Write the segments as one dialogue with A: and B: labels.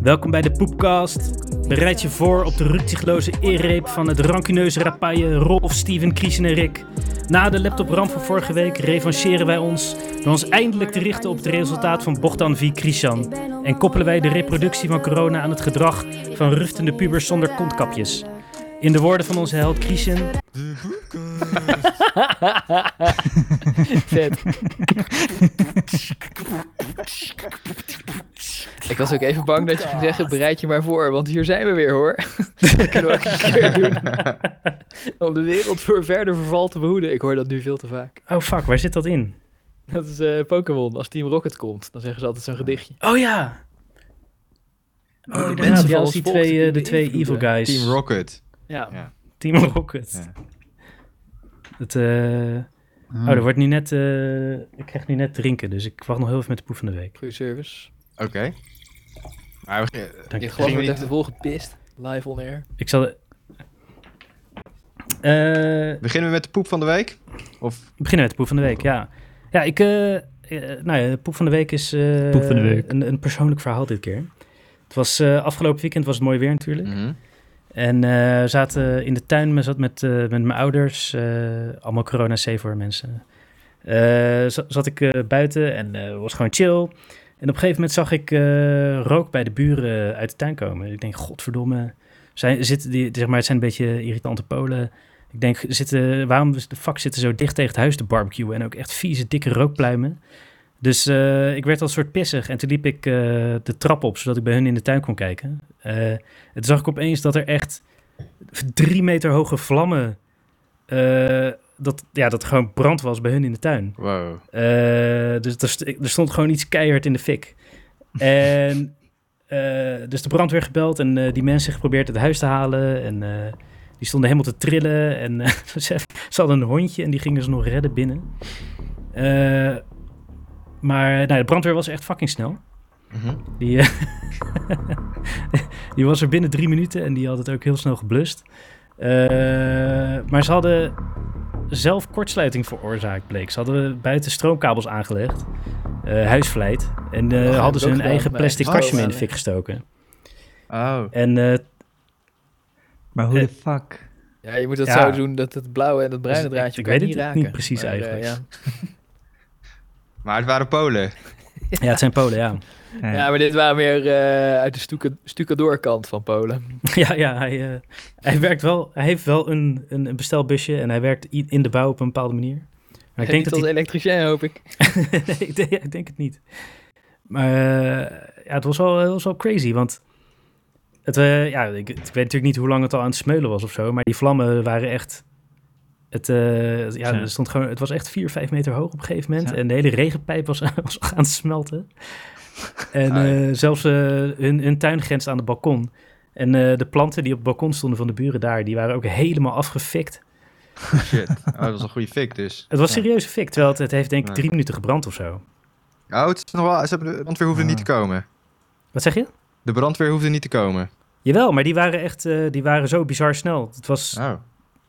A: Welkom bij de Poepcast. Bereid je voor op de rukzichtloze eerreep van het rancuneuze rapaille Rolf, Steven, Kriesen en Rick. Na de laptopramp van vorige week revancheren wij ons door ons eindelijk te richten op het resultaat van Bogdan V. Krishan. En koppelen wij de reproductie van corona aan het gedrag van ruftende pubers zonder kontkapjes. In de woorden van onze held Krishan,
B: Vet. Ik was ook even bang dat je ging zeggen, bereid je maar voor, want hier zijn we weer hoor. Dat kunnen we ook een keer doen. Om de wereld voor verder verval te behoeden. Ik hoor dat nu veel te vaak.
A: oh fuck, waar zit dat in?
B: Dat is eh, Pokémon. Als Team Rocket komt, dan zeggen ze altijd zo'n gedichtje.
A: Oh ja!
B: de
A: Oh,
B: mensen
A: inderdaad,
B: van
A: ja, als
B: ons
A: die
B: volk
A: twee, eh,
B: die
A: de
B: we
A: twee evil
B: invloeden.
A: guys.
C: Team Rocket.
B: Ja,
C: Ja.
A: Team Rocket.
C: Ja.
A: Het, eh,
D: Hm.
A: Oh, er wordt nu net... eh, ik krijg nu net drinken, dus ik wacht nog heel even met de proef van de week.
B: goede service.
C: Oké. Maar we gingen-
A: Dank
B: Je
A: je.
B: glas
C: Ging
B: wordt
C: niet.
B: even volgepist. Live on air.
A: Ik zal... Eh,
C: beginnen we met de poep van de week? Of
A: We beginnen met de poep van de week, ja. Ja, ik... eh, eh, nou ja, de poep van de week is... eh,
D: Poep van de week.
A: Een, een persoonlijk verhaal dit keer. Het was eh, afgelopen weekend was het mooi weer natuurlijk.
C: Mhm.
A: En eh, we zaten in de tuin, we zat met, eh, met mijn ouders, eh, allemaal corona safe voor mensen. Eh, za- zat ik eh, buiten en eh, was gewoon chill. En op een gegeven moment zag ik eh, rook bij de buren eh, uit de tuin komen. Ik denk, godverdomme, zijn, zitten die, zeg maar, het zijn een beetje irritante polen. Ik denk, zitten, waarom de fuck zitten zo dicht tegen het huis te barbecuen? En ook echt vieze, dikke rookpluimen. Dus eh, ik werd al een soort pissig. En toen liep ik eh, de trap op, zodat ik bij hun in de tuin kon kijken. Eh en toen zag ik opeens dat er echt drie meter hoge vlammen. eh, dat, ja, dat gewoon brand was bij hun in de tuin.
C: wow.
A: Eh, dus er, st- er stond gewoon iets keihard in de fik. En eh, dus de brandweer gebeld en eh, die mensen geprobeerd het huis te halen. En eh, die stonden helemaal te trillen. En eh, ze, ze hadden een hondje en die gingen ze nog redden binnen. Eh, maar nou, de brandweer was echt fucking snel.
C: Mhm.
A: Die, eh, die was er binnen drie minuten en die had het ook heel snel geblust. Eh, maar ze hadden zelf kortsluiting veroorzaakt, bleek. Ze hadden buiten stroomkabels aangelegd, eh huisvlijt. En eh,
B: Oh, dat heb ik Oh,
A: hadden ze
B: ook
A: hun
B: gedaan
A: eigen
B: bij
A: plastic
C: huisvlijt.
A: kastje mee in de fik gestoken.
C: Oh.
A: En eh,
D: Maar hoe de
A: Eh,
D: fuck?
B: Ja, je moet dat
A: Ja.
B: zo doen dat het blauwe en het bruine
A: Dus ik-
B: draadje
A: ik
B: kan
A: weet
B: niet
A: het
B: raken.
A: niet precies
B: eh,
A: eigenlijk.
B: ja.
C: Maar het waren Polen.
A: ja, het zijn Polen, ja.
D: Ja,
B: Ja, maar dit waren meer eh, uit de stuka- stukadoorkant van Polen.
A: ja, ja hij, eh, hij, werkt wel, hij heeft wel een, een, een bestelbusje en hij werkt i- in de bouw op een bepaalde manier. Maar
B: Ik denk niet als
A: hij-
B: elektricien, hoop ik.
A: nee, ik denk, ik denk het niet. Maar eh, ja, het was wel, het was wel crazy, want het, eh, ja, ik, ik weet natuurlijk niet hoe lang het al aan het smeulen was of zo, maar die vlammen waren echt... Het, eh, het- ja,
D: Ja.
A: er stond gewoon, het was echt 4, 5 meter hoog op een gegeven moment
D: Ja.
A: en de hele regenpijp was, was aan het smelten. En
C: Ah,
A: eh,
C: ja.
A: zelfs eh, hun, hun tuin grenst aan het balkon. En eh, de planten die op het balkon stonden van de buren daar, die waren ook helemaal afgefikt.
C: Shit. Oh, dat was een goede fik dus.
A: Het was
D: Ja.
A: serieus een fik, terwijl het, het heeft denk ik
C: Ja.
A: drie minuten gebrand of zo.
C: Oh, het is nog wel... Ze hebben de brandweer hoefde niet te
B: Ah.
C: komen.
A: Wat zeg je?
C: De brandweer hoefde niet te komen.
A: Jawel, maar die waren echt eh, die waren zo bizar snel. Het was,
C: Oh.
A: het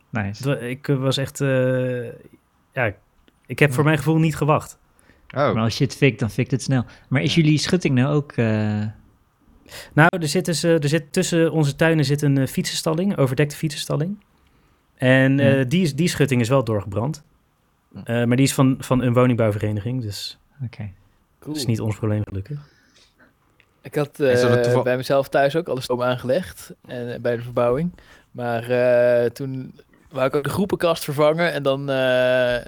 D: nice.
A: wa- ik eh, was echt. eh, ja, ik- ik heb voor mijn gevoel niet gewacht.
D: Maar
C: Oh.
D: als je het fikt, dan fikt het snel. Maar is jullie schutting nou ook... eh,
A: Nou, er zit, dus, eh, er zit tussen onze tuinen zit een eh, fietsenstalling, overdekte fietsenstalling. En eh, die, is- die schutting is wel doorgebrand.
C: Ja.
A: Eh, maar die is van, van een woningbouwvereniging, dus
D: Oké.
B: Cool.
A: dat is niet ons probleem gelukkig.
B: Ik had
C: Is dat
B: eh,
C: een toeval-
B: bij mezelf thuis ook alles stroom aangelegd en, eh, bij de verbouwing. Maar eh, toen wou ik ook de groepenkast vervangen en dan, eh,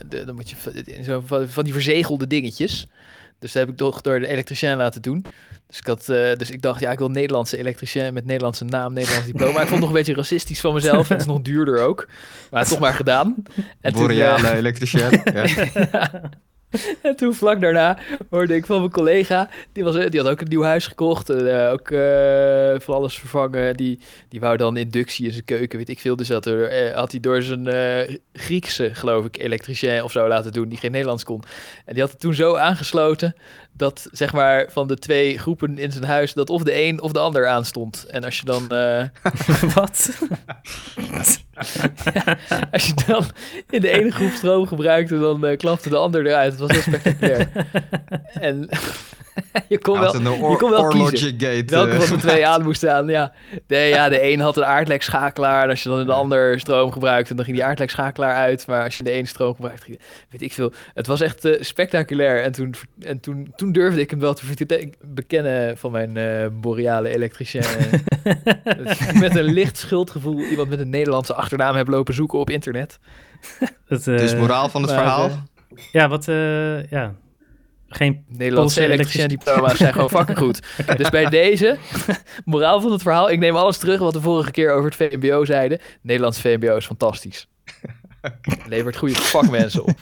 B: de- dan moet je v- in zo van, van die verzegelde dingetjes. Dus dat heb ik toch door de elektricien laten doen. Dus ik, had, eh, dus ik dacht, ja, ik wil Nederlandse elektricien met Nederlandse naam, Nederlands diploma. Maar ik vond het nog een beetje racistisch van mezelf. en Het is nog duurder ook. Maar toch maar gedaan. En toen, eh,
C: Boreale elektricien. ja.
B: En toen vlak daarna hoorde ik van mijn collega, die, was, die had ook een nieuw huis gekocht, en, eh, ook eh van alles vervangen. Die, die wou dan inductie in zijn keuken, weet ik veel. Dus had, er, eh, had hij door zijn eh, Griekse, geloof ik, elektricien of zo laten doen, die geen Nederlands kon. En die had het toen zo aangesloten dat, zeg maar, van de twee groepen in zijn huis, dat of de een of de ander aanstond. En als je dan... eh,
A: Wat?
B: Als je dan in de ene groep stroom gebruikte, dan eh, klapte de ander eruit. Het was heel spectaculair. en je kon
C: Ja,
B: wel
C: als het een or-
B: je kon wel
C: Orlogic Gate.
B: welke
C: eh,
B: van de twee aan moest staan. Ja. Nee, ja, de een had een aardlekschakelaar. En als je dan de ander stroom gebruikte, dan ging die aardlekschakelaar uit. Maar als je de ene stroom gebruikte, ging- weet ik veel. Het was echt eh, spectaculair. En, toen, en toen, toen durfde ik hem wel te verte- bekennen van mijn eh, boreale elektricien. Dat ik met een licht schuldgevoel iemand met een Nederlandse achternaam heb lopen zoeken op internet.
A: Het, eh,
C: dus moraal van het
B: maar,
C: verhaal.
B: eh,
A: Ja, wat... eh, ja. Geen...
B: Nederlandse
A: Poolse
B: elektricien diploma's zijn gewoon fucking goed. Dus bij deze, moraal van het verhaal, ik neem alles terug wat we vorige keer over het VMBO zeiden. Nederlands VMBO is fantastisch. Levert goede vakmensen op.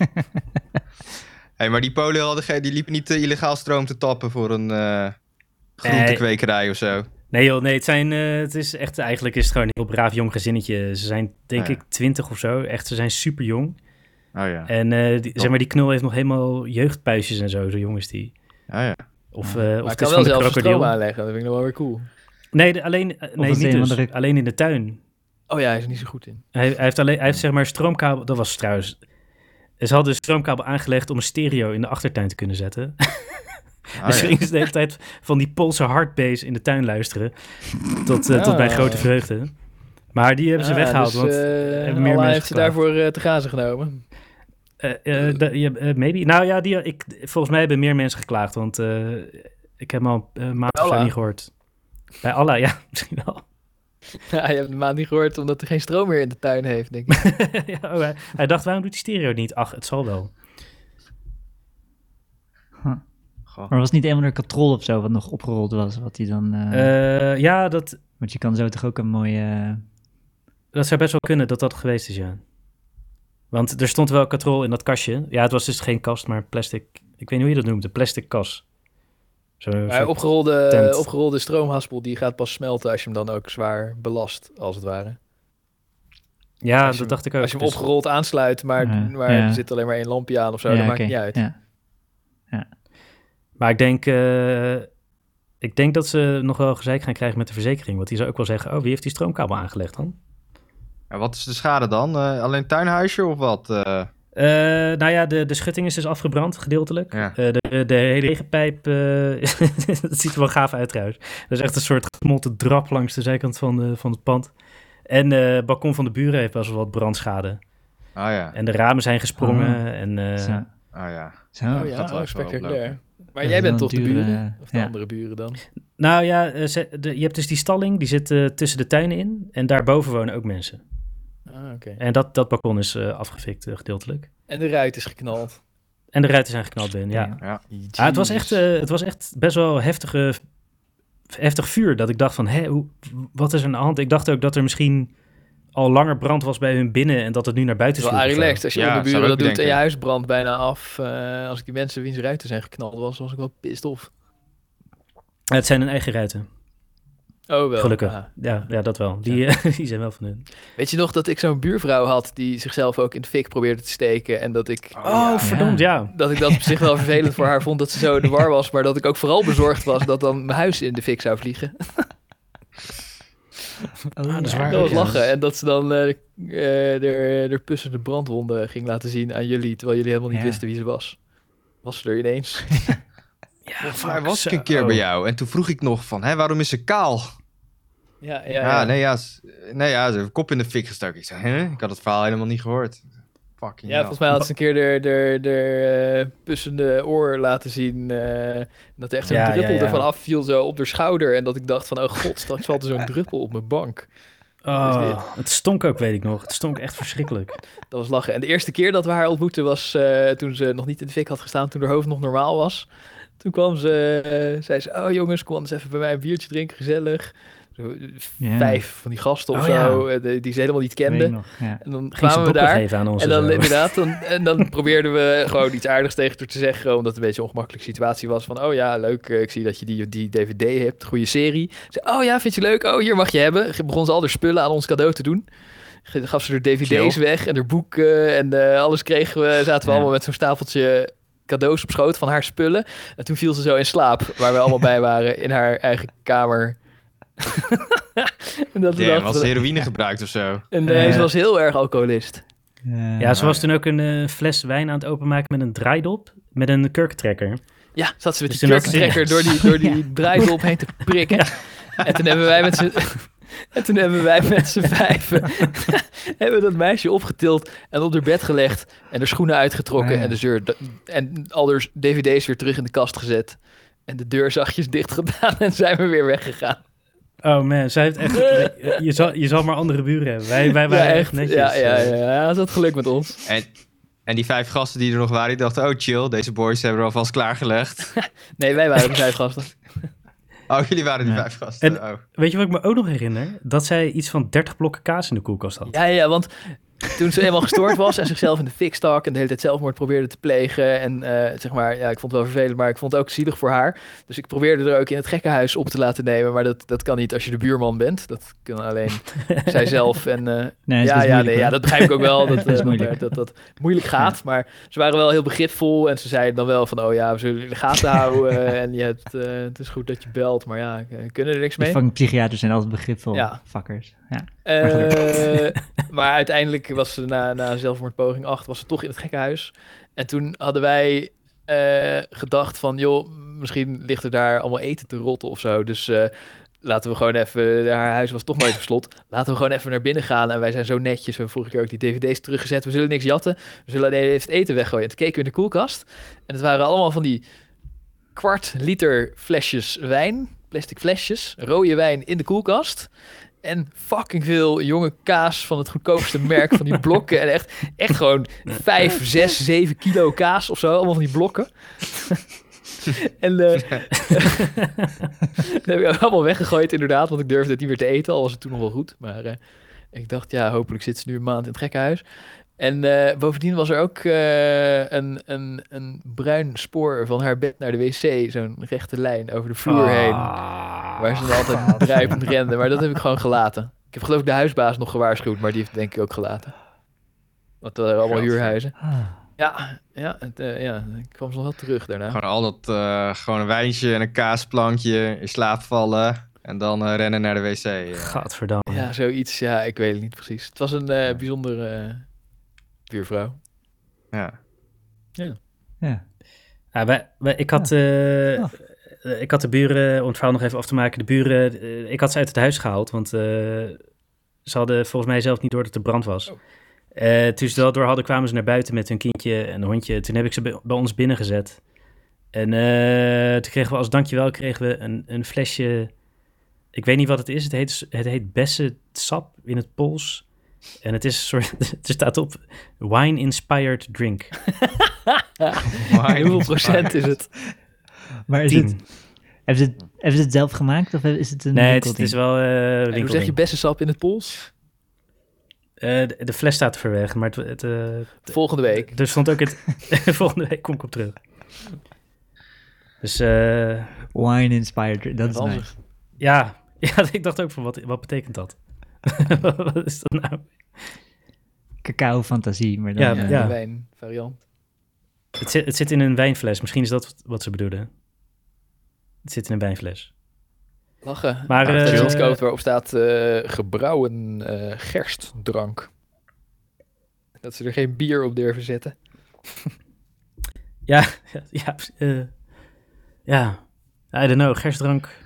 C: Hey, maar die Polen hadden geen- die liepen niet eh, illegaal stroom te tappen voor een eh
A: Nee.
C: groentekwekerij of zo.
A: Nee joh, nee, het, zijn, eh, het is echt... Eigenlijk is het gewoon een heel braaf jong gezinnetje. Ze zijn denk
C: Ja.
A: ik twintig of zo. Echt, ze zijn super jong.
C: Oh ja.
A: En eh, die, zeg maar, die knul heeft nog helemaal jeugdpuisjes en zo. Zo jong is die.
C: Oh, ja.
A: Of,
D: Ja.
A: eh, of
B: Maar
A: het
B: ik kan
A: is
B: wel
A: van de
B: zelf stroom
A: krokodil.
B: aanleggen, dat vind ik nog wel weer cool.
A: Nee, de- alleen, eh, nee
D: is
A: niet
D: een
A: dus.
D: of andere-
A: Alleen in de tuin.
B: Oh ja, hij is er niet zo goed in.
A: Hij, hij heeft, alleen, hij heeft zeg maar stroomkabel... Dat was het trouwens... Ze hadden een stroomkabel aangelegd om een stereo in de achtertuin te kunnen zetten.
C: Oh,
A: dus
C: ja.
A: gingen ze de hele tijd van die Poolse hardbass in de tuin luisteren. Tot, eh, tot mijn
B: Ah.
A: grote vreugde. Maar die hebben ze
B: Ah,
A: weggehaald.
B: dus,
A: want,
B: eh,
A: hebben
B: Allah
A: meer mensen
B: heeft ze
A: geklaagd.
B: daarvoor eh, te grazen genomen.
A: eh, eh, da- ja, eh, maybe. Nou ja, die, ik, volgens mij hebben meer mensen geklaagd. Want eh, ik heb hem al eh, een maand of zo
B: Allah.
A: niet gehoord. Bij Allah, ja, misschien wel.
B: Ja, je hebt de maand niet gehoord omdat hij geen stroom meer in de tuin heeft, denk ik.
A: ja, oh, hij, hij dacht, waarom doet die stereo niet? Ach, het zal wel.
C: Goh.
D: Maar was het niet een of andere katrol of zo wat nog opgerold was? Wat die dan,
B: Hmm.
D: eh,
A: Eh, ja, dat,
D: want je kan zo toch ook een mooie... eh,
A: dat zou best wel kunnen dat dat geweest is, ja. Want er stond wel katrol in dat kastje. Ja, het was dus geen kast, maar plastic. Ik weet niet hoe je dat noemt, een plastic kas. Zo,
B: Maar
A: zo-
B: opgerolde,
A: Tent.
B: opgerolde stroomhaspel, die gaat pas smelten als je hem dan ook zwaar belast, als het ware.
A: Ja,
B: Als je
A: dat
B: hem-
A: dacht ik ook.
B: Als je hem
A: Dus-
B: opgerold aansluit, maar,
D: Ja,
B: maar
D: ja.
B: er zit alleen maar één lampje aan of zo,
D: ja,
B: dat maakt
D: oké,
B: niet uit.
D: ja.
A: Maar ik denk, eh, ik denk dat ze nog wel gezeik gaan krijgen met de verzekering. Want die zou ook wel zeggen, oh, wie heeft die stroomkabel aangelegd dan?
C: En wat is de schade dan? Eh, alleen tuinhuisje of wat? Eh,
A: Eh, nou ja, de, de schutting is dus afgebrand, gedeeltelijk.
C: Ja.
A: Eh, de, de hele regenpijp, eh, dat ziet er wel gaaf uit trouwens. Dat is echt een soort gesmolten drap langs de zijkant van, de, van het pand. En eh, het balkon van de buren heeft best wel wat brandschade.
C: oh ja.
A: En de ramen zijn gesprongen. En, eh,
D: Zo.
C: Oh ja.
D: Zo.
B: Oh
C: gaat
B: ja,
C: wel
B: oh,
C: even
B: spectaculair.
C: oplopen.
B: Maar
D: Dat
B: jij
D: is
B: bent
D: wel
B: toch de
D: een dure,
B: buren? Of de
D: ja.
B: andere buren dan?
A: nou ja, eh, ze- de- je hebt dus die stalling, die zit eh, tussen de tuinen in. En daarboven wonen ook mensen.
B: Ah, oké.
A: En dat, dat balkon is eh, afgefikt eh, gedeeltelijk.
B: En de ruit is geknald.
A: En de ruiten zijn geknald binnen, ja.
D: Ja.
C: ja.
A: Ah, het, was echt, eh, het was echt best wel heftige, heftig vuur. Dat ik dacht van, hé, hoe, wat is er aan de hand? Ik dacht ook dat er misschien al langer brand was bij hun binnen... en dat het nu naar buiten
B: Het is
A: sloeg.
B: wel
A: of zo.
B: relaxed als je
C: Ja,
B: onder
C: zou
B: buren
C: ik
B: dat doet
C: denken.
B: en je huis brandt bijna af. Eh, als ik die mensen wiens ruiten zijn geknald was, was ik wel pissed off.
A: Het zijn hun eigen ruiten,
B: Oh wel.
A: gelukkig.
B: ah.
A: Ja, ja, dat wel. Die, eh, die zijn wel van hun.
B: Weet je nog dat ik zo'n buurvrouw had die zichzelf ook in de fik probeerde te steken en dat ik...
C: Oh,
A: oh,
C: ja.
A: Verdomd, ja.
B: Dat ik dat op zich wel vervelend voor haar vond dat ze zo in de war was, maar dat ik ook vooral bezorgd was dat dan mijn huis in de fik zou vliegen.
D: Oh,
A: dat is
D: ja.
A: waar.
B: Dat was
A: Ja.
B: lachen. En dat ze dan eh eh, er, er pussende brandwonden ging laten zien aan jullie, terwijl jullie helemaal niet
D: Ja.
B: wisten wie ze was. Was ze er ineens?
A: Volgens
C: Waar was ik een keer
A: Oh.
C: bij jou? En toen vroeg ik nog van, hè, waarom is ze kaal?
B: Ja,
A: Ah,
B: ja,
C: Ja, nee, ja, ze- nee, ja, ze heeft kop in de fik gestoken. Ik zei, hè? Ik had het verhaal helemaal niet gehoord. Fucking
B: Ja, volgens mij had ze een keer de, de, de eh, pussende oor laten zien. eh, dat er echt zo'n
A: Ja, ja,
B: druppel
A: ja.
B: ervan afviel, zo op haar schouder. En dat ik dacht van, oh god, straks valt er zo'n druppel op mijn bank.
A: Oh, het stonk ook, weet ik nog. Het stonk echt verschrikkelijk.
B: Dat was lachen. En de eerste keer dat we haar ontmoetten was eh, toen ze nog niet in de fik had gestaan, toen haar hoofd nog normaal was. Toen kwam ze, eh, zei ze, oh jongens, kom anders even bij mij een biertje drinken, gezellig. Zo, eh,
D: Ja.
B: Vijf van die gasten of
A: Oh,
B: zo, eh, die- die ze helemaal niet
D: Weet ik
B: kende.
D: nog, ja.
B: En dan
A: Ging ze
B: kwamen we
A: bokken
B: daar
A: geven aan ons.
B: en dan
A: zo.
B: inderdaad, dan, en dan probeerden we gewoon iets aardigs tegen haar te zeggen, omdat het een beetje een ongemakkelijke situatie was. Van, oh ja, leuk, eh, ik zie dat je die, die DVD hebt, goede serie. Ze, oh ja, vind je leuk? Oh, hier mag je hebben. Ge- Begon ze al haar spullen aan ons cadeau te doen. Ge- Gaf ze haar DVD's
C: Chill.
B: weg en haar boeken en eh, alles kregen we. Zaten we
D: Ja.
B: allemaal met zo'n stafeltje cadeaus op schoot van haar spullen. En toen viel ze zo in slaap, waar we allemaal bij waren, in haar eigen kamer. en dat we
C: Ja,
B: dachten-
C: was heroïne gebruikt of zo.
B: en eh,
A: Eh.
B: ze was heel erg alcoholist.
D: Eh,
A: Ja, ze was
C: ja.
A: toen ook een eh, fles wijn aan het openmaken met een draaidop, met een kurkentrekker.
B: Ja, zat ze met
A: Dus
B: die
A: toen had ze-
B: kurktrekker door die, door die draaidolp heen te prikken. En toen hebben wij met z'n... En toen hebben wij met z'n vijven hebben dat meisje opgetild en op haar bed gelegd en haar schoenen uitgetrokken
C: Ah, ja.
B: en, de deur, en al haar dvd's weer terug in de kast gezet en de deur zachtjes dicht gedaan en zijn we weer weggegaan.
A: Oh man, zij heeft echt... Je zal, je zal maar andere buren hebben. Wij, wij
B: ja,
A: waren echt netjes.
B: Ja, ja, ja, ja, dat had geluk met ons.
C: En, en die vijf gasten die er nog waren, die dachten, oh chill, deze boys hebben er alvast klaargelegd.
B: Nee, wij waren de vijf gasten.
C: Oh, jullie waren die
A: Ja.
C: vijf gasten. oh.
A: Weet je wat ik me ook nog herinner? Dat zij iets van 30 blokken kaas in de koelkast
D: Oh.
A: had.
B: Ja, ja, want toen ze eenmaal gestoord was en zichzelf in de fik stak en de hele tijd zelfmoord probeerde te plegen. En eh, zeg maar, ja, ik vond het wel vervelend, maar ik vond het ook zielig voor haar. Dus ik probeerde er ook in het gekkenhuis op te laten nemen. Maar dat, dat kan niet als je de buurman bent. Dat kunnen alleen zijzelf. En, eh,
D: Nee, dus dat is
B: ja, ja,
D: moeilijk,
B: nee,
D: hoor.
B: ja, dat begrijp ik ook wel. Dat, eh,
D: is moeilijk.
B: Dat, dat, moeilijk gaat. Maar ze waren wel heel begripvol. En ze zeiden dan wel van, oh ja, we zullen jullie in de gaten houden. eh, en je hebt, eh, het is goed dat je belt. Maar ja, eh, kunnen er niks
D: Die
B: mee.
D: fucking psychiaters zijn altijd begripvol.
B: Ja.
D: Fuckers. Ja.
B: Eh, maar uiteindelijk was ze na, na zelfmoordpoging 8, was ze toch in het gekkenhuis. En toen hadden wij eh, gedacht van, joh, misschien ligt er daar allemaal eten te rotten of zo. Dus eh, laten we gewoon even, haar huis was toch nooit op slot, laten we gewoon even naar binnen gaan. En wij zijn zo netjes, we hebben vorige keer ook die dvd's teruggezet. We zullen niks jatten, we zullen alleen even het eten weggooien. En toen keken we in de koelkast en het waren allemaal van die kwart liter flesjes wijn, plastic flesjes, rode wijn in de koelkast. En fucking veel jonge kaas van het goedkoopste merk van die blokken. En echt, echt gewoon 5, 6, 7 kilo kaas of zo. Allemaal van die blokken. en eh dat heb ik allemaal weggegooid inderdaad. Want ik durfde het niet meer te eten. Al was het toen nog wel goed. Maar eh, ik dacht, ja, hopelijk zit ze nu een maand in het gekkenhuis. En eh, bovendien was er ook eh, een, een, een bruin spoor van haar bed naar de wc. Zo'n rechte lijn over de
A: Ah.
B: vloer heen. Waar ze dan altijd druipend renden. Maar dat heb ik gewoon gelaten. Ik heb geloof ik de huisbaas nog gewaarschuwd, maar die heeft het denk ik ook gelaten. Want dat waren allemaal
C: Gadver.
B: huurhuizen.
D: Ah.
B: Ja, ja, het, eh, ja, ik kwam ze nog wel terug daarna.
C: Gewoon al dat, eh, gewoon een wijntje en een kaasplankje, in slaap vallen en dan eh, rennen naar de wc. eh.
A: Gadverdamme.
B: Ja, zoiets. Ja, ik weet het niet precies. Het was een eh bijzondere eh, buurvrouw.
C: Ja.
D: Ja.
A: Ja, wij, wij- ik, had, eh,
D: Ah.
A: eh, ik had de buren, om het verhaal nog even af te maken, de buren, eh, ik had ze uit het huis gehaald, want eh, ze hadden volgens mij zelf niet door dat er brand was.
B: Oh.
A: Eh, toen ze dat door hadden, kwamen ze naar buiten met hun kindje en hondje. Toen heb ik ze bij, bij ons binnengezet. En eh, toen kregen we als dankjewel kregen we een, een flesje, ik weet niet wat het is, het heet, het heet bessensap in het Pools. En het is een soort, het staat op wine-inspired drink.
C: Maar-
B: Hoeveel procent is het?
D: Maar is het,
A: Tien.
D: hebben, ze het, hebben ze het zelf gemaakt of is het een
A: Nee, het, is- het
D: winkelding?
A: is wel eh
B: En hoe
A: winkelding.
B: zeg je beste sap in het Pools?
A: Eh, de, de fles staat verweg, maar het, het, eh,
B: Volgende week.
A: er stond ook het... Volgende week kom ik op terug. Dus eh,
D: Wine inspired. Dat is
B: Handig.
D: nice.
A: ja. ja, ik dacht ook van, wat, wat betekent dat? wat is dat nou?
D: Cacao fantasie. Maar dan,
A: Ja,
D: eh,
B: Ja,
A: ja.
B: de wijnvariant.
A: Het zit, het zit in een wijnfles, misschien is dat wat- wat ze bedoelden. Het zit in een wijnfles.
B: Lachen. Ah,
A: Maar,
B: Als je
A: eh,
B: iets koopt waarop staat eh, gebrouwen eh, gerstdrank. Dat ze er geen bier op durven zetten.
A: Ja, ja, eh, ja. I don't know, gerstdrank.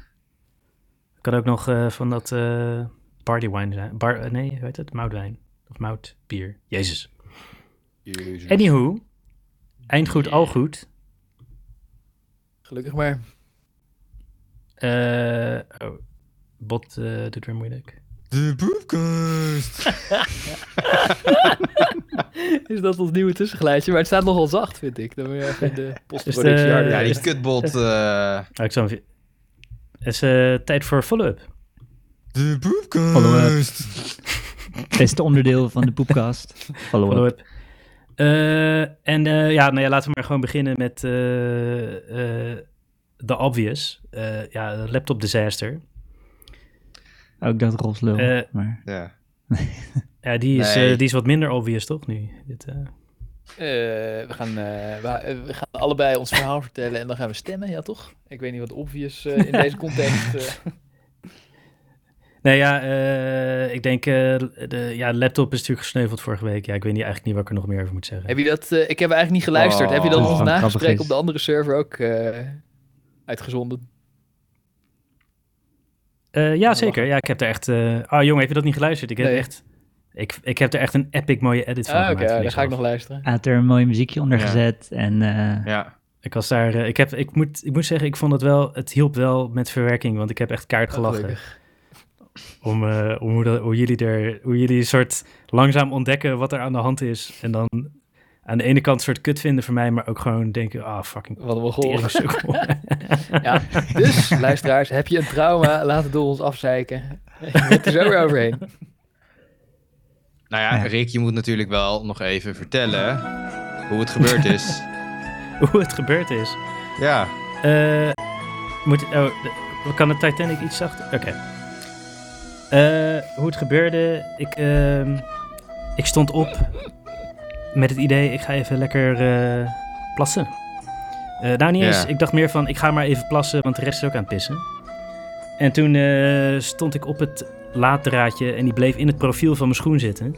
A: Kan ook nog eh, van dat eh partywine zijn. Bar, eh, nee, hoe heet het? Moutwijn. Of moutbier. Jezus. Anywho, eindgoed, al goed.
B: Gelukkig maar.
A: Eh, oh, bot eh doet weer moeilijk.
C: De boepkast.
B: Is dat ons nieuwe tussengeluidje? Maar het staat nogal zacht, vind ik. Dan moet je even in de postproductie
A: Is de-
B: harder
C: Ja, die
B: zetten.
C: kutbot. eh
A: Oh, ik zal hem- Het is eh, tijd voor follow-up.
C: de boepkast.
D: Follow-up. Beste onderdeel van de poepkast. Follow-up.
A: Follow-up. Eh, en eh, ja, nou ja, laten we maar gewoon beginnen met eh eh, de obvious. Eh, ja, laptop disaster.
D: Ook dat Rolfs lul.
A: Eh,
D: maar
C: Ja.
A: Ja, die is,
C: Nee.
A: eh, die is wat minder obvious, toch, nu? Dit, eh,
B: Eh, we, gaan, eh, wa- eh, we gaan allebei ons verhaal vertellen en dan gaan we stemmen, ja toch? Ik weet niet wat obvious eh, in deze context. eh.
A: Nee, ja, eh, ik denk, eh, de ja, laptop is natuurlijk gesneuveld vorige week. Ja, ik weet niet, eigenlijk niet wat ik er nog meer over moet zeggen.
B: Heb je dat, eh, ik heb eigenlijk niet geluisterd.
C: Oh,
B: heb je dat
D: dat
B: nog
D: is
B: na
D: grappig
B: gesprek
D: is.
B: op de andere server ook eh, uitgezonden?
A: Eh, ja, zeker. Ja, ik heb er echt... eh, Ah, jongen, heb je dat niet geluisterd? Ik heb,
B: Nee.
A: echt, ik, ik heb er echt een epic mooie edit van
B: Ah, oké,
A: gemaakt. voor
B: dan ga ik
A: mezelf.
B: nog luisteren.
D: Hij had er een mooi muziekje onder
C: Ja.
D: gezet. En eh,
C: Ja.
A: Ik was daar... eh, ik, heb, ik, moet, ik moet zeggen, ik vond het wel... Het hielp wel met verwerking, want ik heb echt kaart gelachen.
B: Gelukkig.
A: om eh, om hoe, dat, hoe jullie er... Hoe jullie een soort langzaam ontdekken wat er aan de hand is. En dan aan de ene kant een soort kut vinden voor mij, maar ook gewoon denken... Ah, fucking...
B: Wat een mogol.
A: teringzoekel.
B: Ja, dus luisteraars, heb je een trauma? Laat het door ons afzeiken. Je bent er zo weer overheen.
C: Nou ja, Rick, je moet natuurlijk wel nog even vertellen hoe het gebeurd is.
A: hoe het gebeurd is.
C: ja.
A: Eh, moet, oh, de- kan de Titanic iets zachter? Oké. Eh, hoe het gebeurde, ik, ehm, ik stond op met het idee, ik ga even lekker eh, plassen. Eh nou, niet
C: Ja.
A: eens. Ik dacht meer van, ik ga maar even plassen, want de rest is ook aan het pissen. En toen eh, stond ik op het laaddraadje en die bleef in het profiel van mijn schoen zitten.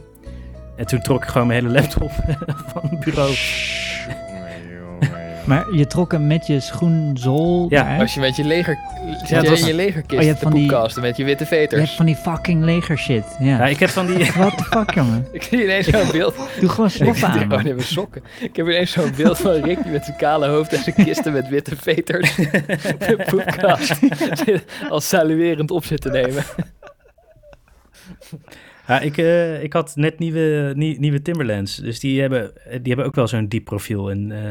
A: En toen trok ik gewoon mijn hele laptop van het bureau.
C: Jongen, jongen, jongen.
D: Maar je trok hem met je schoenzool
A: Ja,
D: eruit?
B: Als je met je leger... zit
A: het
B: je
A: was-
B: in je
D: Oh,
B: legerkist
D: je
B: te
D: hebt van die-
B: poepkasten met je witte
D: Je hebt
B: veters.
D: van die fucking leger shit. Ja.
A: Ja, Nou, ik heb van die...
D: What the fuck, jongen?
B: Ik zie ineens zo'n beeld.
D: Doe gewoon
B: Ik
D: sloffen aan.
B: zit gewoon in
D: man.
B: mijn sokken. Ik heb ineens zo'n beeld van Rick die met zijn kale hoofd en zijn kisten met witte veters de poepkast zit als saluerend op zit te nemen.
A: Eh, Ja, ik, eh, ik had net nieuwe, nie- nieuwe Timberlands. Dus die hebben, die hebben ook wel zo'n diep profiel. En, eh,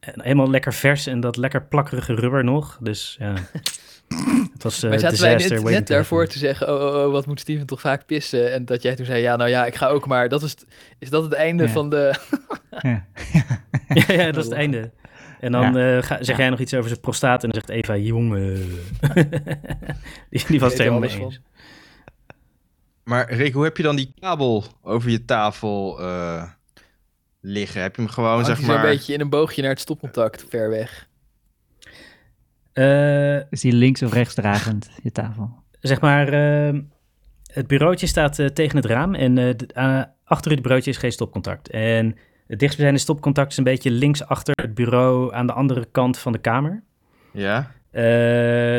A: en helemaal lekker vers en dat lekker plakkerige rubber nog. Dus ja, het was eh
B: maar zaten wij
A: disaster
B: net,
A: waiting
B: net
A: to
B: daarvoor
A: happen.
B: te zeggen, oh, oh, oh, wat moet Steven toch vaak pissen? En dat jij toen zei, ja, nou ja, ik ga ook maar. Dat is, t- is dat het einde
D: Ja.
B: van de...
D: Ja.
A: ja, ja, dat is het einde. En dan eh, ga- zeg jij nog iets over zijn prostaat en dan zegt Eva, jongen. die, die was
B: weet
A: het
B: er
A: helemaal
B: alles
A: mee eens.
C: Maar Rick, hoe heb je dan die kabel over je tafel eh, liggen? Heb je hem gewoon,
B: Hangt
C: Oh, zeg
B: hij zo'n
C: maar...
B: beetje in een boogje naar het stopcontact, ver weg.
A: Eh,
D: Is die links of rechts dragend, je tafel?
A: zeg maar, eh, het bureautje staat eh, tegen het raam en eh, d- aan- achter het bureautje is geen stopcontact. En het dichtstbijzijnde stopcontact is een beetje links achter het bureau aan de andere kant van de kamer.
C: Ja?
A: Eh,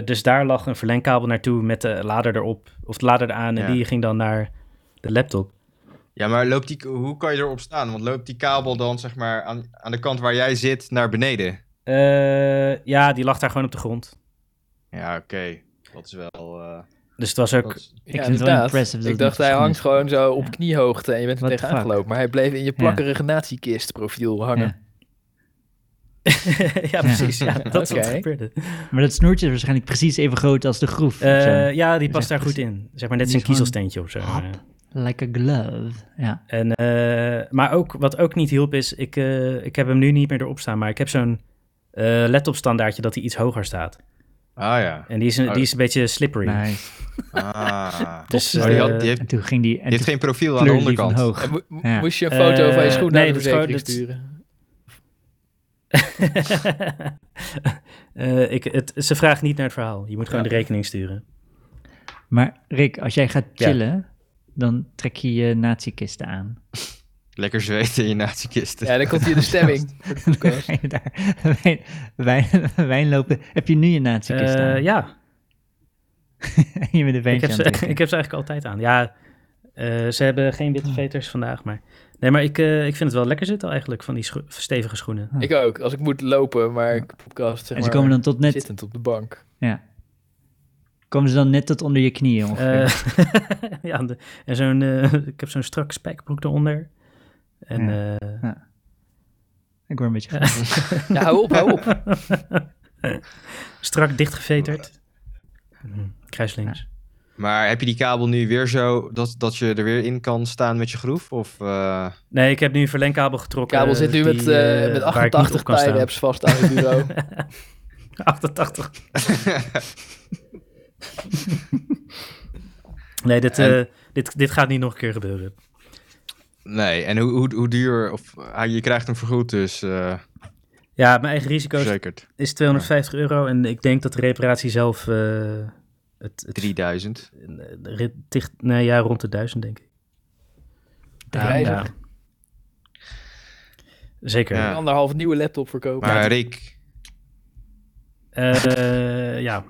A: dus daar lag een verlengkabel naartoe met de lader erop, of de lader eraan en
C: Ja.
A: die ging dan naar de laptop.
C: Ja, maar loopt die, hoe kan je erop staan? Want loopt die kabel dan, zeg maar, aan, aan de kant waar jij zit naar beneden?
A: Eh, ja, die lag daar gewoon op de grond.
C: Ja, oké. Dat is wel... eh,
A: Dus het was ook...
C: dat is-
D: Ik vind het wel impressive dat
B: Ik
D: het
B: dacht,
D: nog
B: hij hangt
D: verschillend
B: gewoon
D: is.
B: zo op
D: Ja.
B: kniehoogte en je bent er
D: What the
B: tegenaan
D: fuck?
B: gelopen. Maar hij bleef in je
D: Ja.
B: plakkerige nazi-kist profiel hangen.
D: Ja.
A: ja, precies. Ja, dat is wat
B: Oké.
A: er gebeurde.
D: Maar dat snoertje is waarschijnlijk precies even groot als de groef. of
A: Eh,
D: zo.
A: ja, die past
D: echt
A: daar goed in. Zeg maar net
D: die
A: zijn
D: is gewoon-
A: kiezelsteentje of zo.
D: Hap. Like a glove. Ja.
A: En, eh, maar ook, wat ook niet hielp is, ik, eh, ik heb hem nu niet meer erop staan, maar ik heb zo'n eh laptop standaardje dat hij iets hoger staat.
C: Ah ja.
A: En die is een,
C: Oh.
A: die is een beetje slippery.
D: Nice.
C: Ah.
A: Dus,
C: Oh, die, had-
A: eh,
C: die heeft,
D: En toen ging die... En
C: die heeft
D: toen
C: geen profiel aan de
D: kleurde die van
C: onderkant.
D: hoog.
B: En mo- mo-
D: Ja.
B: Moest je een foto van je
A: Eh,
B: schoen naar
A: nee,
B: de
A: dat is gewoon-
B: verzekering
A: dat-
B: sturen?
A: Eh, ik, het, ze vraagt niet naar het verhaal. Je moet gewoon de rekening sturen.
D: Maar Rick, als jij gaat
A: Ja.
D: chillen, dan trek je je nazi-kisten aan.
C: Lekker zweten in je nazi-kisten.
B: Ja, dan komt hij in de stemming. voor de
D: Dan
B: podcast.
D: ga je daar wijn, wijn, wijn lopen. Heb je nu je nazi-kist
A: Eh,
D: aan?
A: ja,
D: je bent een
A: ik
D: wijntje
A: heb,
D: aan
A: ze,
D: het drinken.
A: ik heb ze eigenlijk altijd aan. Ja, eh, ze hebben geen
C: Oh.
A: witte veters vandaag, maar... Nee, maar ik, eh, ik vind het wel lekker zitten eigenlijk, van die scho- stevige schoenen.
B: Ik ook, als ik moet lopen, maar ik podcast zeg
D: En ze
B: maar, eh,
D: komen dan tot net...
B: zittend op de bank.
D: Ja. Komen ze dan net tot onder je knieën ongeveer?
A: Eh, ja, de- en zo'n, eh, ik heb zo'n strak spijkbroek eronder. En eh,
D: ik word een
B: eh.
D: beetje... gek.
B: Ja, hou op, hou
D: Eh,
B: op.
A: strak dichtgeveterd. Hm, Kruislinks.
C: Maar heb je die kabel nu weer zo dat, dat je er weer in kan staan met je groef? Of, eh,
A: Nee, ik heb nu een verlengkabel getrokken.
B: Kabel zit nu
A: die,
B: met, eh,
A: eh,
B: met
A: waar ik niet op
B: 88
A: kan staan.
B: tie-raps vast aan het bureau.
A: 88. nee, dit,
C: En-
A: eh, dit, dit gaat niet nog een keer gebeuren.
C: Nee, en hoe, hoe, hoe duur? Of, ah, je krijgt hem vergoed, dus eh
A: Ja, mijn eigen risico is,
C: verzekerd.
A: is 250 euro. En ik denk dat de reparatie zelf eh, Het, het,
C: 3000.
A: eh, rit- ticht, nee, ja, rond de duizend, denk ik.
B: Ja,
D: Ja.
B: ja.
A: Zeker.
C: Ja.
B: Anderhalf nieuwe laptop verkopen.
C: Maar Rick,
A: Eh, ja,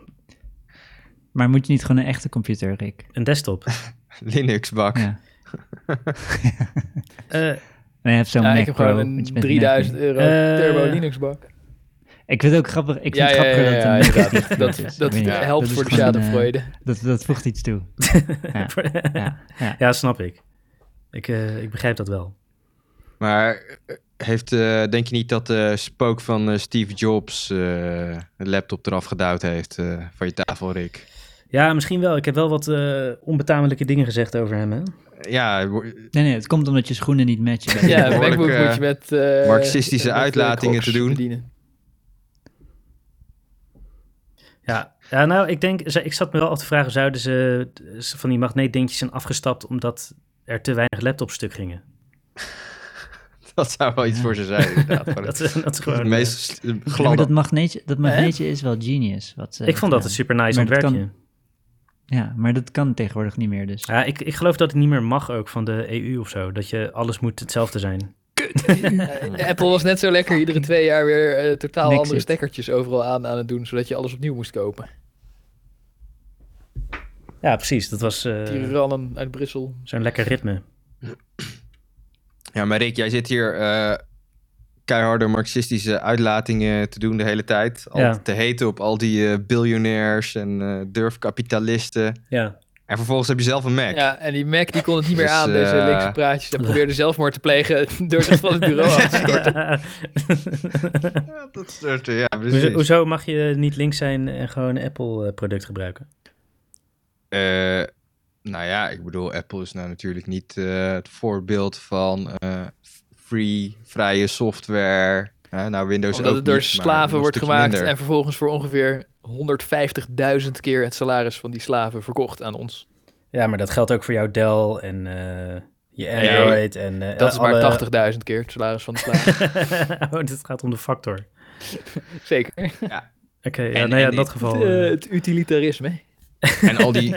D: Maar moet je niet gewoon een echte computer, Rick?
A: een desktop.
C: Linux bak.
D: Ja.
A: Eh,
D: Nee, je hebt zo'n
B: ja,
D: Mac
B: ik heb gewoon
D: Pro,
B: een
D: want je bent
B: 3000
D: Mac
B: euro
A: Eh,
B: Turbo Linux bak.
D: nu. Ik vind het ook grappig. Ik vind
B: Ja,
D: het
B: ja, ja,
D: grappiger dat
B: ja,
D: een Mac
B: inderdaad.
D: niet
B: Dat,
D: is. Ik
B: dat
D: weet niet,
B: helpt
D: dat
B: voor
D: is
B: de
D: gewoon, eh,
B: schadenfreude.
D: Dat, dat voegt iets toe. Ja.
A: ja.
D: Ja, ja.
A: snap ik. Ik, eh, ik begrijp dat wel.
C: Maar eh, heeft, eh, denk je niet dat de spook van eh, Steve Jobs eh een laptop eraf geduwd heeft eh, van je tafel, Rick?
A: Ja, misschien wel. Ik heb wel wat eh, onbetamelijke dingen gezegd over hem. Hè?
C: Ja, wo-
D: Nee, nee, het komt omdat je schoenen niet matchen. bij
B: Ja,
D: je-
C: behoorlijk,
B: MacBook
C: eh,
B: moet je met... eh,
C: marxistische
B: eh,
C: uitlatingen
B: Crocs
C: te doen.
B: bedienen.
A: Ja. ja, nou, ik denk, ze- ik zat me wel af te vragen, zouden ze ze van die magneetdingetjes zijn afgestapt omdat er te weinig laptops stuk gingen?
C: dat zou wel iets
D: Ja.
C: voor ze zijn, inderdaad. Maar
A: Dat, dat is gewoon,
C: het
A: eh,
C: meest st-
D: Ja, maar
C: gladde.
D: dat magneetje, dat magneetje is wel genius. Wat ze
A: ik vond dat een
D: het
A: super nice
D: Maar dat
A: ontwerpje.
D: Ja, maar dat kan tegenwoordig niet meer dus.
A: Ja, ik, ik geloof dat het niet meer mag ook van de EU of zo. Dat je alles moet hetzelfde zijn.
B: Eh, Apple was net zo lekker iedere twee jaar weer eh, totaal
D: Niks
B: andere
D: zit.
B: stekkertjes overal aan, aan het doen, zodat je alles opnieuw moest kopen.
A: Ja, precies. Dat was eh,
B: Tirannen uit Brussel.
A: zo'n lekker ritme.
C: Ja, maar Rick, jij zit hier eh, keiharde marxistische uitlatingen te doen de hele tijd. Al
A: Ja.
C: te heten op al die eh, biljonairs en eh, durfkapitalisten.
A: Ja.
C: En vervolgens heb je zelf een Mac.
B: Ja, en die Mac die kon het niet meer
C: Dus,
B: aan, deze
C: eh,
B: linkse praatjes. Hij probeerde zelfmoord te plegen door zich van het bureau af te storten.
C: Ja, dat soort, eh, ja, precies.
A: Hoezo, hoezo mag je niet links zijn en gewoon een Apple-product gebruiken?
C: Eh, nou ja, ik bedoel, Apple is nou natuurlijk niet eh, het voorbeeld van eh, free, vrije software. Eh, nou, Windows
B: Omdat
C: ook
B: het door
C: niet, maar nog
B: slaven
C: een
B: wordt
C: stukje
B: gemaakt
C: minder.
B: en vervolgens voor ongeveer 150.000 keer het salaris van die slaven verkocht aan ons.
A: Ja, maar dat geldt ook voor jouw Dell en eh, je Android en eh,
B: Dat is
A: alle-
B: maar 80.000 keer het salaris van de slaven.
A: oh, dit gaat om de factor. Oké,
B: Zeker.
A: ja,
C: En-
A: nou ja,
C: en
A: in dat
C: ik-
A: geval...
B: Het, eh,
A: eh,
B: het utilitarisme.
C: En al die,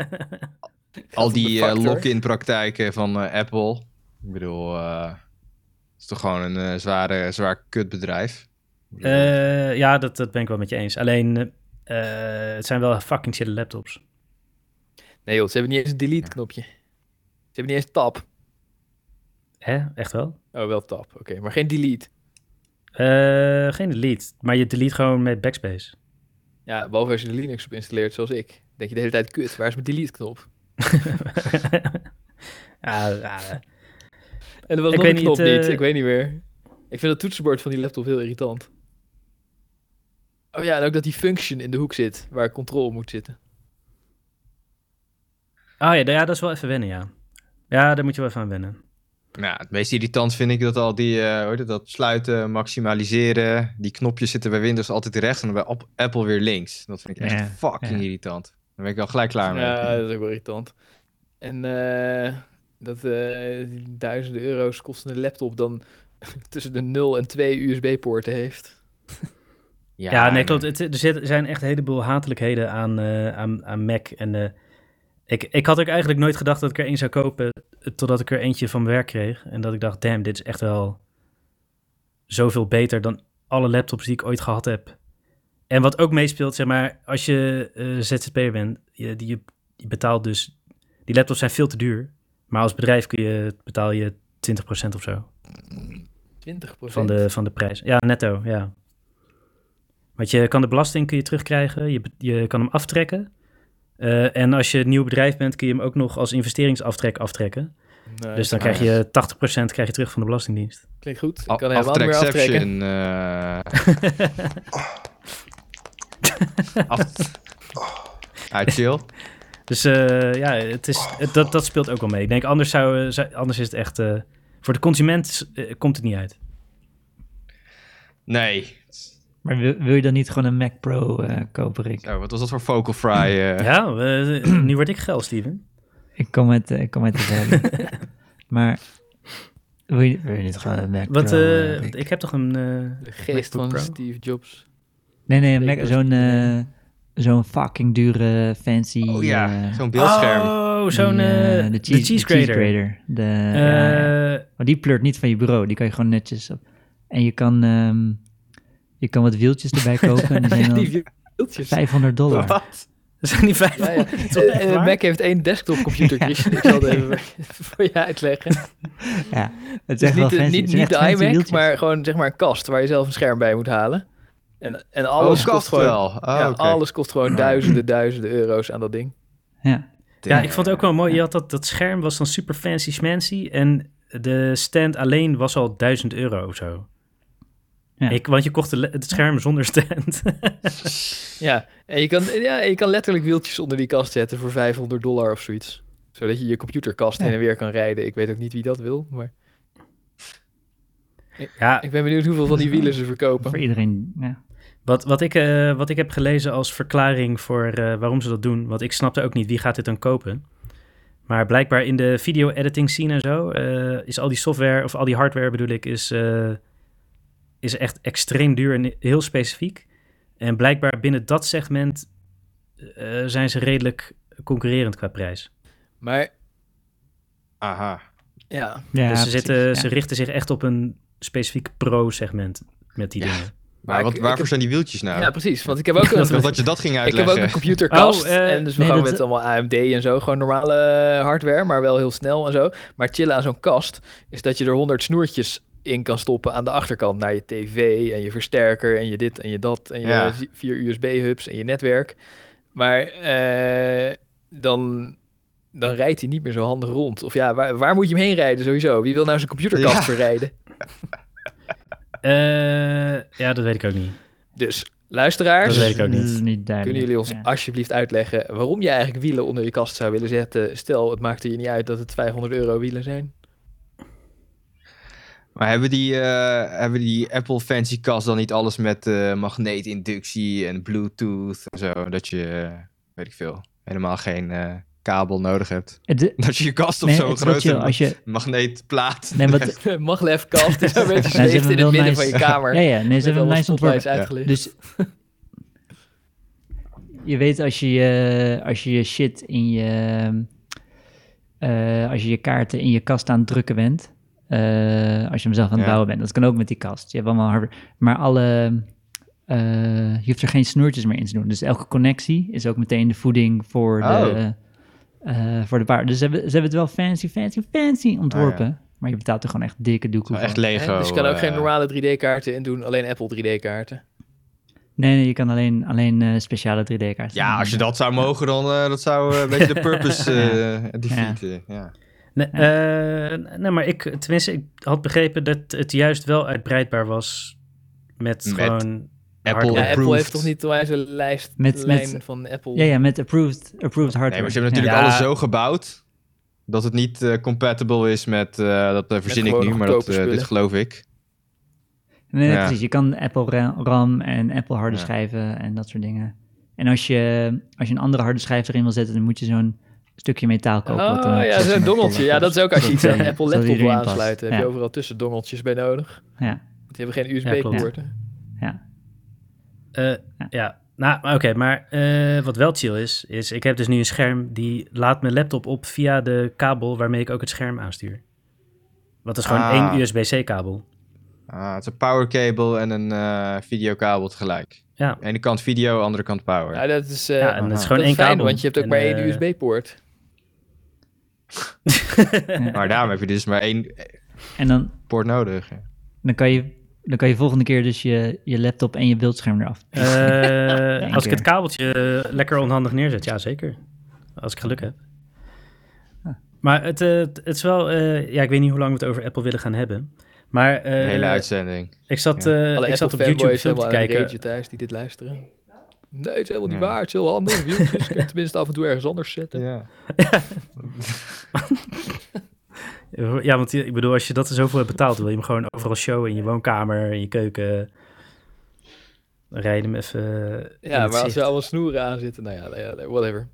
C: al die eh,
B: factor.
C: lock-in praktijken van eh, Apple. Ik bedoel, eh, het is toch gewoon een eh, zware, zwaar kutbedrijf. Ik bedoel,
A: eh, ja, dat, dat ben ik wel met je eens. Alleen, eh, eh, het zijn wel fucking chille laptops.
B: Nee joh, ze hebben niet eens een delete knopje. Ze hebben niet eens tab.
A: Hè? Echt wel?
B: Oh, wel tab. Oké, maar geen delete.
A: Eh, geen delete, maar je delete gewoon met backspace.
B: Ja, behalve als je er Linux op installeert, zoals ik. Dan denk je de hele tijd, kut, waar is mijn delete knop?
A: ja, ja,
B: En er was
A: Ik
B: nog
A: weet
B: een knop
A: niet, eh,
B: niet, ik weet niet meer. Ik vind het toetsenbord van die laptop heel irritant. Oh ja, en ook dat die function in de hoek zit, waar control moet zitten.
A: Oh ja, d- ja, dat is wel even wennen, ja. Ja, daar moet je wel even aan wennen.
C: Nou, het meest irritant vind ik dat al die, eh, hoe heet het, dat sluiten, maximaliseren, die knopjes zitten bij Windows altijd rechts en bij App- Apple weer links. Dat vind ik echt
D: Ja,
C: fucking
D: ja.
C: irritant. Daar ben ik al gelijk klaar mee.
B: Ja, dat is ook wel irritant. En eh, dat eh, die duizenden euro's kostende laptop dan tussen de 0 en 2 USB-poorten heeft.
A: Ja, nee,
C: maar-
A: klopt. Het, er zit- er zijn echt een heleboel hatelijkheden aan, eh, aan, aan Mac. En eh, ik, ik had ook eigenlijk nooit gedacht dat ik er één zou kopen, eh, totdat ik er eentje van werk kreeg. En dat ik dacht, damn, dit is echt wel zoveel beter dan alle laptops die ik ooit gehad heb. En wat ook meespeelt, zeg maar, als je eh ZZP'er bent, je, die, je, je betaalt dus... Die laptops zijn veel te duur, maar als bedrijf kun je, betaal je 20% of zo.
B: 20
A: Van de, van de prijs. Ja, netto, ja. Want je kan de belasting kun je terugkrijgen, je, be- je kan hem aftrekken. Eh, en als je een nieuw bedrijf bent, kun je hem ook nog als investeringsaftrek aftrekken.
B: Nee,
A: dus dan
C: ah,
A: krijg je 80% krijg je terug van de Belastingdienst.
B: Nou, Klinkt goed. Ik
C: Af-
B: kan helemaal niet meer aftrekken.
C: Aftrackception. eh. Aft- Ah, chill.
A: Dus eh, ja, het is, het- dat, dat speelt ook wel mee. Ik denk, anders, zou, eh, zou- anders is het echt... eh, voor de consument eh, komt het niet uit.
C: Nee.
D: Maar wil, wil je dan niet gewoon een Mac Pro eh, kopen, Rick?
C: Zo, wat was dat voor focal fry? eh?
A: Ja, eh, nu word ik geil, Steven.
D: Ik kom uit, eh, ik kom uit de valley. maar wil je, wil je niet gewoon een Mac
A: Wat,
D: Pro?
A: eh,
D: eh,
A: want
D: Rick?
A: ik heb toch een... eh,
B: De geest
A: MacBook
B: van
A: Pro.
B: Steve Jobs.
D: nee, nee, een
B: ik
D: Mac-
B: was
D: zo'n
B: niet,
D: eh, zo'n fucking dure fancy...
C: Oh ja,
D: eh,
C: zo'n beeldscherm.
A: Oh, zo'n
D: die,
A: eh,
D: eh,
A: de,
D: cheese-
A: cheese grater.
D: grater. De,
A: Eh,
D: ja, ja. Maar die pleurt niet van je bureau. Die kan je gewoon netjes op. En je kan, ehm, je kan wat wieltjes erbij kopen. En die zijn dan
B: Die wieltjes.
D: 500 dollar.
C: Wat?
A: zijn die vijf?
B: Ja, ja.
A: echt
B: Eh,
A: waar?
B: Mac heeft één desktopcomputer,
D: Ja.
B: Christian. Ik zal het even voor je uitleggen.
D: Het is
B: Dus
D: echt wel
B: niet, de-
D: fancy. Het zijn
B: niet, niet
D: echt
B: de
D: fancy
B: iMac,
D: wieltjes.
B: maar gewoon zeg maar een kast waar je zelf een scherm bij moet halen. En, en alles kost
C: oh, kost
B: gewoon,
C: wel. Oh,
B: ja,
C: oké.
B: alles kost gewoon duizenden, duizenden euro's aan dat ding.
D: Ja.
A: Ja, ik vond het ook wel mooi. Je had dat, dat scherm was dan super fancy schmancy. En de stand alleen was al 1000 euro of zo.
D: Ja.
A: Ik, want je kocht de le- het scherm zonder stand.
B: Ja, en je kan, ja, en je kan letterlijk wieltjes onder die kast zetten voor 500 dollar of zoiets. Zodat je je computerkast
D: Ja.
B: heen en weer kan rijden. Ik weet ook niet wie dat wil, maar
A: ja,
B: ik ben benieuwd hoeveel van die wielen ze verkopen.
D: Voor iedereen. Ja.
A: Wat, wat, ik, eh, wat ik heb gelezen als verklaring voor eh, waarom ze dat doen, want ik snapte ook niet wie gaat dit dan kopen. Maar blijkbaar in de video-editing scene en zo, eh, is al die software, of al die hardware bedoel ik, is, eh, is echt extreem duur en heel specifiek. En blijkbaar binnen dat segment eh, zijn ze redelijk concurrerend qua prijs.
B: Maar
C: Aha.
B: ja,
D: Ja,
A: dus ze,
D: precies,
A: zitten,
D: ja.
A: ze richten zich echt op een specifiek pro-segment met die
C: Ja.
A: dingen.
C: Maar,
B: Maar
C: wat,
B: ik- ik
C: waarvoor
B: heb-
C: zijn die wieltjes nou?
B: ja, precies. Want ik heb ook
C: Ik dacht
B: een,
C: dat je dat ging
B: ik heb ook
C: uitleggen.
B: een computerkast.
A: Oh, eh,
B: en dus we
D: nee,
B: gaan
D: dat-
B: met allemaal AMD en zo. Gewoon normale hardware, maar wel heel snel en zo. Maar het chillen aan zo'n kast is dat je er 100 snoertjes in kan stoppen aan de achterkant. Naar je tv en je versterker en je dit en je dat. En je
C: Ja.
B: zi- vier USB-hubs en je netwerk. Maar eh, dan, dan rijdt hij niet meer zo handig rond. Of ja, waar, waar moet je hem heen rijden sowieso? Wie wil nou zijn computerkast
C: Ja.
B: verrijden?
A: Eh, ja, dat weet ik ook niet.
B: Dus
A: Dat
B: luisteraars,
A: weet ik ook niet.
D: Dat is niet duidelijk.
B: Kunnen jullie ons
D: ja.
B: alsjeblieft uitleggen waarom je eigenlijk wielen onder je kast zou willen zetten? Stel, het maakt er je niet uit dat het 500 euro wielen zijn.
C: Maar hebben die, eh, hebben die Apple Fancy Cast dan niet alles met eh, magneetinductie en Bluetooth en zo? Dat je, eh, weet ik veel, helemaal geen eh, kabel nodig hebt.
D: Het-
C: Dat je je kast op
D: nee,
C: zo'n
D: het is wel
C: grote
D: chill als je...
C: magneetplaat.
D: Nee, wat,
B: Maglevkast is een beetje
D: ze hebben
B: zweeft in het
D: wel
B: midden
D: nice-
B: van je kamer.
D: ja, ja. Nee,
B: Met
D: ze hebben een
B: allemaal
D: nice ontworpen.
B: spotlights uitgelicht.
D: Dus je weet als je je, als je je shit in je, eh, als je je kaarten in je kast aan het drukken bent, eh, als je hem zelf aan het
C: Ja.
D: bouwen bent, dat kan ook met die kast. Je hebt allemaal hardware, maar alle, eh, je hoeft er geen snoertjes meer in te doen. Dus elke connectie is ook meteen de voeding voor
C: Oh.
D: de, eh, voor de paard. Dus ze hebben, ze hebben het wel fancy, fancy, fancy ontworpen. Maar je betaalt er gewoon echt dikke doekoe
C: Wel
D: voor.
C: Oh, echt Lego.
B: Hè, dus je kan ook
C: eh,
B: geen normale 3D-kaarten in doen, alleen Apple 3D-kaarten.
D: Nee, nee, je kan alleen, alleen eh, speciale 3D-kaarten.
C: Ja, als je dat zou mogen, dan eh, dat zou eh, een beetje de purpose eh defeaten. Ja.
A: Nee, eh, nee, maar ik, tenminste, ik had begrepen dat het juist wel uitbreidbaar was met,
C: Met
A: gewoon
C: Apple
B: Ja,
A: hardware.
C: approved.
B: Apple heeft toch niet wijze lijst
D: Met-
B: lijn
D: met-
B: van Apple?
D: Ja, ja, met approved, approved hardware.
C: Nee, maar ze hebben natuurlijk
A: Ja.
C: alles zo gebouwd dat het niet eh, compatible is met, eh, dat eh, verzin ik
B: gewoon
C: nu, maar dat,
B: goedkope
C: eh, dit
B: spullen.
C: geloof ik.
D: Nee,
C: Ja.
D: precies. Je kan Apple ra- RAM en Apple harde
C: Ja.
D: schijven en dat soort dingen. En als je, als je een andere harde schijf erin wil zetten, dan moet je zo'n stukje metaal kopen. wat eh, dan
B: Oh
D: ook
B: ja,
D: zes
B: zo'n
D: honderd
B: dongeltje.
D: dollar
B: Ja, dat is ook als je iets aan
D: Ja,
B: een Apple
D: zodat die
B: laptop wil
D: erin past.
B: aansluiten. Heb je
D: Ja.
B: overal tussendongeltjes bij nodig.
D: kost. Ja,
B: Want die hebben geen
A: Ja, klopt.
B: USB-poorten.
D: ja.
A: Eh, ja, nou, maar oké, maar eh, wat wel chill is, is ik heb dus nu een scherm die laat mijn laptop op via de kabel waarmee ik ook het scherm aanstuur. Want dat is gewoon
C: Ah.
A: één USB-C kabel.
C: Ah, het is een powercable en een eh, videokabel tegelijk.
A: Ja.
C: Ene kant video, andere kant power.
B: Ja, dat is, eh,
A: Ja, en dat is
C: aha.
A: gewoon
B: dat is
A: één
B: fijn,
A: kabel.
B: want je hebt ook
A: En,
B: maar
A: eh,
B: één USB-poort.
C: Maar daarom heb je dus maar één
D: En dan,
C: poort nodig.
D: dan, kan je, dan kan je volgende keer dus je, je laptop en je beeldscherm eraf.
A: eh, als ik
D: keer.
A: het kabeltje eh, lekker onhandig neerzet, ja zeker. Als ik geluk heb. Maar het, eh, het is wel, eh, ja, ik weet niet hoe lang we het over Apple willen gaan hebben. Maar
C: De hele
A: eh
C: uitzending.
A: ik zat,
C: Ja.
A: eh,
B: Alle
A: ik
B: Apple
A: zat op YouTube een
B: fanboys
A: film te
B: helemaal aan het
A: kijken.
B: ragen thuis die dit luisteren. Nee, het is helemaal niet
C: Ja.
B: waar. Het is heel handig. Wieltjes kun je het dus tenminste af en toe ergens anders zetten.
C: Ja.
A: Ja, want ik bedoel, als je dat er zoveel hebt betaald, wil je hem gewoon overal showen in je woonkamer, in je keuken. Dan Rij je hem even. eh, in
B: Ja,
A: het
B: maar als
A: zicht.
B: er allemaal snoeren aan zitten, nou ja, nou ja, nou, whatever.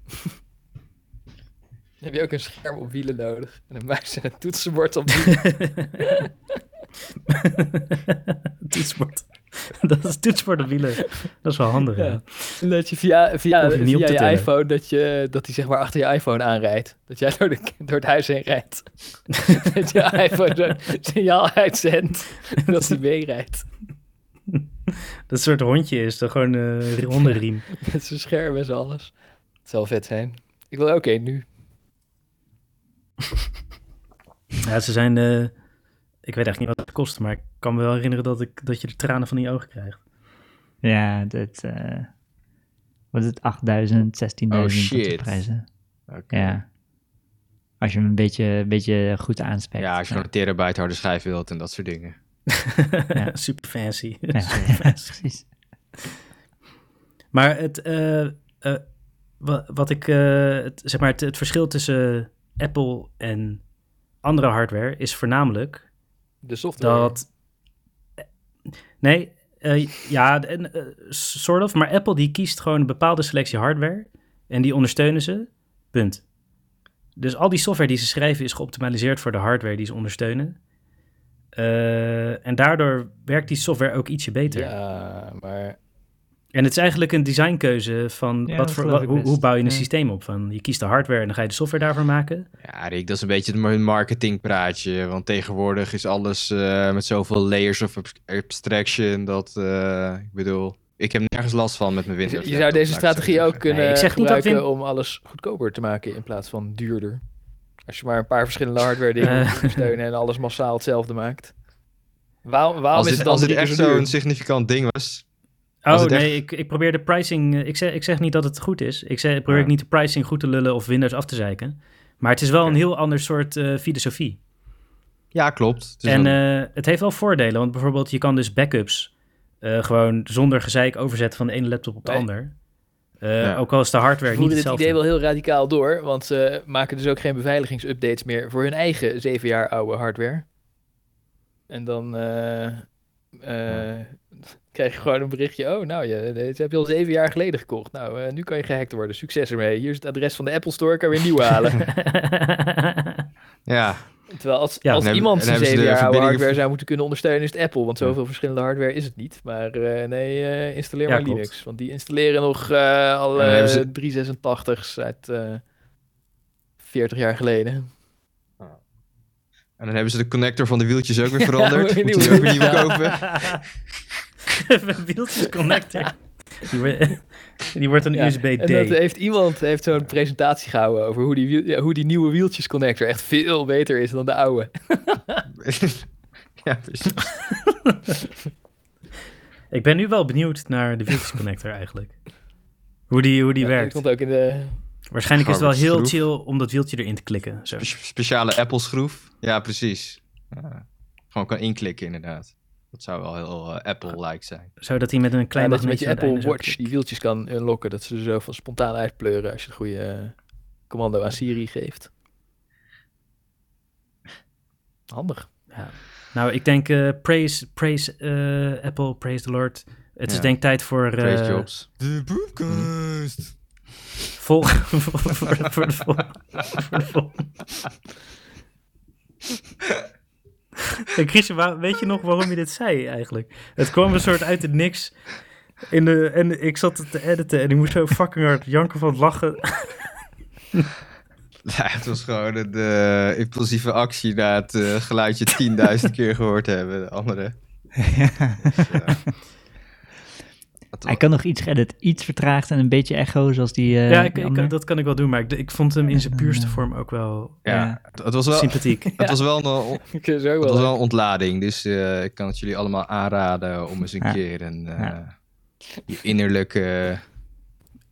B: Dan heb je ook een scherm op wielen nodig. En een muis en een toetsenbord op wielen.
A: Toetsenbord. dat is toets voor de wielen. Dat is wel handig.
B: Ja.
A: ja.
B: Dat je via, via,
A: Hoef je niet op
B: via
A: te
B: je
A: tellen.
B: iPhone, dat, je, dat hij zeg maar achter je iPhone aanrijdt. Dat jij door, de, door het huis heen rijdt. dat je iPhone zo'n signaal uitzendt dat hij meerijdt.
A: Dat soort hondje is dat gewoon eh hondenriem.
B: Met zijn scherm en zo alles. Het zal vet zijn. Ik wil, oké, nu.
A: Ja, ze zijn. eh, ik weet echt niet wat het kost, maar ik kan me wel herinneren dat, ik, dat je de tranen van die ogen krijgt.
D: Ja, dat... eh, wat is het? 8000, 16.000
C: Oh,
D: dat soort
C: shit.
D: prijzen.
C: Oké.
D: Ja. Als je hem een beetje, een beetje goed aanspekt.
C: Ja, als je nog een terabyte harde schijf wilt en dat soort dingen.
D: Ja.
A: Super fancy.
D: Ja.
A: Super fancy.
D: precies.
A: Maar het, eh, eh, wa- wat ik, eh, het, zeg maar, het, het verschil tussen Apple en andere hardware is voornamelijk
B: De software.
A: dat. eh, Nee, eh, ja, en, eh, s- sort of, maar Apple die kiest gewoon een bepaalde selectie hardware en die ondersteunen ze, punt. Dus al die software die ze schrijven is geoptimaliseerd voor de hardware die ze ondersteunen. Eh, en daardoor werkt die software ook ietsje beter.
B: Ja, maar
A: En het is eigenlijk een designkeuze van
D: Ja,
A: wat
D: dat
A: voor,
D: geloof
A: wa-
D: ik
A: hoe,
D: best.
A: hoe bouw je een
D: Ja.
A: systeem op? Van, je kiest de hardware en dan ga je de software daarvoor maken.
C: Ja, Rick, dat is een beetje een marketingpraatje. Want tegenwoordig is alles eh, met zoveel layers of abs- abstraction. Dat, eh, ik bedoel, ik heb nergens last van met mijn Windows.
B: je zou deze
C: laptop, laat ik
B: strategie
C: zo
B: ook kunnen
A: Nee, ik zeg niet dat
B: gebruiken
A: Win-
B: om alles goedkoper te maken in plaats van duurder. Als je maar een paar verschillende hardware dingen
A: Eh.
B: moet ondersteunen en alles massaal hetzelfde maakt. Waarom, waarom is
C: Als dit,
B: het dan
C: als dit
B: drie keer
C: echt
B: zo duur?
C: zo'n significant ding was. Als
A: Oh
C: het echt-
A: nee, ik, ik probeer de pricing. eh, Ik zeg, ik zeg niet dat het goed is. Ik, zeg, ik probeer
C: Ja.
A: ook niet de pricing goed te lullen of Windows af te zeiken. Maar het is wel een heel ander soort eh, filosofie.
C: Ja, klopt. Het is
A: en
C: wel-
A: eh, het heeft wel voordelen. Want bijvoorbeeld, je kan dus backups eh, gewoon zonder gezeik overzetten van de ene laptop op de
B: Nee.
A: ander. Eh,
C: Ja.
A: Ook al is de hardware
B: voeren
A: niet
B: dit idee wel
A: hetzelfde.
B: heel radicaal door, want ze maken dus ook geen beveiligingsupdates meer voor hun eigen zeven jaar oude hardware. En dan eh, eh, krijg je gewoon een berichtje, oh nou, je, dit heb je al zeven jaar geleden gekocht. Nou, eh, nu kan je gehackt worden, succes ermee. Hier is het adres van de Apple Store, kan weer nieuw halen.
C: ja,
B: Terwijl als,
A: Ja,
B: als
C: dan hebben-
B: iemand
C: dan
B: zijn
C: hebben
B: zeven
C: ze de
B: jaar oude
C: verbindingen
B: hardware
C: ver-
B: zou moeten kunnen ondersteunen, is het Apple. Want zoveel verschillende hardware is het niet. Maar eh, nee, eh, installeer
A: Ja,
B: maar
A: klopt.
B: Linux. Want die installeren nog eh alle
C: En dan hebben ze-
B: 386's uit eh 40 jaar geleden.
C: en dan hebben ze de connector van de wieltjes ook weer
B: moet
C: veranderd.
B: je
C: Moeten ze
B: nieuw-
C: ook weer nieuwe
B: Ja.
C: kopen.
A: Even wieltjes connector. Die, wordt- die wordt een
B: Ja,
A: USB-D.
B: En dat heeft iemand heeft zo'n presentatie gehouden over hoe die, wiel- ja, hoe die nieuwe wieltjesconnector echt veel beter is dan de oude.
C: ja, precies.
A: Ik ben nu wel benieuwd naar de wieltjes connector eigenlijk. Hoe die, hoe die
B: Ja,
A: werkt.
B: Ik vond ook in de...
A: Waarschijnlijk is het wel
C: Harvard
A: heel
C: schroef.
A: chill om dat wieltje erin te klikken. Zo.
C: Spe- speciale Apple-schroef. Ja, precies. Ja. Gewoon kan inklikken, inderdaad. Dat zou wel heel eh, Apple-like zijn.
A: Zodat hij met een klein
B: Ja, dat je met
A: magneetje
B: je
A: aan het
B: Apple
A: einde zo
B: Watch die wieltjes kan unlocken. Dat ze er zo van spontaan uitpleuren als je het goede eh, commando aan Siri geeft. Handig.
A: klikt. Nou, ik denk eh, praise, praise eh, Apple, praise the Lord. Het is
C: Ja.
A: denk ik tijd voor, eh,
C: Trace Jobs.
A: vol- voor, voor, voor de vol- voor de vol- Hey, Christian, waar- weet je nog waarom je dit zei eigenlijk? Het kwam een soort uit het niks. In de, en ik zat het te editen en ik moest zo fucking hard janken van het lachen.
D: Eh,
C: Mhm. Ja, het was gewoon een eh, impulsieve actie na het eh, geluidje 10.000 keer gehoord hebben. De andere. Dus, eh, dat
D: Hij kan nog iets edit, iets vertraagd en een beetje echo, zoals die. eh,
A: ja, ik,
D: die
A: ik-
D: ander.
A: dat kan ik wel doen, maar ik, ik vond hem in zijn
D: Ja,
A: puurste
D: dan, eh,
A: vorm ook wel
C: ja,
D: ja.
C: het- het was wel,
A: sympathiek.
C: het was wel, een, on-
B: Ik vind het ook
C: het was
B: wel.
C: wel een ontlading. Dus eh, ik kan het jullie allemaal aanraden om eens een
D: Ja.
C: keer een eh,
D: Ja.
C: je innerlijke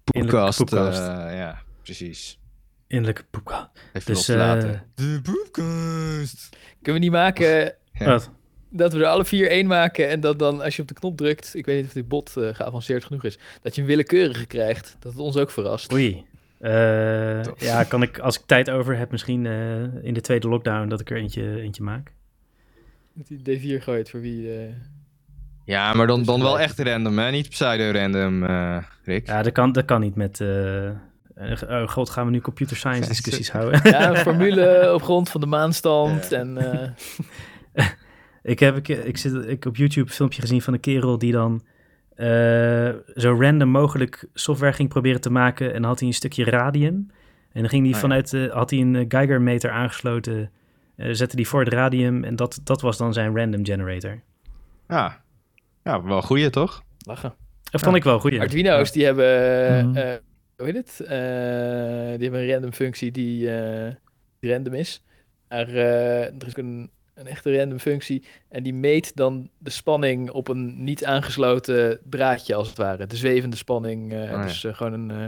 C: podcast. eh,
A: poepkast.
C: ja, precies.
A: Innerlijke poepka.
C: Even
A: Dus,
C: loslaten.
A: eh,
C: de poepkast.
B: Kunnen we niet maken
C: Ja.
A: Oh, Wat?
B: dat we er alle vier één maken en dat dan als je op de knop drukt, ik weet niet of dit bot eh, geavanceerd genoeg is, dat je een willekeurige krijgt. Dat het ons ook verrast.
A: Oei. Eh,
C: Tof.
A: ja, kan ik, als ik tijd over heb, misschien eh, in de tweede lockdown, dat ik er eentje, eentje maak.
B: Dat die D4 gooit voor wie... eh,
C: Ja, maar dan,
B: Dus
C: dan wel
B: gelijk.
C: echt random, hè? Niet pseudo-random, eh, Rick.
A: Ja, dat kan, dat kan niet met... eh, eh, oh god, gaan we nu computer science
C: eh,
A: discussies houden?
B: ja, een formule op grond van de maanstand en... eh,
A: Ik heb ik, ik zit, ik op YouTube een filmpje gezien van een kerel die dan eh, zo random mogelijk software ging proberen te maken. En dan had hij een stukje radium. En dan ging hij
C: Oh ja.
A: vanuit, de, had hij een eh, Geigermeter aangesloten. eh, zette die voor het radium. En dat, dat was dan zijn random generator.
C: Ja. ja, wel een goeie toch?
B: Lachen.
A: Dat vond ik wel goed.
B: Arduino's, die hebben,
D: Mhm.
B: eh, hoe heet het? Eh, die hebben een random functie die, eh, die random is. Maar eh, er is ook een, een echte random functie en die meet dan de spanning op een niet aangesloten draadje als het ware. De zwevende spanning, eh,
C: Oh ja.
B: dus eh, gewoon een eh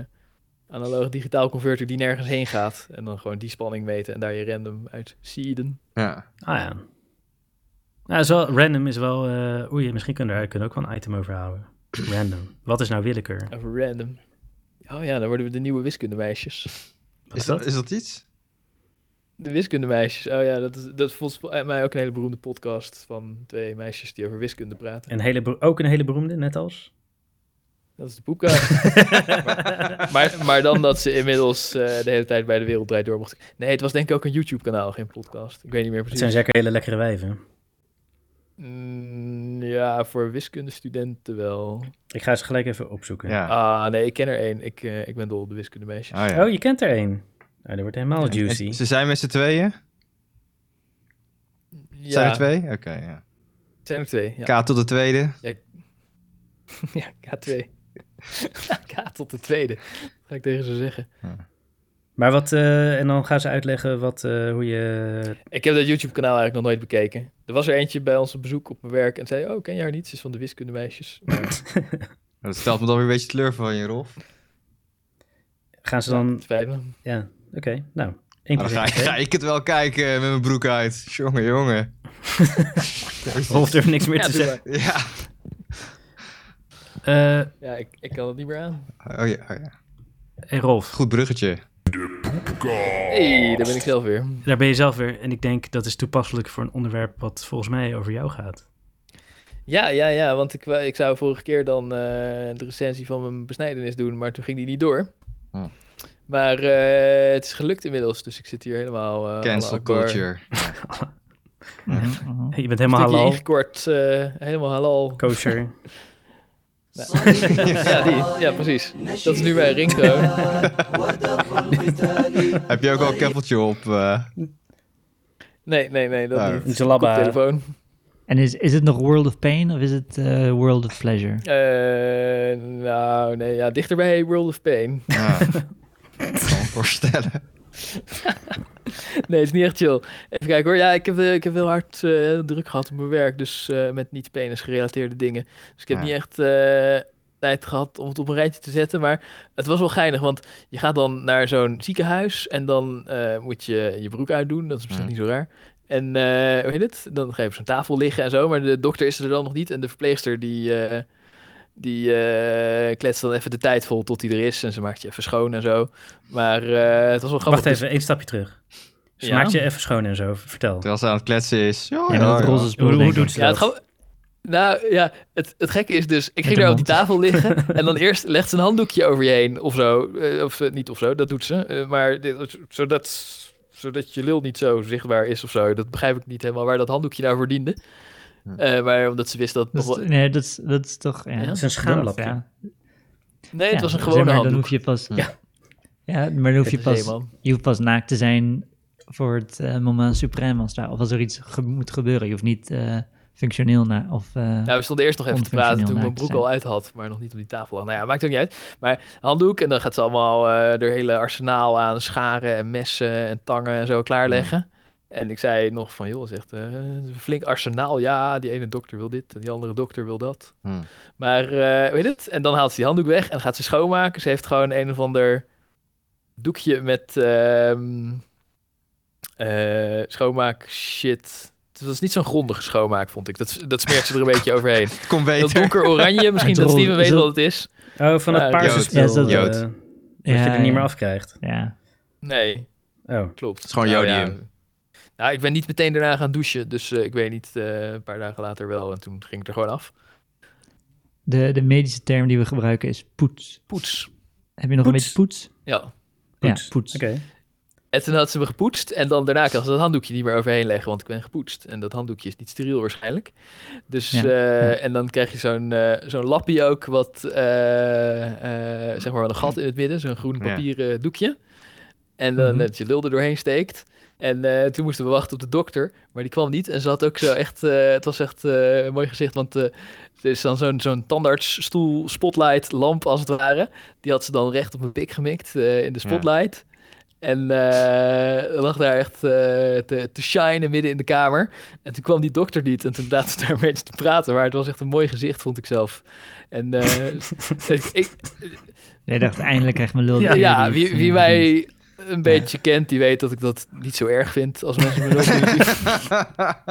B: analoog digitaal converter die nergens heen gaat. En dan gewoon die spanning meten en daar je random uit seeden.
C: Ja.
A: Ah ja. Nou, is wel, random is wel... eh, oei, misschien kunnen we daar kunnen we ook wel een item over houden. Random. Wat is nou willekeur?
B: Over random. Oh ja, dan worden we de nieuwe wiskundemeisjes.
A: Wat
C: Is dat, is dat iets?
B: De wiskundemeisjes. Oh ja, dat is, dat is volgens mij ook een hele beroemde podcast van twee meisjes die over wiskunde praten.
A: Een hele, bero- ook een hele beroemde, net als?
B: Dat is de boekkast. maar, maar dan dat ze inmiddels eh, de hele tijd bij de wereld draait door mochten. Nee, het was denk ik ook een YouTube-kanaal, geen podcast. Ik weet niet meer
A: Het
B: precies.
A: zijn zeker hele lekkere wijven.
B: Mm, ja, voor wiskundestudenten wel.
A: Ik ga ze gelijk even opzoeken.
C: Ja.
B: Ah, nee, ik ken er één. Ik, eh, ik ben dol op de wiskundemeisjes.
C: Ah, ja.
A: Oh, je kent er één. Nou, dat wordt helemaal
C: En- en
A: juicy.
C: Ze zijn met z'n tweeën?
B: ja,
C: Zijn er twee? Oké, ja.
B: Zijn er twee, ja.
C: K tot de tweede. Nou,
B: ja, K2. K tot de tweede. Dat ga ik tegen ze zeggen.
A: Maar wat, eh, en dan gaan ze uitleggen wat, eh, hoe je...
B: Ik heb dat YouTube-kanaal eigenlijk nog nooit bekeken. Er was er eentje bij ons op bezoek op mijn werk en zei: Oh, ken jij haar niet? Ze is van de wiskundemeisjes. Nou,
C: Dat stelt me dan weer een beetje teleur van je, Rolf.
A: Gaan ze dan...
B: Het spijt me.
A: Ja, oké. nou, één
C: Nou, dan ga,
A: procent.
C: ga ik het wel kijken met mijn broek uit. Jongen, jongen.
A: Rolf durft niks meer
B: Ja,
A: te
B: doe
A: zeggen.
C: Ja.
A: Eh
B: Ja, ik, ik kan het niet meer aan.
C: Oh, ja. oh ja.
A: hey Rolf,
C: Goed bruggetje.
B: hey, daar ben ik zelf weer.
A: daar ben je zelf weer. En ik denk dat is toepasselijk voor een onderwerp wat volgens mij over jou gaat.
B: Ja, ja, ja, want ik, wou- ik zou vorige keer dan eh, de recensie van mijn besnijdenis doen, maar toen ging die niet door.
C: Hm.
B: Maar eh, het is gelukt inmiddels, dus ik zit hier helemaal. eh, alle
C: Cancel
B: akkoor-
C: culture.
D: Mhm, mhm.
A: Je bent helemaal
B: Stukje
A: halal,
B: ingekort, eh, helemaal halal.
A: kosher.
B: Ja, die, ja, precies. Dat is nu mijn ringtone.
C: Heb je ook al een keppeltje op? eh?
B: Nee, nee, nee, dat
C: Nou,
B: niet.
A: Jalaba.
B: Koptelefoon.
D: En is, is het nog World of Pain of is het eh, World of Pleasure?
B: Eh, nou, nee, ja, dichter bij World of Pain.
C: Ja. Ik kan me voorstellen.
B: nee, het is niet echt chill. Even kijken hoor. Ja, ik heb, eh, ik heb heel hard eh, druk gehad op mijn werk, dus eh, met niet-penis gerelateerde dingen. Dus ik heb
C: Ja.
B: niet echt eh, tijd gehad om het op een rijtje te zetten, maar het was wel geinig, want je gaat dan naar zo'n ziekenhuis en dan eh, moet je je broek uitdoen, dat is misschien
C: Mhm.
B: niet zo raar. En eh hoe heet het? Dan ga je op zo'n tafel liggen en zo, maar de dokter is er dan nog niet en de verpleegster die... eh, die eh, kletst dan even de tijd vol tot hij er is. En ze maakt je even schoon en zo. Maar eh, het was wel grappig.
A: Wacht even, één stapje terug. Ze
B: Ja?
A: maakt je even schoon en zo, vertel.
C: Terwijl ze aan het kletsen is. Ja,
D: Ja,
C: ja,
D: dat
C: ja.
D: roze spul,
A: Hoe, hoe
D: denk
A: doet
D: ik.
A: ze
B: Ja, het
A: dat?
B: grap- Nou ja, het, het gekke is dus, ik ging
D: de
B: daar op die
D: mond.
B: tafel liggen en dan eerst legt ze een handdoekje over je heen of zo. Eh, of eh, niet of zo, dat doet ze. Eh, maar dit, zodat, zodat je lul niet zo zichtbaar is of zo. Dat begrijp ik niet helemaal waar dat handdoekje nou voor diende.
C: Hm.
B: Eh, maar omdat ze wist dat... het
D: Dat
B: nog
D: is,
B: wel-
D: nee, dat is, dat is toch... Ja.
B: Ja? Het
A: is een schaamlapje.
D: Ja.
B: Nee, het
D: Ja,
B: was een
D: zeg
B: gewone
D: maar, Dan
B: handdoek.
D: hoef je pas...
C: Ja.
D: Ja, maar dan hoef je
B: Het is
D: pas,
B: helemaal-
D: je hoeft pas naakt te zijn voor het eh, moment supreme als daar... Of als er iets ge- moet gebeuren. Je hoeft niet eh, functioneel na... Of, eh,
B: Ja, Nou, we stonden eerst nog even te praten toen ik mijn
D: Onfunctioneel
B: broek
D: naakt
B: al uit had, maar nog niet op die tafel. lag. Nou ja, maakt ook niet uit. Maar handdoek en dan gaat ze allemaal eh haar hele arsenaal aan scharen en messen en tangen en zo klaarleggen. En ik zei nog van, joh, zegt eh, een flink arsenaal. Ja, die ene dokter wil dit en die andere dokter wil dat.
C: Hm.
B: Maar eh, weet het? En dan haalt ze die handdoek weg en gaat ze schoonmaken. Ze heeft gewoon een of ander doekje met ehm eh, schoonmaak shit. Het was niet zo'n grondige schoonmaak, vond ik. Dat, dat smeert ze er een beetje overheen.
C: Het komt
B: Dat
C: beter.
B: donker oranje, misschien
D: Het
B: dat Steven
D: rol-
B: weet
D: is dat-
B: wat het is.
A: Oh, van het
B: Ja,
A: paarse
C: Jood.
A: spul,
D: Ja, is dat-
A: eh,
C: Jood.
A: dat
D: ja,
A: je er niet meer
D: ja.
A: afkrijgt.
D: Ja.
B: Nee,
A: Oh,
B: klopt. Het
C: is gewoon jodium.
B: Nou, ja. Nou, ik ben niet meteen daarna gaan douchen, dus eh, ik weet niet, eh, een paar dagen later wel. En toen ging het er gewoon af.
D: De, de medische term die we gebruiken is poets.
B: Poets.
D: Heb je nog
A: Poets?
D: een beetje poets?
B: Ja.
A: Poets.
D: Ja, poets.
A: oké.
B: En toen had ze me gepoetst en dan daarna kan ze dat handdoekje niet meer overheen leggen, want ik ben gepoetst. En dat handdoekje is niet steriel waarschijnlijk. Dus,
D: Ja,
B: eh,
D: ja.
B: en dan krijg je zo'n eh, zo'n lappie ook, wat, eh, eh, zeg maar wel een gat in het midden, zo'n groen
C: Ja.
B: papieren doekje. En dan
D: Mhm.
B: dat je lul er doorheen steekt. En eh, toen moesten we wachten op de dokter, maar die kwam niet. En ze had ook zo echt, eh, het was echt eh, een mooi gezicht, want eh, er is dan zo'n zo'n tandartsstoel, spotlight, lamp als het ware. Die had ze dan recht op mijn pik gemikt eh, in de
C: Ja.
B: spotlight. En eh, lag daar echt eh, te, te shinen midden in de kamer. En toen kwam die dokter niet en toen laten we daar een beetje te praten. Maar het was echt een mooi gezicht, vond ik zelf. En eh, ik, ik-
D: Jij dacht, eindelijk krijg ik mijn lul.
A: Ja,
D: erin.
B: ja, wie, wie mij een beetje kent, die weet dat ik dat niet zo erg vind als mensen me dat doen.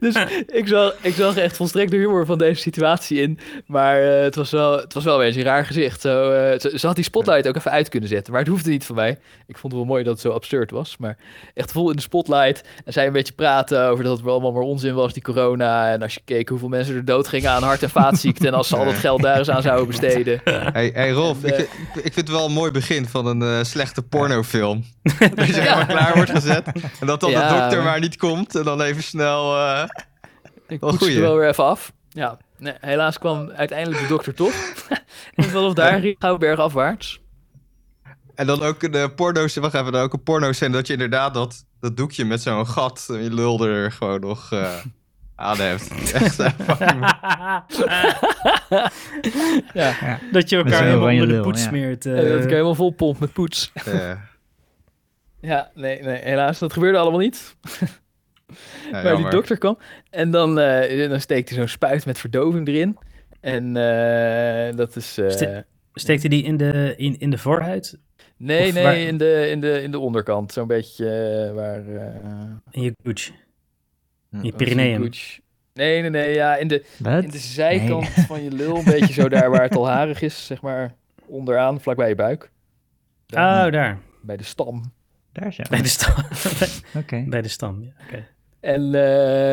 B: Dus ik zag, ik zag echt volstrekt de humor van deze situatie in. Maar eh, het, was wel, het was wel een beetje een raar gezicht. Zo, eh, ze, ze had die spotlight ook even uit kunnen zetten. Maar het hoefde niet van mij. Ik vond het wel mooi dat het zo absurd was. Maar echt vol in de spotlight. En zij een beetje praten over dat het wel allemaal maar onzin was, die corona. En als je keek hoeveel mensen er dood gingen aan hart- en vaatziekten. En als ze al dat geld daar eens aan zouden besteden.
C: Hey, hey Rolf,
B: En,
C: ik,
B: eh,
C: ik, ik vind het wel een mooi begin van een eh, slechte pornofilm. dat je helemaal klaar wordt gezet en dat dan de
B: Ja.
C: dokter maar niet komt en dan even snel... eh,
B: Ik
C: Wel
B: poetste
C: goeie.
B: wel weer even af. Ja, nee, helaas kwam uiteindelijk de dokter toch. en vanaf daar ging Gouwberg afwaarts.
C: en dan ook een eh, porno... Wacht even, dan ook een porno scène dat je inderdaad dat, dat doekje met zo'n gat en je lul er gewoon nog eh aan hebt. Echt, eh, fucking-
B: Ja.
A: Dat je elkaar
D: zo'n
A: helemaal
D: oranje
A: onder de
D: lul,
A: poets
D: ja.
A: smeert.
B: En dat
A: eh.
B: ik helemaal vol pomp met poets.
C: eh,
B: Ja, nee, nee, helaas, dat gebeurde allemaal niet.
C: ja,
B: maar die
C: jammer.
B: dokter kwam. En dan, eh, dan steekt hij zo'n spuit met verdoving erin. En eh, dat is... eh,
A: Ste- Steekt hij die in de, in, in de voorhuid?
B: nee,
A: of
B: nee,
A: waar-
B: in, de, in, de, in de onderkant. Zo'n beetje eh, waar... eh,
A: In je gooch? In je
B: was die
A: perineum?
B: gooch? Nee, nee, nee, ja, in de, in de
D: Wat?
B: zijkant van je lul. Een beetje zo daar waar het al harig is, zeg maar. Onderaan, vlakbij je buik. Daar,
A: Oh, daar.
B: Bij de stam.
D: Daar zo.
A: Bij de stam.
D: Oké.
A: Bij de stam, ja. oké.
B: En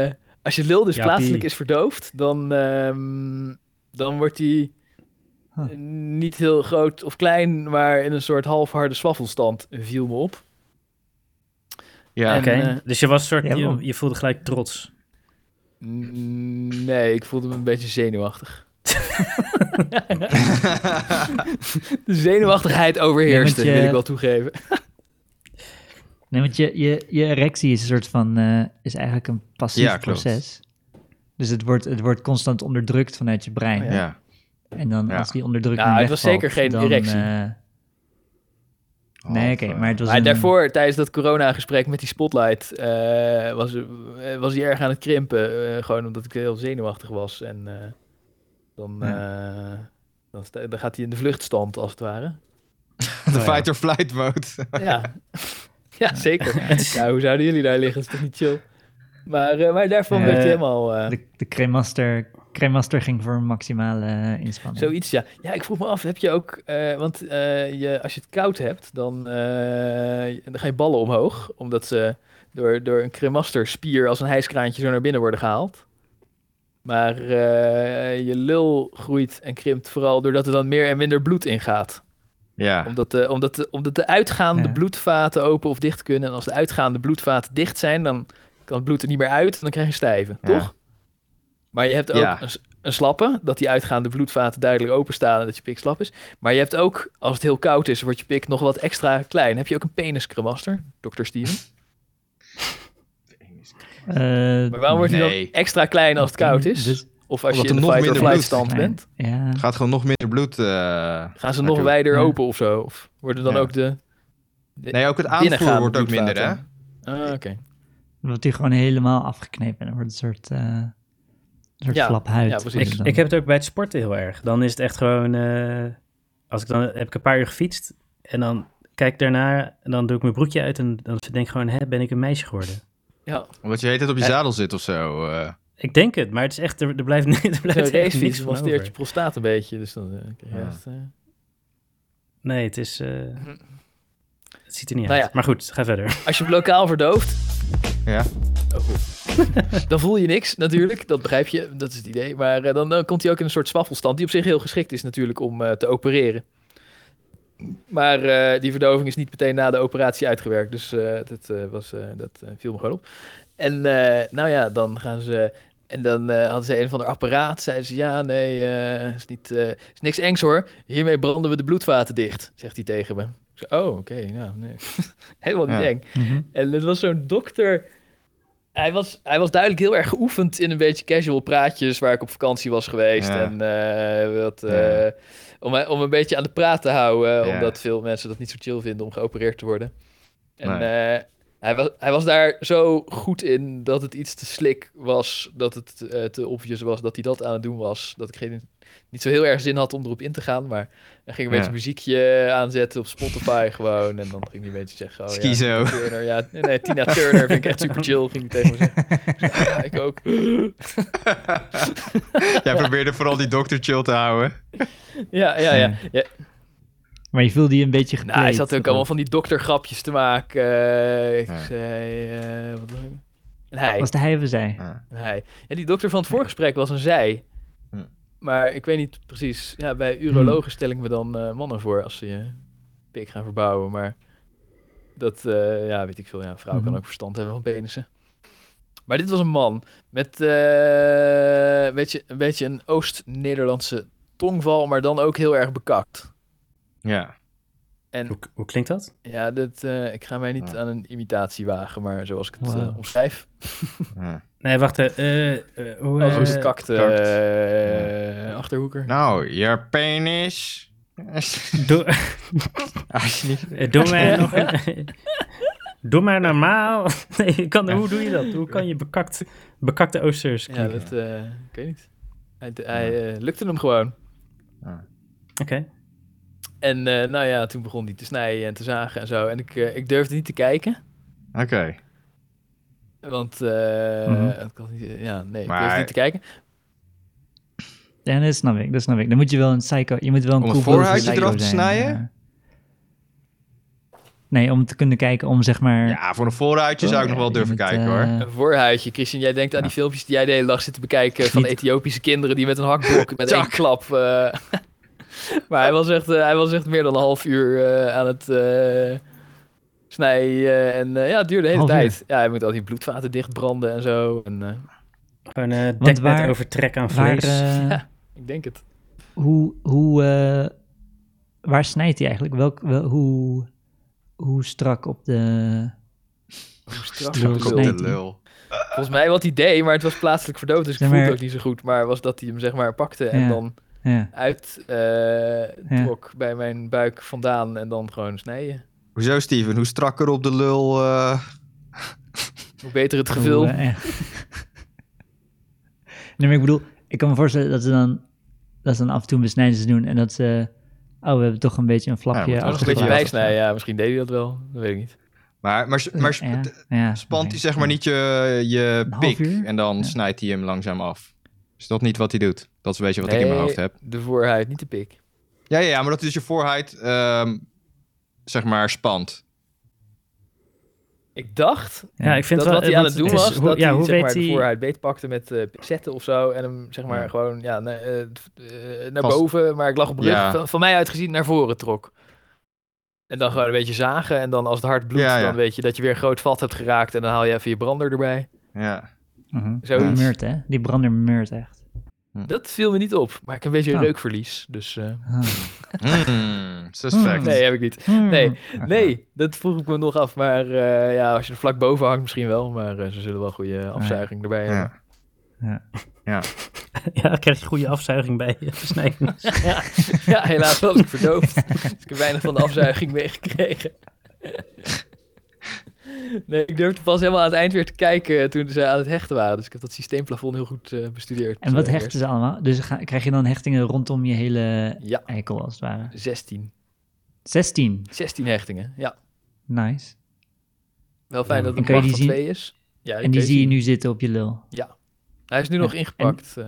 B: eh, als je lul dus
A: Jappie.
B: plaatselijk is verdoofd, dan, ehm, dan wordt die
D: Huh.
B: niet heel groot of klein, maar in een soort halfharde swaffelstand viel me op.
C: Ja,
B: En,
A: Oké,
B: eh,
A: dus je was soort,
D: ja,
A: je,
D: man.
A: je voelde gelijk trots.
B: Mm, Nee, ik voelde me een beetje zenuwachtig. De zenuwachtigheid overheerste,
D: Ja, want je-
B: wil ik wel toegeven.
D: Nee, want je, je, je erectie is een soort van, eh, is eigenlijk een passief
C: Ja, klopt.
D: proces. Dus het wordt, het wordt constant onderdrukt vanuit je brein.
B: Oh,
C: ja.
D: En dan
C: Ja.
D: als die onderdrukking
B: Nou, het was
D: wegvalt,
B: zeker geen
D: dan,
B: erectie.
D: eh,
C: Oh,
D: nee, oké, maar het was
B: Maar
D: een-
B: daarvoor, tijdens dat corona-gesprek met die spotlight, eh, was, eh, was hij erg aan het krimpen. eh, gewoon omdat ik heel zenuwachtig was. En eh, dan, eh, dan, sta- dan gaat hij in de vluchtstand, als het ware.
C: De fight-or-flight mode.
B: Ja, ja zeker. Ja, hoe zouden jullie daar liggen? Dat is toch niet chill? Maar, eh, maar daarvan
D: Eh,
B: werd hij helemaal... eh,
D: De, de cremaster, cremaster ging voor een maximale eh, inspanning.
B: Zoiets, ja. Ja, ik vroeg me af, heb je ook... eh, want eh, je, als je het koud hebt, dan, eh, dan ga je ballen omhoog. Omdat ze door, door een cremasterspier als een hijskraantje zo naar binnen worden gehaald. Maar eh, je lul groeit en krimpt vooral doordat er dan meer en minder bloed ingaat.
C: Ja.
B: Omdat de, omdat de, omdat de uitgaande
D: Ja.
B: bloedvaten open of dicht kunnen. En als de uitgaande bloedvaten dicht zijn, dan kan het bloed er niet meer uit. En dan krijg je stijven,
C: Ja.
B: toch? Maar je hebt ook
C: Ja.
B: een, s- een slappe, dat die uitgaande bloedvaten duidelijk openstaan en dat je pik slap is. Maar je hebt ook, als het heel koud is, wordt je pik nog wat extra klein. Heb je ook een peniskremaster, dokter Steven?
D: Eh,
B: Maar waarom wordt die
C: Nee.
B: dan extra klein als het koud is?
D: Dus-
B: of als je
C: Omdat
B: in
C: er
B: de
C: nog
B: fight or
C: minder
B: flight
C: bloed
B: stand
D: klein.
B: bent?
D: Ja.
C: Gaat gewoon nog minder bloed. eh,
B: Gaan ze
C: Maar
B: nog
C: goed.
B: wijder
D: Ja.
B: open of zo? Of worden dan
C: Ja.
B: ook de... de
C: Nee, ook het aanvoer
B: binnengaande
C: wordt ook minder, hè?
B: bloedvaten? Ah, oké.
D: Wordt die gewoon helemaal afgeknepen. En dan wordt het een soort, eh, een soort
B: Ja,
D: flap huid.
B: ja, precies.
D: wordt
A: Ik,
D: het dan.
A: ik heb het ook bij het sporten heel erg. Dan is het echt gewoon, eh, als ik dan heb ik een paar uur gefietst en dan kijk ik daarna en dan doe ik mijn broekje uit en dan denk ik gewoon, hè, ben ik een meisje geworden?
B: Ja,
C: Omdat je de hele tijd op je zadel zit of zo. eh.
A: Ik denk het, maar het is echt, er, er blijft, ni- er
B: zo'n
A: blijft echt niks
B: racefiets
A: van
B: masteert je
A: over.
B: prostaat een beetje. Dus dan eh, krijg je
C: Ja.
B: echt, eh,
A: Nee, het is, eh, het ziet er niet
B: Mhm. Nou
A: uit.
B: ja.
A: Maar goed, ga verder.
B: Als je hem lokaal verdooft, Oh.
C: ja.
B: dan voel je niks natuurlijk. Dat begrijp je, dat is het idee. Maar eh, dan, dan komt hij ook in een soort zwaffelstand, die op zich heel geschikt is natuurlijk om eh, te opereren. Maar eh, die verdoving is niet meteen na de operatie uitgewerkt. Dus eh, dat, eh, was, eh, dat eh, viel me gewoon op. En eh, nou ja, dan gaan ze. En dan eh, hadden ze een van de apparaat. Zeiden ze: Ja, nee, eh, is, niet, eh, is niks engs hoor. Hiermee branden we de bloedvaten dicht. Zegt hij tegen me. Ik zei, oh, oké. nou, nee. Helemaal niet
C: Ja.
B: eng. En het was zo'n dokter. Hij was, hij was duidelijk heel erg geoefend in een beetje casual praatjes waar ik op vakantie was geweest.
C: Ja.
B: En eh, wat, eh,
C: Ja.
B: om, om een beetje aan de praat te houden, eh,
C: Ja.
B: omdat veel mensen dat niet zo chill vinden om geopereerd te worden. En
C: Nee.
B: eh, hij, was, hij was daar zo goed in dat het iets te slik was, dat het eh, te obvious was dat hij dat aan het doen was. Dat ik geen, niet zo heel erg zin had om erop in te gaan, maar hij ging een
C: Ja.
B: beetje muziekje aanzetten op Spotify gewoon. En dan ging hij een beetje zeggen, oh ja,
C: Schizo.
B: Turner, ja. Nee, nee, Tina Turner vind ik echt super chill, ging ik tegen me zeggen. Ja, ik ook.
C: Jij probeerde vooral die dokter chill te houden.
B: Ja, ja, ja. ja.
D: Maar je voelde je een beetje gepleed.
B: Nou, hij zat ook allemaal van die doktergrapjes te maken. Eh, ik
C: Ja.
B: zei, eh, wat was het? Een hij.
D: Was de hij of zij?
C: Ja.
B: Een hij. Ja, die dokter van het voorgesprek was een zij.
C: Ja.
B: Maar ik weet niet precies. Ja, bij urologen stel ik me dan eh, mannen voor als ze je pik gaan verbouwen. Maar dat, eh, ja, weet ik veel. Ja, een vrouw
D: Mhm.
B: kan ook verstand hebben van penissen. Maar dit was een man met eh, een beetje- een beetje een Oost-Nederlandse tongval, maar dan ook heel erg bekakt.
C: ja.
B: En
A: Hoe, hoe klinkt dat?
B: ja, dat, eh, ik ga mij niet
C: Ja.
B: aan een imitatie wagen, maar zoals ik het
D: Wauw.
B: eh, omschrijf.
C: Ja.
A: Nee, wacht. eh, eh, eh, hoe,
B: Als
A: eh,
B: een kakte
C: kakt.
B: eh, achterhoeker.
C: Nou, your penis.
A: doe,
C: Alsjeblieft.
A: eh, doe mij nog een- Doe maar normaal. Nee, je kan, hoe doe je dat? Hoe kan je bekakt, bekakte oosters
B: Ja,
A: klinken?
B: dat, eh, ik weet niet. Hij, hij eh, lukte hem gewoon.
A: Oké.
B: En eh, nou ja, toen begon hij te snijden en te zagen en zo. En ik, eh, ik durfde niet te kijken.
C: Oké.
B: Want, eh,
D: Mhm.
B: ik had niet- ja, nee, ik
C: Maar-
B: durfde niet te kijken.
D: Ja, dat snap ik, dat snap ik. Dan moet je wel een psycho... Je moet wel een
C: Om
D: cool
C: een
D: beeld van
C: voorhuidje
D: psycho
C: eraf te
D: zijn,
C: snijden?
D: ja. Nee, om te kunnen kijken, om zeg maar...
C: Ja, voor een vooruitje zou ik nog wel
D: Je
C: durven
D: moet,
C: kijken
D: eh,
C: hoor.
B: Een voorhuidje. Christian, jij denkt aan die filmpjes die jij de hele dag zit te bekijken van
D: Niet.
B: Ethiopische kinderen die met een hakblok met één
C: Tak.
B: klap... eh, maar hij was, echt, eh, hij was echt meer dan een half uur eh, aan het eh, snijden. En eh, ja, het duurde de hele
D: Half uur.
B: tijd. Ja, hij moet al die bloedvaten dichtbranden en zo. En, eh,
A: Gewoon een dekbed
D: waar-
A: overtrek aan
D: Waar,
A: vlees.
D: eh,
B: ik denk het.
D: hoe, hoe, eh, waar snijdt hij eigenlijk? Welk, wel, hoe, hoe strak op de...
B: Strak
D: Strak
B: op de
C: Op
B: lul.
D: snijdt
C: de
D: hij.
C: lul.
B: Volgens mij wat hij deed, maar het was plaatselijk verdoofd, dus ik
D: Ja,
B: voelde
D: maar-
B: het ook niet zo goed. Maar was dat hij hem zeg maar pakte en
D: Ja.
B: dan
D: Ja.
B: uit eh,
D: Ja.
B: trok bij mijn buik vandaan en dan gewoon snijden.
C: Hoezo, Steven? Hoe strakker op de lul. eh,
B: Hoe beter het
D: Hoe,
B: gevul.
D: eh, nee, maar ik bedoel, ik kan me voorstellen dat ze dan, dat ze dan af en toe een besnijdenis doen en dat ze... Oh, we hebben toch een beetje een flapje.
C: moeten we
B: Nog
C: nog
B: een
D: achter de
B: beetje
C: Ja.
D: hand.
B: bijsnijden, ja. Misschien deed hij dat wel, dat weet ik niet.
C: Maar, maar, maar sp-
D: Eh, Ja, ja,
C: spant
D: oké.
C: hij zeg maar niet je, je
D: Een half
C: pik
D: uur?
C: en dan
D: Ja.
C: snijdt hij hem langzaam af. Is dat niet wat hij doet? Dat is een beetje wat ik in
B: Nee,
C: mijn hoofd heb.
B: De voorhuid, niet de pik.
C: Ja, ja, ja maar dat is je voorheid, ehm, zeg maar, spant.
B: Ik dacht
A: ja, ik vind
B: dat
A: wel...
B: wat hij
A: eh,
B: aan
A: want
B: het doen
A: het is-
B: was,
A: hoe-
B: dat
A: ja,
B: hij
A: hoe
B: zeg
A: weet
B: maar, de
A: hij-
B: voorhuid beetpakte met eh piczetten of zo. En hem zeg maar
C: Ja.
B: gewoon ja, na- eh, t- eh, naar
C: Vast-
B: boven, maar ik lag op mijn
C: Ja.
B: rug, van, van mij uit gezien, naar voren trok. En dan gewoon een beetje zagen. En dan als het hard bloedt,
C: Ja, ja.
B: dan weet je dat je weer een groot vat hebt geraakt. En dan haal je even je brander erbij.
C: Ja.
D: Mhm. Die
B: Zoiets.
D: meurt, hè? Die brander meurt echt.
B: Dat viel me niet op. Maar ik heb een beetje
D: Oh.
B: reukverlies. Dus eh,
D: Ah.
C: Hmm, suspect.
B: nee, heb ik niet.
D: Hmm.
B: Nee, nee, dat vroeg ik me nog af. Maar eh, ja, als je er vlak boven hangt misschien wel. Maar eh, ze zullen wel goede afzuiging erbij hebben.
C: Ja.
A: Ja, daar krijg je goede afzuiging bij je besnijdenis.
B: Ja, helaas was ik verdoofd. dus ik heb weinig van de afzuiging meegekregen. Nee, ik durfde pas helemaal aan het eind weer te kijken eh, toen ze aan het hechten waren. Dus ik heb dat systeemplafond heel goed eh, bestudeerd.
D: En wat
B: eh,
D: hechten ze allemaal? Dus ga- krijg je dan hechtingen rondom je hele
B: eerst. Ja,
D: eikel, als het ware.
B: 16.
D: 16.
B: 16 hechtingen, ja.
D: Nice.
B: Wel fijn dat
D: Oh, En
B: het
D: kan
B: een
D: je
B: macht van
D: die zien?
B: twee is. Ja,
D: En
B: kun
D: die
B: je
D: zie je
B: zien.
D: nu zitten op je lul.
B: Hij is nu nog
D: En-
B: ingepakt. eh.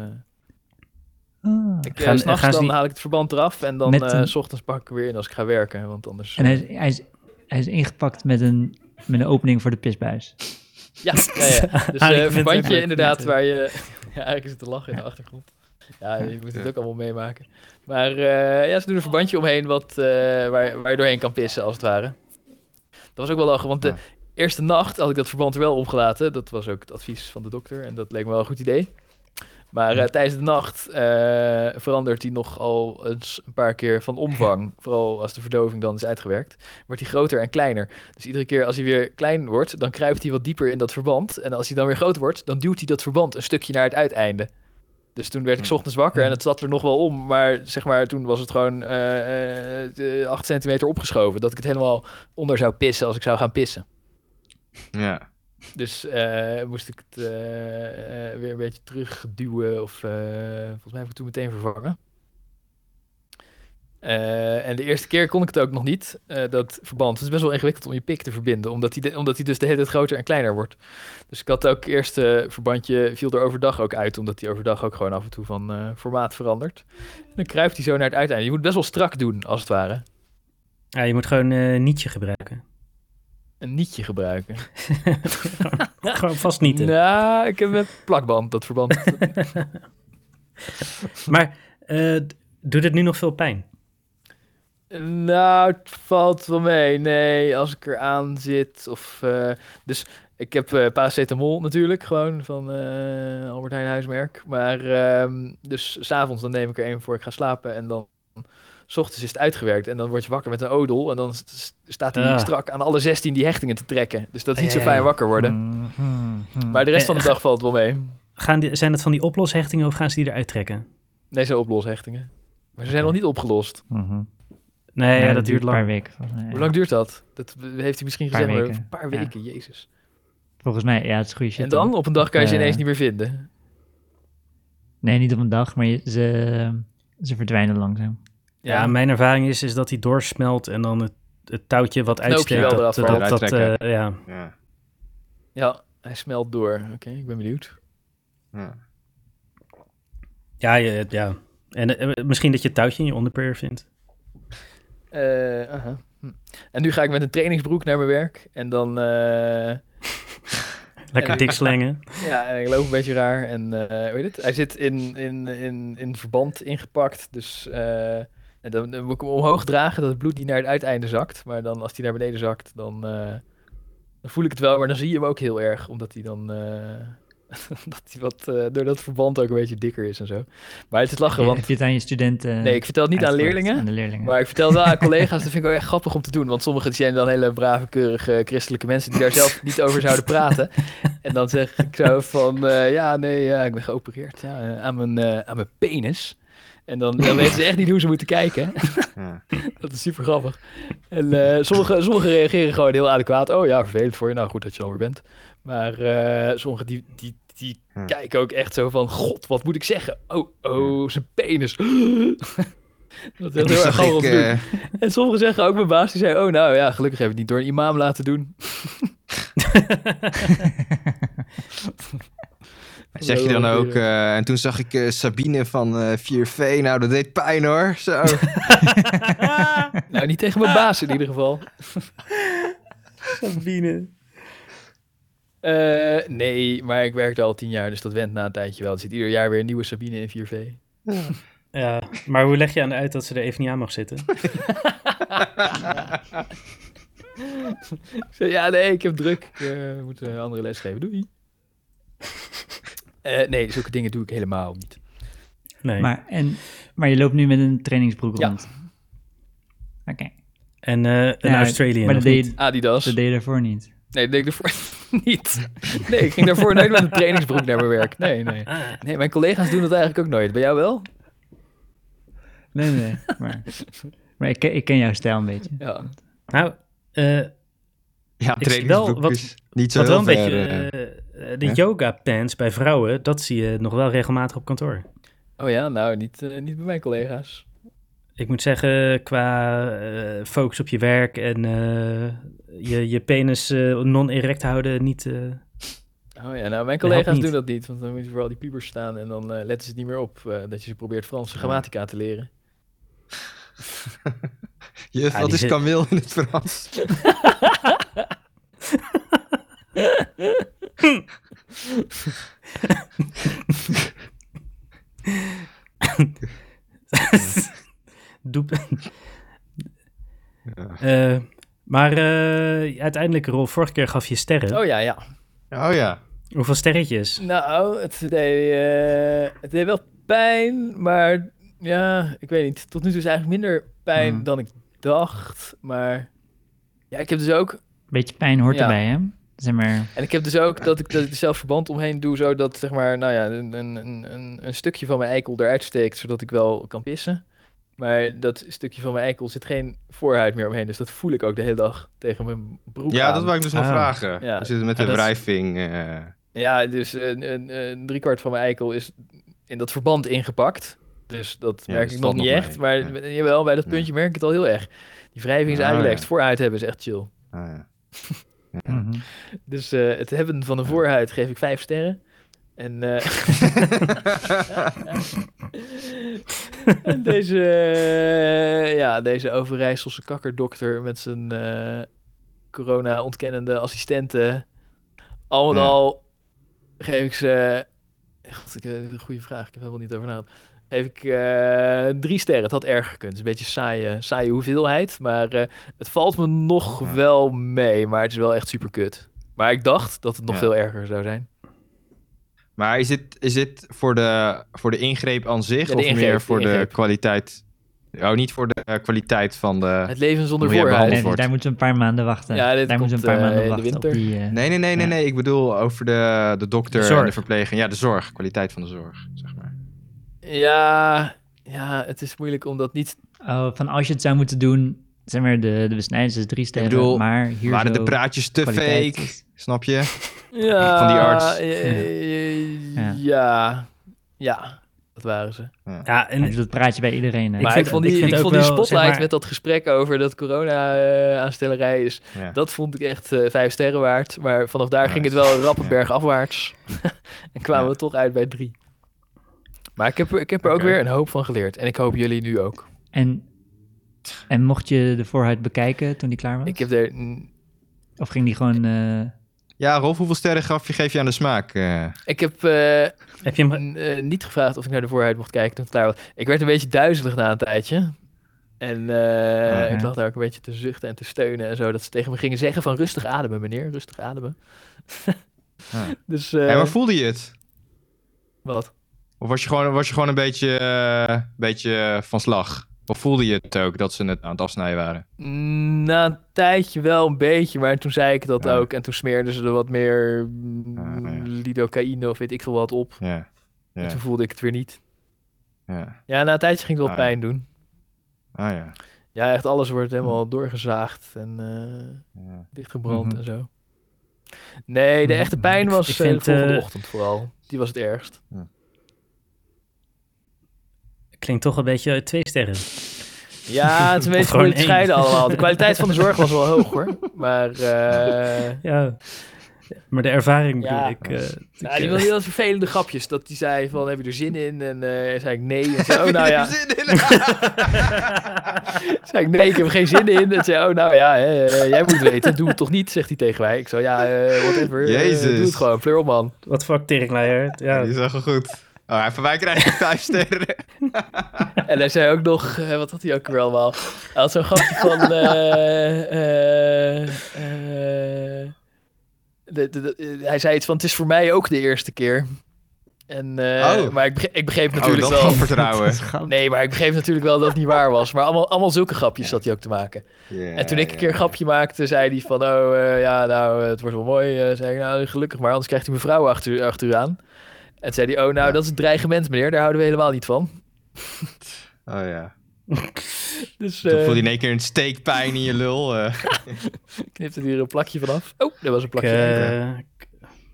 D: Ah.
B: ik,
A: Gaan-
B: ga s'nachts
A: gaan ze
B: dan
A: die-
B: haal ik het verband eraf en dan
D: Met
B: eh,
D: een-
B: s ochtends pak ik hem weer in als ik ga werken. Want anders...
D: En
B: eh,
D: hij is, hij, is, hij is ingepakt met een, met een opening voor de pisbuis.
B: Ja, ja, ja.
A: Arie, ik
B: Dus eh
A: vind het
B: verbandje
A: leuk.
B: inderdaad waar je... Ja, eigenlijk is het te lachen in de achtergrond. Ja, je moet het ook allemaal meemaken. Maar eh, ja, ze doen een verbandje omheen wat, eh, waar, waar je doorheen kan pissen, als het ware. Dat was ook wel lachen, want de
C: Ja.
B: eerste nacht had ik dat verband er wel opgelaten. Dat was ook het advies van de dokter en dat leek me wel een goed idee. Maar eh, tijdens de nacht eh, verandert die nogal eens een paar keer van omvang. Vooral als de verdoving dan is uitgewerkt, wordt hij groter en kleiner. Dus iedere keer als hij weer klein wordt, dan kruipt hij wat dieper in dat verband. En als hij dan weer groot wordt, dan duwt hij dat verband een stukje naar het uiteinde. Dus toen werd ik 's ochtends wakker en het zat er nog wel om. Maar zeg maar, toen was het gewoon eh, eh, de 8 centimeter opgeschoven. Dat ik het helemaal onder zou pissen als ik zou gaan pissen.
C: Ja.
B: Dus eh, moest ik het eh, eh, weer een beetje terugduwen. Of eh, volgens mij heb ik het toen meteen vervangen. Eh, en de eerste keer kon ik het ook nog niet, eh, dat verband. Het is best wel ingewikkeld om je pik te verbinden, omdat die, de- omdat die dus de hele tijd groter en kleiner wordt. Dus ik had ook eerst eh, verbandje, viel er overdag ook uit, omdat die overdag ook gewoon af en toe van eh, formaat verandert. En dan kruipt hij zo naar het uiteinde. Je moet het best wel strak doen, als het ware.
A: Ja, je moet gewoon eh, nietje gebruiken.
B: Een nietje gebruiken.
A: gewoon vastnieten.
B: Nou, ik heb met plakband dat verband.
A: Maar eh, d- doet het nu nog veel pijn?
B: Nou, het valt wel mee. Nee, als ik eraan zit. Of, eh, dus ik heb eh, paracetamol natuurlijk, gewoon van eh, Albert Heijn huismerk. Maar ehm, dus s'avonds dan neem ik er één voor ik ga slapen. En dan s ochtends is het uitgewerkt. En dan word je wakker met een odel. En dan s- s- staat hij
A: Ah.
B: strak aan alle 16 die hechtingen te trekken. Dus dat is niet zo
A: Ja, ja,
B: fijn
A: ja.
B: wakker
D: Mm.
B: worden. Mm-hmm. Maar de rest van de dag valt wel mee.
A: Gaan die, zijn het van die oploshechtingen of gaan ze die eruit trekken?
B: Nee, zijn oplosshechtingen. Maar ze zijn nog niet opgelost.
A: Nee, ja, dat duurt
D: Een paar
A: lang.
D: weken. volgens mij, ja.
B: Hoe lang duurt dat? Dat heeft hij misschien
D: Paar
B: gezegd. maar
D: weken.
B: Een paar
D: Ja.
B: weken, jezus.
D: Volgens mij, ja, het is goede shit.
B: En dan
D: hoor.
B: op een dag kan je ze
D: Eh,
B: ineens niet meer vinden.
D: Nee, niet op een dag, maar je- ze, ze verdwijnen langzaam.
A: Ja, mijn ervaring is, is dat die doorsmelt en dan het, het touwtje wat
B: Knoopje
A: uitsteekt.
B: wel
A: Dat,
B: eraf
A: dat,
C: valt.
A: dat,
C: Eruit
A: eh, ja.
C: Ja.
B: ja, hij smelt door. Oké, ik ben benieuwd.
C: Ja.
A: Ja, je- ja. En eh, misschien dat je het touwtje in je onderpeer vindt.
B: Eh, aha. Hm. En nu ga ik met een trainingsbroek naar mijn werk. En dan eh,
A: Lekker
B: Ja.
A: dik slengen.
B: ja, en ik loop een beetje raar. En eh, hoe heet het? Hij zit in, in, in, in verband ingepakt. Dus eh, en dan, dan moet ik hem omhoog dragen dat het bloed niet naar het uiteinde zakt. Maar dan als hij naar beneden zakt, dan, eh, dan voel ik het wel. Maar dan zie je hem ook heel erg. Omdat hij dan... eh, dat hij wat eh, door dat verband ook een beetje dikker is en zo. Maar het is lachen, want
D: Heb je het aan je studenten?
B: Nee, ik vertel het niet aan
D: uitgelegd?
B: leerlingen.
D: Aan de leerlingen.
B: Maar ik vertel het wel aan collega's, dat vind ik ook echt grappig om te doen. Want sommigen zijn dan hele brave, keurige christelijke mensen die daar zelf niet over zouden praten. En dan zeg ik zo van, eh, ja, nee, ja, ik ben geopereerd ja, eh, aan, mijn, eh, aan mijn penis. En dan, dan weten ze echt niet hoe ze moeten kijken.
C: Ja.
B: Dat is super grappig. En eh, sommigen, sommigen reageren gewoon heel adequaat. Oh ja, vervelend voor je. Nou, goed dat je alweer bent. Maar eh, sommigen die, die, die
C: Ja.
B: kijken ook echt zo van... God, wat moet ik zeggen? Oh, oh, zijn penis. dat is echt heel erg
C: Zag
B: grappig om
C: ik,
B: te doen.
C: eh,
B: En sommigen zeggen ook mijn baas, die zei... Oh nou ja, gelukkig heb ik het niet door een imam laten doen.
C: Zeg je dan
B: Wel
C: ook,
B: weer,
C: eh, en toen zag ik eh, Sabine van eh 4V, nou dat deed pijn hoor. Zo.
B: Nou, niet tegen mijn baas in ieder geval.
A: Sabine.
B: Eh, nee, maar ik werkte al tien jaar, dus dat went na een tijdje wel. Er zit ieder jaar weer een nieuwe Sabine in 4V.
A: Ja, maar hoe leg je aan uit dat ze er even niet aan mag zitten?
B: Ik zei, ja, nee, ik heb druk. Ik eh, moet een andere les geven. Doei. Eh, nee, zulke dingen doe ik helemaal niet.
A: Nee.
D: Maar, en, maar je loopt nu met een trainingsbroek
B: Ja.
D: rond. Oké.
A: en eh, een
D: Ja,
A: Australian.
D: Maar
A: of
D: dat deed,
A: niet?
D: je-
B: Adidas.
D: dat deed je daarvoor niet.
B: Nee, dat deed ik daarvoor niet. Nee, ik ging daarvoor nooit met een trainingsbroek naar mijn werk. Nee, nee. Nee, mijn collega's doen dat eigenlijk ook nooit. Bij jou wel?
D: Nee, nee. nee. maar maar ik, ken- ik ken jouw stijl een beetje.
B: Ja.
A: Nou, eh,
C: Ja,
A: Ik zie wel
C: trainingsbroek
A: wat-
C: is niet zo
A: wat wel een
C: heel
A: beetje...
C: ver, eh.
A: eh, de
C: hè?
A: yoga pants bij vrouwen, dat zie je nog wel regelmatig op kantoor.
B: Oh ja, nou, niet, eh, niet bij mijn collega's.
A: Ik moet zeggen, qua eh, focus op je werk en eh, je, je penis eh, non-erect houden, niet... eh,
B: Oh ja, nou, mijn
A: Dat helpt
B: collega's
A: niet.
B: doen dat niet. Want dan moet je vooral die piebers staan en dan eh, letten ze het niet meer op eh, dat je ze probeert Franse grammatica te leren.
C: Juf,
A: Ja,
C: wat
A: die
C: is
A: zit-
C: kameel in het Frans? Ja.
A: Eh, maar eh, uiteindelijk, Rol, vorige keer gaf je sterren.
B: Oh ja, ja.
C: Oh ja.
A: Hoeveel sterretjes?
B: Nou, het deed, eh, het deed wel pijn, maar ja, ik weet niet. Tot nu toe is het eigenlijk minder pijn
C: Hmm.
B: dan ik dacht. Maar ja, ik heb dus ook
D: Beetje pijn hoort
B: Ja.
D: erbij, hè? Zeg maar,
B: En ik heb dus ook dat ik, dat ik er zelf verband omheen doe, zodat zeg maar, nou ja, een, een, een- een, een stukje van mijn eikel eruit steekt, zodat ik wel kan pissen. Maar dat stukje van mijn eikel zit geen voorhuid meer omheen, dus dat voel ik ook de hele dag tegen mijn broek
C: Ja,
B: aan.
C: dat wou ik dus nog
A: Ah.
C: vragen.
B: Ja.
C: We zitten met
A: Ja,
C: de
A: dat-
C: wrijving. eh,
B: Ja, dus een, een, een driekwart van mijn eikel is in dat verband ingepakt. Dus dat
C: Ja,
B: merk
C: dus
B: ik nog
C: het valt
B: niet
C: nog
B: echt,
C: mee.
B: maar jawel, bij dat
C: Ja.
B: puntje merk ik het al heel erg. Die wrijving is
C: Ah,
B: aangelegd,
C: ja.
B: voorhuid hebben is echt chill.
C: ah, ja.
D: mhm.
B: Dus eh, het hebben van een voorhuid geef ik vijf sterren. En eh, En deze, eh, ja, deze Overijsselse kakkerdokter met zijn eh, corona-ontkennende assistenten. Al met
C: Ja.
B: al geef ik ze... God, ik, eh, een goede vraag, ik heb er helemaal niet over nagedacht. Geef ik eh, drie sterren, het had erger gekund. Het is een beetje saaie, saaie hoeveelheid, maar eh, het valt me nog
C: Ja.
B: wel mee. Maar het is wel echt super kut. Maar ik dacht dat het nog
C: Ja.
B: veel erger zou zijn.
C: Maar is dit, is dit voor, de, voor de ingreep aan zich
B: Ja, de
C: of
B: ingreep,
C: meer voor
B: de
C: de
B: ingreep.
C: kwaliteit? Oh, niet voor de eh, kwaliteit van de.
B: Het leven zonder
C: Moet jij
B: voorhuid.
C: behandeld
D: Nee,
C: wordt.
D: daar moeten we een paar maanden wachten.
B: Ja, dit
D: daar moeten we
B: komt,
D: een paar
B: eh,
D: maanden
B: in de
D: wachten op
B: winter.
D: die... eh,
C: Nee, nee, nee, nee,
D: Ja.
C: nee. Ik bedoel over de, de dokter
A: De
C: en de
A: zorg.
C: verpleger. Ja, de zorg. Kwaliteit van de zorg, zeg maar.
B: Ja, ja, het is moeilijk om dat niet.
D: oh, van als je het zou moeten doen, zeg maar, de, de besnijders is drie sterren,
C: bedoel,
D: maar hier
C: Waren
D: zo
C: de praatjes te
D: kwaliteit
C: fake?
D: is-
C: Snap je?
B: Ja,
C: Van die arts.
B: Ja, ja,
D: Ja.
B: ja, ja, dat waren ze.
A: Ja,
D: Ja,
A: en
D: dus dat praat je bij iedereen. hè.
B: maar
A: vind-
B: ik vond
A: ik
B: die, ik
A: vind ook
B: vond die
A: wel, zeg
B: spotlight
A: maar-
B: met dat gesprek over dat corona-aanstellerij is.
C: Ja.
B: Dat vond ik echt eh, vijf sterren waard. Maar vanaf daar ging het
C: Nice.
B: wel een rappe
C: Ja.
B: berg afwaarts. en kwamen
C: Ja.
B: we toch uit bij drie. Maar ik heb, er- ik heb er
C: Oké.
B: ook weer een hoop van geleerd. En ik hoop jullie nu ook.
D: En, en mocht je de voorhuid bekijken toen die klaar was?
B: Ik heb er. mm,
D: Of ging die gewoon... eh,
C: ja, Rolf, hoeveel sterren gaf je, geef je aan de smaak? eh?
B: Ik heb. eh,
A: heb je hem...
B: N- eh, niet gevraagd of ik naar de vooruit mocht kijken toen het klaar was. Ik werd een beetje duizelig na een tijdje. En
C: Oh,
B: eh,
D: Oké.
B: ik lag daar ook een beetje te zuchten en te steunen en zo. Dat ze tegen me gingen zeggen van rustig ademen, meneer, rustig ademen.
C: Ja.
B: Dus eh,
C: Hé, Ah. maar voelde je het?
B: wat?
C: Of was je gewoon, was je gewoon een beetje, eh, beetje van slag? Of voelde je het ook dat ze het aan het afsnijden waren?
B: Mm, Na een tijdje wel een beetje, maar toen zei ik dat
C: Ja.
B: ook. En toen smeerden ze er wat meer mm,
C: Ah, ja.
B: lidocaïne of weet ik veel wat op.
C: Ja.
B: En
C: Ja.
B: toen voelde ik het weer niet.
C: ja.
B: Ja, na een tijdje ging het wel
C: Ah, ja. Hm.
B: pijn doen.
C: Ah ja.
B: Ja, echt alles wordt helemaal doorgezaagd en eh,
C: ja.
B: dichtgebrand
D: Mhm.
B: en zo. Nee, de
D: Mhm.
B: echte pijn was
A: Ik
B: eh,
A: vind,
B: de volgende
A: eh,
B: ochtend vooral. Die was het ergst.
A: klinkt toch een beetje uit twee sterren.
B: Ja, het is een
A: Of
B: beetje
A: gewoon
B: moeilijk te
A: één.
B: scheiden allemaal. De kwaliteit van de zorg was wel hoog hoor. Maar eh,
A: Ja, maar de ervaring bedoel
B: Ja.
A: ik. eh,
B: nou, die
A: ik,
B: wilde
A: eh,
B: heel vervelende grapjes. Dat die zei van, heb je er zin in? En eh, zei ik nee. En zei, oh nou ja. zei ik nee, ik heb er geen zin in. En zei, oh nou ja, hè, eh, jij moet weten. Doe het toch niet, zegt hij tegen mij. Ik zo, ja, eh, whatever. eh,
C: Jezus.
B: doe het gewoon, pleur op man.
A: eh, Wat fuck teringleier.
C: ja.
A: Ja,
C: Die is wel goed. Oh, hij van mij krijgt vijf sterren. Oh,
B: En hij zei ook nog, eh, wat had hij ook weer allemaal? Hij had zo'n grapje van. eh, eh, eh, de- de- de- eh, hij zei iets van: Het is voor mij ook de eerste keer. En, eh,
C: Oh.
B: Maar ik begreep, ik begreep
C: Oh,
B: natuurlijk
C: dat gaf
B: wel.
C: vertrouwen.
B: Nee, maar ik begreep natuurlijk wel dat het niet waar was. Maar allemaal, allemaal zulke grapjes zat hij ook te maken. En toen ik een keer een grapje maakte, zei hij van... Oh, eh, ja, nou, eh, het wordt wel mooi. eh zei ik, nou, gelukkig maar, anders krijgt hij mijn vrouw achter, u- achter u aan. En toen zei hij, oh, nou,
C: Ja.
B: dat is een dreigement, meneer. Daar houden we helemaal niet van.
C: Oh ja.
B: Dus,
C: Toen
B: eh,
C: voelde je in één keer een steekpijn in je lul. eh.
B: knipte hij er een plakje vanaf. Oh, dat was een
A: ik
B: plakje.
A: eh,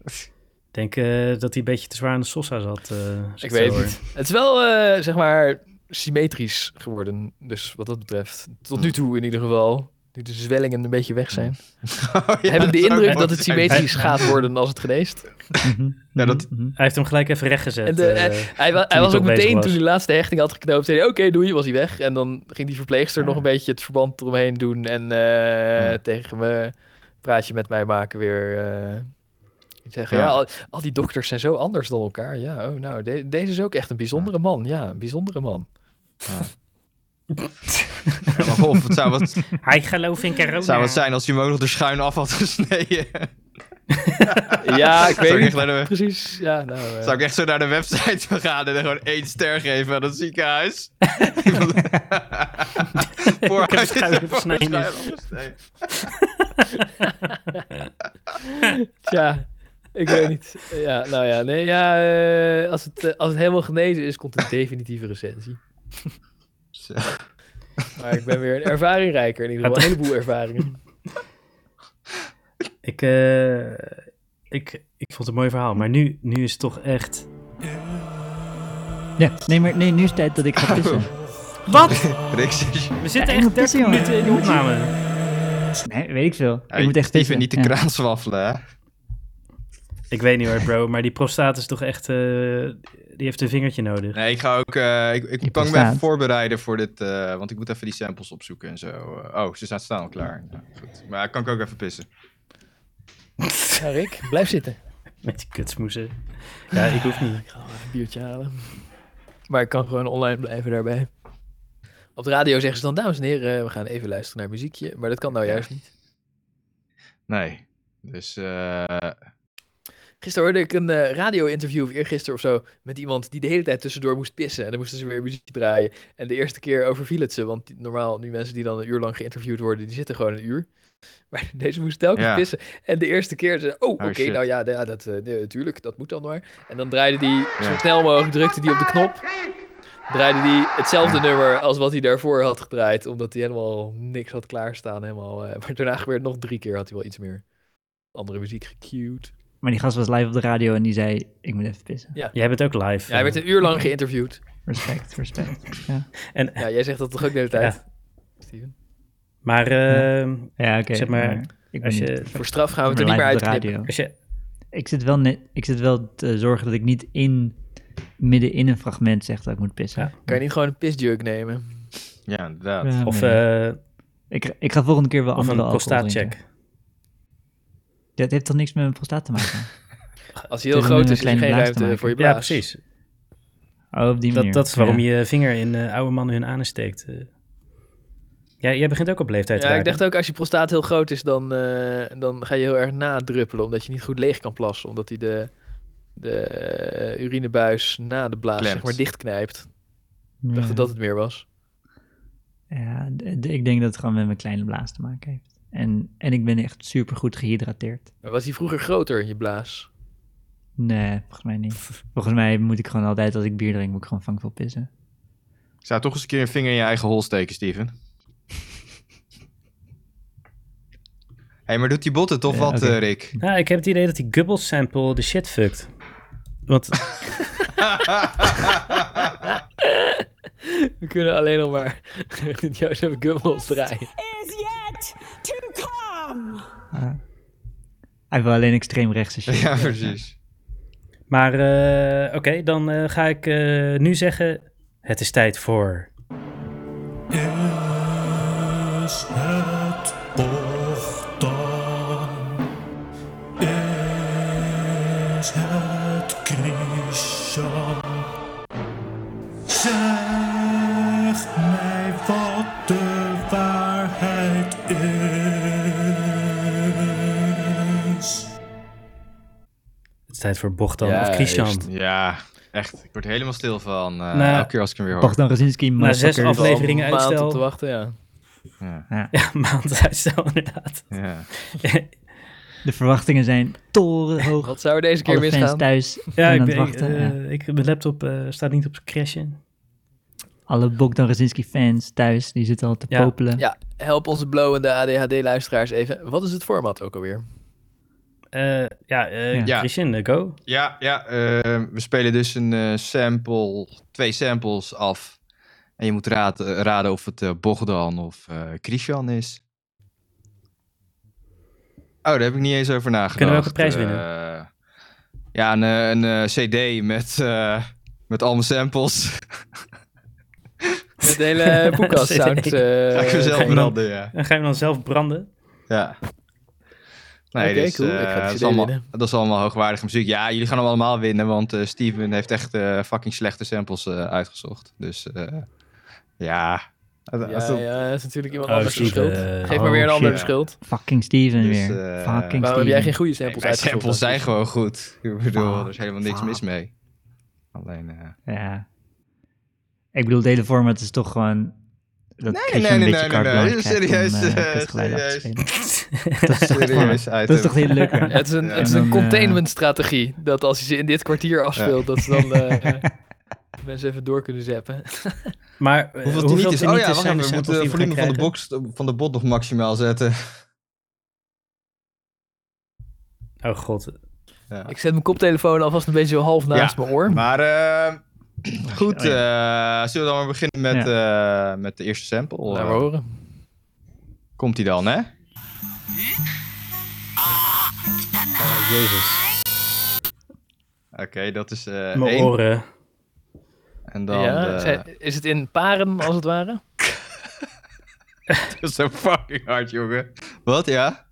A: ik denk eh, dat hij een beetje te zwaar aan de salsa zat. eh, als
B: ik
A: het
B: weet
A: zo hoor.
B: het niet. Het is wel, eh, zeg maar, symmetrisch geworden. Dus wat dat betreft. Tot nu toe in ieder geval. Nu de zwellingen een beetje weg zijn.
C: Oh, ja,
B: Heb ik de indruk
C: zou ook
B: dat
C: wel
B: het
C: zijn.
B: symmetrisch gaat worden als het geneest.
D: mhm,
C: Ja, dat-
D: mhm, mhm.
A: Hij heeft hem gelijk even rechtgezet.
B: En de-
A: eh,
B: Hij, wa- hij
A: hij
B: was ook
A: toch bezig
B: meteen,
A: was.
B: toen hij de laatste hechting had geknoopt, zei hij, oké, doei, was hij weg. En dan ging die verpleegster
C: Ja.
B: nog een beetje het verband eromheen doen. En eh,
C: Ja.
B: tegen me praatje met mij maken weer... eh, ik zeg, ja,
C: Ja.
B: al, al die dokters zijn zo anders dan elkaar. Ja, oh, nou, de- deze is ook echt een bijzondere man. Ja, een bijzondere man.
C: Ja, maar of het zou wat,
A: Hij gelooft in corona.
C: zou wat zijn als hij hem ook nog er schuin af had gesneden.
B: Ja, ik
C: Zou
B: weet
C: ik, echt
B: niet
C: naar de,
B: precies. Ja, nou, eh,
C: zou ik echt zo naar de website van gaan en er gewoon één ster geven aan het ziekenhuis? Voor
A: heb schuin afgesneden.
B: tja, ik weet niet. Ja, nou ja, nee, ja, eh, als, het, eh, als het helemaal genezen is, komt een definitieve recensie.
C: Zo.
B: Maar ik ben weer een ervaringrijker in ieder geval. Een heleboel ervaringen.
A: Ik, eh, ik, ik vond het een mooi verhaal, maar nu, nu is het toch echt...
D: Ja, nee, maar nee, nu is het tijd dat ik ga
B: Oh.
D: pissen.
A: Wat?
C: Rick zegt,
A: We
D: Ja,
A: zitten
D: ik
A: echt 30
D: moet pissen, jongen.
A: minuten in de opname.
D: Nee, weet ik veel.
C: ja,
D: ik moet echt
C: even
D: pissen.
C: niet de
D: Ja.
C: kraan zwaffelen, hè?
A: Ik weet niet hoor, bro, maar die prostaat is toch echt... eh, die heeft een vingertje nodig.
C: Nee, ik ga ook. eh, ik ik
D: Je
C: kan me
D: bestaat.
C: even voorbereiden voor dit. eh, want ik moet even die samples opzoeken en zo. Eh, oh, ze staan- staan al klaar. Ja, goed. Maar kan ik ook even pissen?
B: Ja, Rick, blijf zitten.
A: Met die kutsmoesen. Ja, ik hoef niet.
B: Ik ga wel even een biertje halen. Maar ik kan gewoon online blijven daarbij. Op de radio zeggen ze dan, dames en heren, we gaan even luisteren naar muziekje. Maar dat kan nou juist niet.
C: Nee. Dus. eh,
B: Gisteren hoorde ik een eh, radio-interview, of eergisteren of zo, met iemand die de hele tijd tussendoor moest pissen. En dan moesten ze weer muziek draaien. En de eerste keer overviel het ze, want die- normaal, die mensen die dan een uur lang geïnterviewd worden, die zitten gewoon een uur. Maar deze moest telkens
C: Ja.
B: pissen. En de eerste keer ze, oh, oké,
C: shit.
B: nou ja, ja dat, eh, nee, tuurlijk, dat moet dan maar. En dan draaide die, zo
C: Ja.
B: snel mogelijk drukte die op de knop. Draaide die hetzelfde nummer als wat hij daarvoor had gedraaid, omdat hij helemaal niks had klaarstaan. Helemaal, eh, maar daarna gebeurde het nog drie keer, had hij wel iets meer andere muziek gecued.
D: Maar die gast was live op de radio en die zei, ik moet even pissen.
A: Jij bent ook live.
B: Ja, hij
A: eh.
B: werd een uur lang geïnterviewd.
D: Respect, respect.
A: en,
B: Ja, jij zegt dat toch ook de hele tijd, Steven?
A: Maar eh,
D: Ja, oké.
A: Zeg maar,
D: ik ben
A: als,
D: niet
A: je,
B: Voor straf gaan we het er niet meer
D: live op
B: uit
D: de radio.
A: als je...
D: Ik zit, wel net, ik zit wel te zorgen dat ik niet in, midden in een fragment zeg dat ik moet pissen.
A: Ja.
B: Kan je niet gewoon een pisjuk nemen?
C: ja, inderdaad.
D: Ja,
A: Of,
D: nee.
A: eh
D: ik, ik ga volgende keer wel
A: of
D: andere
A: een
D: alcohol
A: prostaatcheck.
D: drinken. Ja, het heeft toch niks met mijn prostaat te maken?
B: Als hij heel
D: Het is
B: groot
D: een
B: is, is er
D: kleine
B: geen
D: blaas te
B: ruimte
D: maken.
B: voor je blaas.
A: Ja, precies.
D: Oh, op die
A: Dat,
D: manier.
A: dat is waarom
D: Ja.
A: je vinger in eh, oude mannen hun anus steekt. eh. Ja, jij begint ook op leeftijd te
B: Ja, ik
A: raken.
B: dacht ook, als je prostaat heel groot is, dan, eh, dan ga je heel erg nadruppelen. Omdat je niet goed leeg kan plassen. Omdat hij de, de eh, urinebuis na de blaas
C: Klemt.
B: zeg maar dichtknijpt. Ik
D: Ja.
B: dacht dat dat het meer was.
D: Ja, d- d- ik denk dat het gewoon met mijn kleine blaas te maken heeft. En, en ik ben echt super goed gehydrateerd.
B: Maar was hij vroeger groter, je blaas?
D: Nee, volgens mij niet. Volgens mij moet ik gewoon altijd, als ik bier drink, moet ik gewoon vang veel pissen.
C: Ik zou toch eens een keer een vinger in je eigen hol steken, Steven. Hé, hey, maar doet die bot het of
D: Ja,
C: wat,
D: oké.
C: eh, Rick?
A: Ja, ik heb het idee dat die Gubble sample de shit fuckt. Want
B: We kunnen alleen nog maar Jozef Gummels draaien.
E: is yet to come.
D: Hij wil alleen extreem rechtse shit.
C: Ja, precies.
A: Maar eh, oké, dan eh, ga ik eh, nu zeggen: het is tijd voor.
F: Zeg mij wat de waarheid is.
A: Het is tijd voor Bochtan
B: Ja,
A: of Krishan.
B: juist.
C: Ja, echt. Ik word er helemaal stil van. eh,
A: Nou,
C: elke keer als ik hem weer hoor.
D: Bogdan Rosinski,
A: Na zes
D: motherfucker.
A: afleveringen. Leveringen
B: Een maand
A: uitstel.
B: op te wachten, ja.
C: Ja,
A: Ja, maand uitstel inderdaad.
C: ja.
D: De verwachtingen zijn torenhoog.
B: Wat zou er deze keer
D: Alle fans
B: misgaan?
D: thuis
A: Ja,
D: zijn
A: ik
D: aan het
A: ben,
D: wachten.
A: eh,
D: ja.
A: ik, mijn laptop eh, staat niet op crashen.
D: Alle Bogdan Rosinski fans thuis, die zitten al te
A: Ja.
D: popelen.
B: Ja, help onze blowende ADHD-luisteraars even. Wat is het format ook alweer?
A: Eh ja, eh
C: Ja.
A: Christian, eh, go.
C: Ja, ja eh, we spelen dus een eh, sample, twee samples af. En je moet raad- eh, raden of het eh, Bogdan of eh Christian is. Oh, daar heb ik niet eens over nagedacht.
A: Kunnen we ook een prijs winnen?
C: Eh, ja, een, eh, een eh, cd met, eh, met al mijn samples.
B: Met de hele podcast sound. eh,
C: Ga ik mezelf
A: ga je dan-
C: branden, ja.
A: En ga je hem dan zelf branden?
C: ja. Nee,
B: Oké,
C: dus,
B: cool. Ik
C: eh,
B: ga het
C: dat, is
B: cd
C: allemaal,
B: winnen.
C: dat is allemaal hoogwaardige muziek. Ja, jullie gaan hem allemaal winnen, want eh, Steven heeft echt eh, fucking slechte samples eh, uitgezocht. Dus eh, ja, Als, als
B: Ja,
C: dat-
B: ja, dat is natuurlijk iemand
A: Oh,
B: anders de
A: shit,
B: schuld.
A: eh,
B: Geef maar weer een
A: oh,
B: ander de
A: shit.
B: schuld.
D: Fucking Steven
C: Dus,
D: weer.
C: eh,
D: Fucking
B: Waarom heb jij geen
D: Steven.
B: goede samples
C: mijn
B: uitgezocht?
C: samples zijn gewoon goed. Ik bedoel, er is helemaal niks
D: Fuck.
C: mis mee. Alleen, eh,
D: Ja. Ik bedoel, het hele format is toch gewoon... Dat
C: Nee,
D: geeft je
C: nee,
D: een
C: nee,
D: beetje
C: nee, nee,
D: carte
C: nee.
D: blanche
C: Serieus,
D: om, eh,
C: eh,
D: kutgeluiden af te
C: serieus.
D: spelen. dat is toch het format?
C: serieus
D: Dat
C: item.
D: is toch heel leuk. hè?
B: Het is een,
C: Ja.
B: het is
D: En
B: een
D: dan, eh,
B: containment-strategie. Dat als je ze in dit kwartier afspeelt, dat ze dan eh, eh, mensen even door kunnen zappen.
A: Maar eh,
C: Hoeveel teniet is? Oh ja, wacht
A: zijn
C: even,
A: de samples
C: we moeten
A: die
C: de
A: gaan
C: volume van de,
A: krijgen?
C: box, eh, van de bot nog maximaal zetten.
A: Oh god.
C: Ja.
B: Ik zet mijn koptelefoon alvast een beetje zo half naast mijn oor.
C: Maar eh, goed,
D: Oh
C: eh, zullen we dan maar beginnen met, eh, met de eerste sample?
B: Laten
C: Eh,
B: we horen.
C: Komt die dan, hè?
A: Oh, Jezus.
C: Oké, dat is eh
A: Mijn
C: één.
A: oren.
C: En dan eh,
B: Ja,
C: de-
B: zij- Is het in paren, als het ware?
C: Dat is zo fucking hard, jongen. Wat, ja?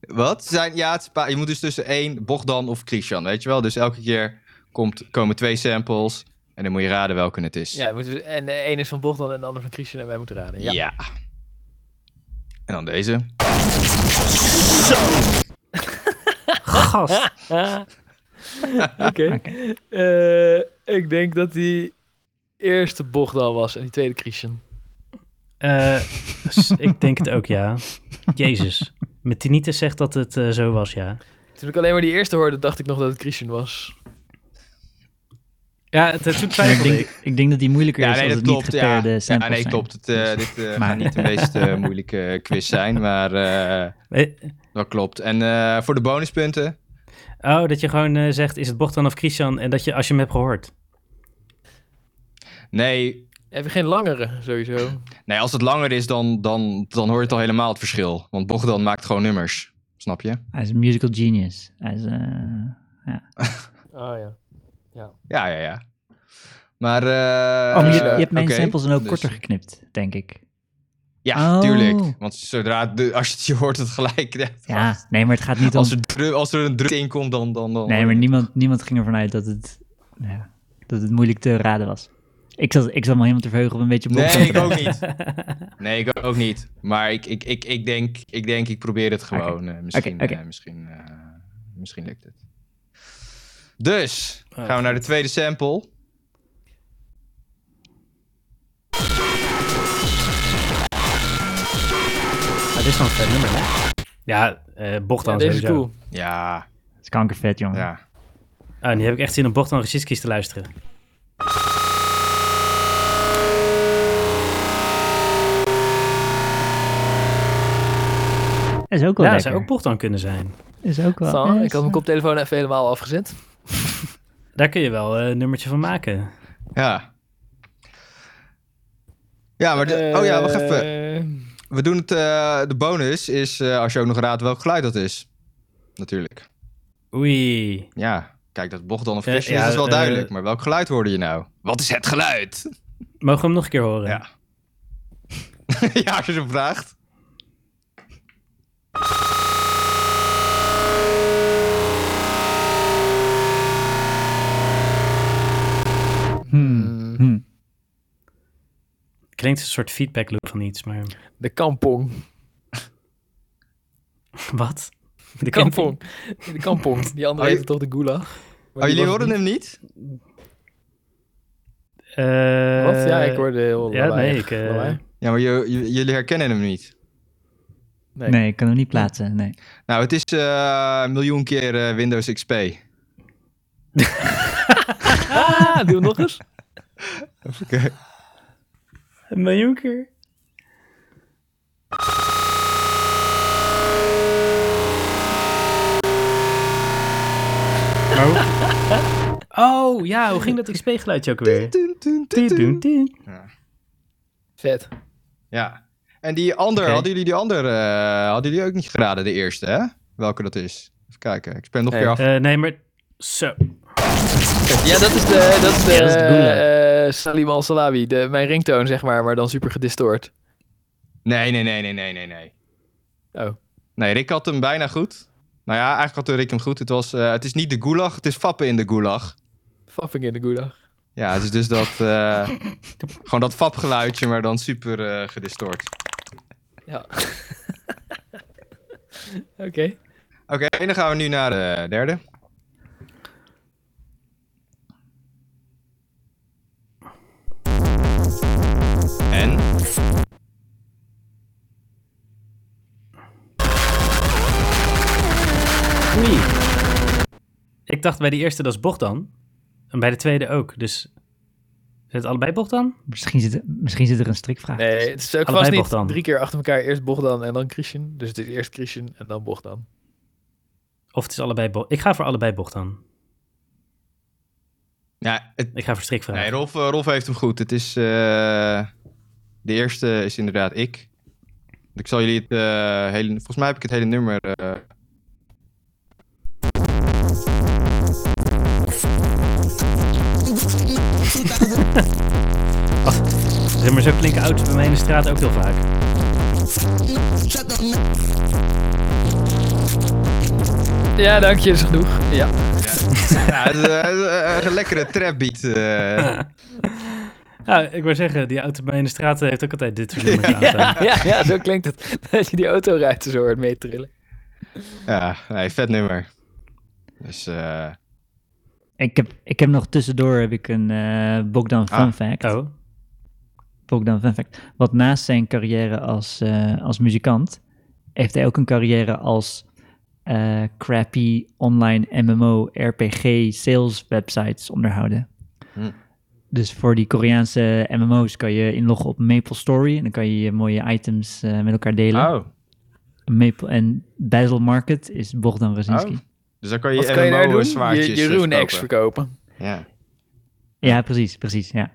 C: Wat? Zijn, ja, het is pa- je moet dus tussen één Bogdan of Christian, weet je wel? Dus elke keer komt, komen twee samples en dan moet je raden welke het is.
B: Ja, moeten we- en de een is van Bogdan en de ander van Christian en wij moeten raden. Ja.
C: Ja. En dan deze.
A: Gast.
B: Ah. Oké. Eh, ik denk dat die eerste Bogdan was en die tweede Christian.
A: Eh, s- ik denk het ook, ja. Jezus. Mijn tinnitus zegt dat het eh, zo was, ja.
B: Toen ik alleen maar die eerste hoorde, dacht ik nog dat het Christian was.
A: Ja, het, het, toen
D: Maar ik,
A: twijfelde
D: denk, ik denk dat die moeilijker is als het niet
C: Ja,
D: geperde samples
C: Ja, nee,
D: zijn.
C: klopt. Het, eh, dit eh
D: Maar-
C: gaat niet de meest eh, moeilijke quiz zijn, maar eh,
A: Eh,
C: dat klopt. En eh, voor de bonuspunten?
A: Oh, dat je gewoon eh, zegt, is het Bogdan of Christian? En dat je, als je hem hebt gehoord.
C: Nee,
B: Heb je geen langere, sowieso?
C: nee als het langer is, dan, dan, dan hoor je het al helemaal het verschil. Want Bogdan maakt gewoon nummers, snap je?
D: Hij is een musical genius. Hij is... eh,
B: Oh ja.
C: Ja, ja, ja. Maar... eh,
D: oh, maar je,
C: eh,
D: je hebt mijn
C: oké.
D: samples dan ook
C: Dus-
D: korter geknipt, denk ik.
C: Ja,
D: Oh.
C: tuurlijk. Want zodra de, als je het je hoort, het gelijk. Ja,
D: Ja, nee, maar het gaat niet om...
C: Als, er, dru- als er een druk in komt, dan... dan, dan
D: Nee, maar niemand, niemand ging ervan uit dat het, nou ja, dat het moeilijk te raden was. Ik zat, ik zat me helemaal te verheugen op een beetje
C: Nee,
D: bocht.
C: ik ook niet. Nee, ik ook niet. Maar ik, ik, ik, ik, denk, ik denk, ik probeer het gewoon. eh, misschien,
D: Oké, oké.
C: eh, misschien, eh, misschien lukt het. Dus, gaan we naar de tweede sample.
A: Maar Ah, dit is dan een vet nummer, hè? Ja, eh Bogdan
B: Ja, deze is
A: sowieso.
B: cool.
C: Ja,
D: Het is kankervet, jongen.
C: ja.
A: Ah, nu heb ik echt zin om Bogdan Rosicki's te luisteren.
D: Dat is ook wel
A: Ja,
D: lekker.
A: zou ook Bogdan kunnen zijn.
D: Dat is ook wel...
B: Zo,
D: ja,
B: ik had
D: is-
B: mijn koptelefoon even helemaal afgezet.
A: Daar kun je wel eh, een nummertje van maken.
C: Ja, ja maar... De, oh ja, wacht
B: Eh.
C: even.
B: even.
C: We doen het... eh, de bonus is, eh, als je ook nog raadt welk geluid dat is. Natuurlijk.
A: Oei.
C: Ja, kijk, dat Bogdan of
A: Ja,
C: Christian
A: ja,
C: is wel
A: eh,
C: duidelijk. Maar welk geluid hoorde je nou? Wat is het geluid?
A: Mogen we hem nog een keer horen?
C: Ja. ja, als je zo vraagt.
D: Hmm, hmm.
A: Klinkt een soort feedback loop van iets, maar...
B: De kampong.
A: Wat? De
B: kampong. De kampong. Die andere
C: Oh, je-
B: heette toch de gulag? Maar die
C: Oh, jullie
B: was
C: hoorden hem niet?
A: Eh,
B: Wat? Ja, ik hoorde heel
A: Ja, nee,
B: lawaaiig
A: ik... eh,
B: lawaai.
C: Ja, maar je- j- jullie herkennen hem niet.
B: Nee.
D: Nee, ik kan hem niet plaatsen, nee.
C: Nou, het is eh, een miljoen keer eh, Windows XP.
B: Ah, doe hem nog eens.
A: een miljoen keer. Oh, ja, hoe ging dat XP-geluidje ook weer?
C: Dun, dun, dun,
A: Dun, dun,
C: dun.
A: dun.
B: Vet.
C: Ja. En die ander,
A: Oké.
C: hadden jullie die ander, eh, hadden jullie ook niet geraden, de eerste, hè? Welke dat is. Even kijken, ik speel nog een
B: Nee.
C: keer af.
A: Eh, nee, maar... Zo.
B: Ja, dat is de, dat is de,
A: Ja, dat is de gulag.
B: eh, Salim al Salawi. De, mijn ringtoon, zeg maar, maar dan super gedistort.
C: Nee, nee, nee, nee, nee, nee, nee.
B: Oh.
C: Nee, Rick had hem bijna goed. Nou ja, eigenlijk had Rick hem goed. Het, was, eh, het is niet de gulag, het is fappen in de gulag.
B: Fapping in de gulag.
C: Ja, het is dus dat... eh, gewoon dat fabgeluidje, maar dan super eh, gedistort.
B: Ja. Oké.
C: Oké, dan gaan we nu naar de derde. En?
A: Oei. Ik dacht bij de eerste dat is Bogdan. En bij de tweede ook. Dus zijn het allebei Bogdan?
D: Misschien zit, er- misschien zit er een strikvraag.
B: Nee,
D: tussen.
B: het is ook
A: Allebei
B: vast niet
A: Bogdan.
B: drie keer achter elkaar. Eerst Bogdan en dan Christian. Dus het is eerst Christian en dan Bogdan.
A: Of het is allebei Bo- Ik ga voor allebei Bogdan.
C: Ja, het,
A: Ik ga voor strikvraag.
C: nee, Rolf, eh, Rolf heeft hem goed. Het is, eh, de eerste is inderdaad ik. Ik zal jullie het eh, hele... Volgens mij heb ik het hele nummer... eh,
A: Zeg maar zo klinken auto's bij mij in de straat ook heel vaak.
B: Ja, dank je, is genoeg. Ja.
C: ja, het is, eh, het is een lekkere trapbeat. eh.
A: Ja, ik wou zeggen, die auto bij mij in de straat eh, heeft ook altijd dit soort nummers aan staan.
B: Ja, ja, zo klinkt het. Als je die auto rijdt, zo hoort mee trillen.
C: Ja, nee, vet nummer. Dus, eh,
D: Ik, heb, ik heb nog tussendoor heb ik een eh Bogdan Fun
C: Ah,
D: Fact.
A: Oh,
D: Bogdan Fun Fact. Wat naast zijn carrière als, eh, als muzikant, heeft hij ook een carrière als eh, crappy online MMO RPG sales websites onderhouden.
C: Hm.
D: Dus voor die Koreaanse MMO's kan je inloggen op MapleStory en dan kan je je mooie items eh, met elkaar delen.
C: oh.
D: Maple en Basil Market is Bogdan Rosinski.
C: Oh. Dus dan kan je
B: Wat kan je daar
C: MMO
B: doen?
C: zwaardjes
B: Je, je
A: dus
C: eh,
B: Rune X
C: verkopen.
B: verkopen.
C: Ja,
D: Ja, precies, precies, ja.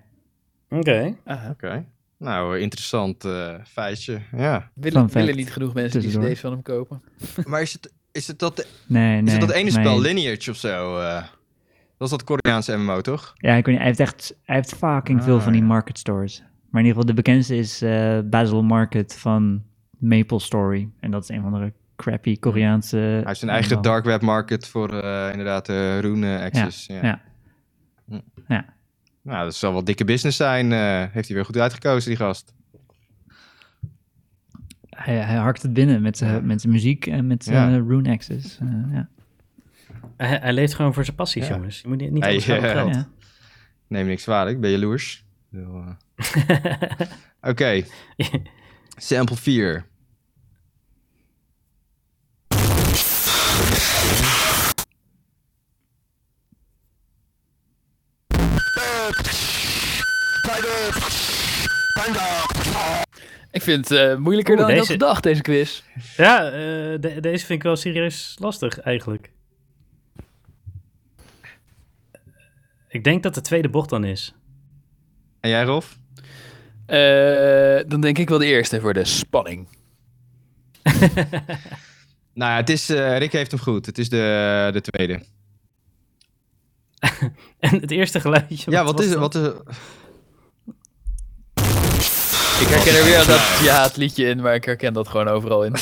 A: oké.
C: oké. Nou, interessant eh, feitje. Ja.
B: Willen,
D: fact.
B: willen niet genoeg mensen die
D: Tussendoor.
B: CD's van hem kopen.
C: maar is het, is het dat,
D: Nee, nee.
C: is het dat ene
D: nee.
C: spel, Lineage of zo? eh? dat is dat Koreaanse MMO, toch?
D: Ja, ik weet niet, hij heeft echt hij heeft fucking veel
C: Ah,
D: van die
C: ja.
D: market stores. Maar in ieder geval, de bekendste is eh Basil Market van Maple Story. En dat is een van de crappy Koreaanse...
C: Hmm. Hij heeft zijn eigen dark web market voor eh, inderdaad eh Rune Access. Ja,
D: Ja, ja. Ja.
C: Nou, dat zal wel dikke business zijn. eh, heeft hij weer goed uitgekozen, die gast.
D: Hij, hij harkt het binnen met zijn, met zijn muziek en met zijn
C: Ja.
D: eh, Rune Access. eh, ja.
A: Hij, hij leeft gewoon voor zijn passies,
C: Ja.
A: jongens. Je moet niet, niet
C: Hij,
A: alles gaan op
C: eh,
A: geld.
D: Ja.
C: Neem me niks zwaar, ik ben jaloers. Ik bedoel, eh. Oké. Sample 4.
B: Ik vind het eh, moeilijker
A: Oeh,
B: dan ik
A: deze-
B: had gedacht, deze quiz.
A: Ja, eh, de- deze vind ik wel serieus lastig eigenlijk. Ik denk dat de tweede bocht dan is.
C: En jij, Rolf?
B: Eh, dan denk ik wel de eerste voor de spanning.
C: Nou ja, het is, eh, Rick heeft hem goed. Het is de, de tweede.
A: En het eerste geluidje.
C: Ja, wat
A: was
C: is het?
A: dat?
C: Wat is
B: Ik herken er weer dat ja, het liedje in, maar ik herken dat gewoon overal in.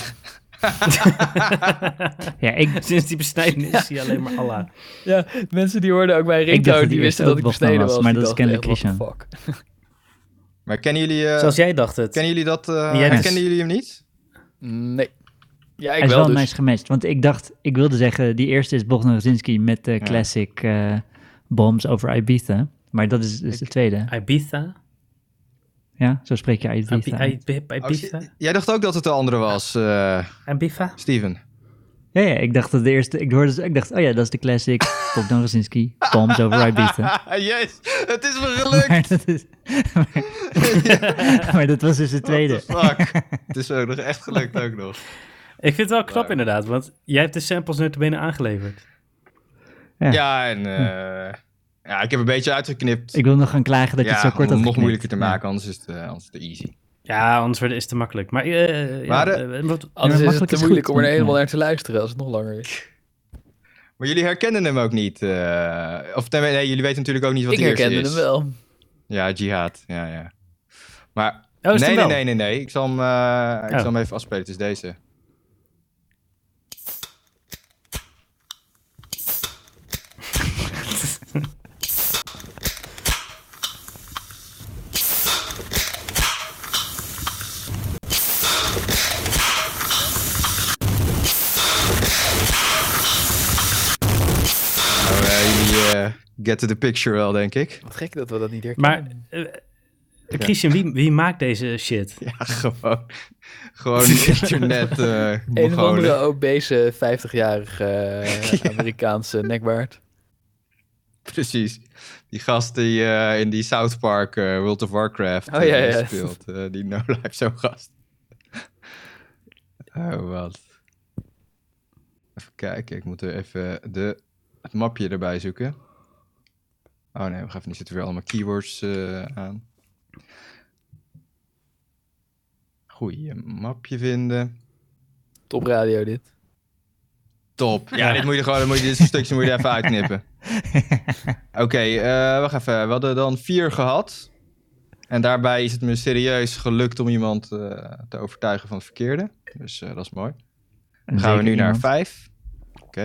D: ja, ik...
A: Sinds die besnijdenis zie je alleen maar Allah.
B: Ja, mensen die hoorden ook mijn
D: dacht
B: ringtone,
D: dat
B: die
D: die
B: wisten
D: eerste
B: dat
D: ook
B: ik
D: Bosman
B: besneden
D: was,
B: was.
D: maar
B: Die
D: dat is
B: dachten
D: kennelijk
B: echt, what the fuck.
C: Maar kennen jullie, eh
A: Zoals jij dacht het.
C: kennen jullie dat? eh
A: Yes.
D: dus.
C: Herkennen jullie hem niet?
B: Nee. Ja, ik
D: Hij is
B: wel
D: wel
B: dus.
D: nice gematcht, want ik dacht, ik wilde zeggen, die eerste is Bogdan Rosinski met de classic eh, Bombs over Ibiza. Maar dat is dus de tweede.
A: Ibiza?
D: Ja, zo spreek je
A: Ibi-
D: Ibiza. uit.
A: Ibi-
C: Oh,
A: Ibiza?
C: j- jij dacht ook dat het de andere was, eh,
A: Ibiza?
C: Steven.
D: Ja, ja, ik dacht dat de eerste, ik hoorde, ik dacht, oh ja, dat is de classic, Bogdan Rosinski, Bombs over Ibiza.
C: yes, het is me gelukt.
D: Maar dat, is, maar, maar dat was dus de tweede.
C: Fuck. het is ook nog echt gelukt ook nog.
A: Ik vind het wel knap inderdaad, want jij hebt de samples net binnen aangeleverd.
D: Ja.
C: Ja, en eh, ja, ik heb een beetje uitgeknipt.
D: Ik wil nog gaan klagen dat
C: ja,
D: je het zo kort had
C: om het nog
D: geknipt.
C: moeilijker te
D: Ja.
C: maken, anders is het, eh, anders is het easy.
A: Ja, anders wordt- is het te makkelijk. Maar, eh,
C: Maar,
A: ja,
C: eh,
A: eh, wat-
B: Anders
D: Ja,
B: is het
D: makkelijk
B: te
D: is
B: moeilijk
D: goed,
B: om er
D: ja.
B: helemaal naar te luisteren als het nog langer is.
C: Maar jullie herkennen hem ook niet. eh, of tenmin- nee, jullie weten natuurlijk ook niet wat
B: ik
C: de eerste is.
B: herkende hem wel.
C: Ja, jihad. Ja, ja. Maar
A: Oh, is het
C: nee,
A: hem
C: nee,
A: wel?
C: nee, nee, nee. Ik zal hem, eh, ik
A: Oh.
C: zal hem even afspelen. Het is deze. Oh, get to the eh, picture wel, denk ik.
B: Wat gek dat we dat niet herkennen.
A: Maar eh, Christian, wie, wie maakt deze shit?
C: Ja, gewoon, gewoon internet eh
B: Een of andere
C: begolen.
B: obese 50-jarige eh, Amerikaanse nekbaard.
C: Precies. Die gast die eh, in die South Park eh, World of Warcraft
B: Oh, ja,
C: eh,
B: ja.
C: speelt. eh, die No Life zo'n gast. oh, wat. Even kijken, ik moet er even de, het mapje erbij zoeken. Oh nee, we gaan even, nu zitten weer allemaal keywords eh, aan. Goeie mapje vinden.
B: Topradio dit.
C: Top. Ja, dit moet je er gewoon, dan moet je dit soort stukjes moet je er even uitknippen. Oké, eh, wacht even. We hadden dan vier gehad. En daarbij is het me serieus gelukt om iemand eh, te overtuigen van het verkeerde. Dus eh, dat is mooi. Dan gaan we nu naar vijf. Oké.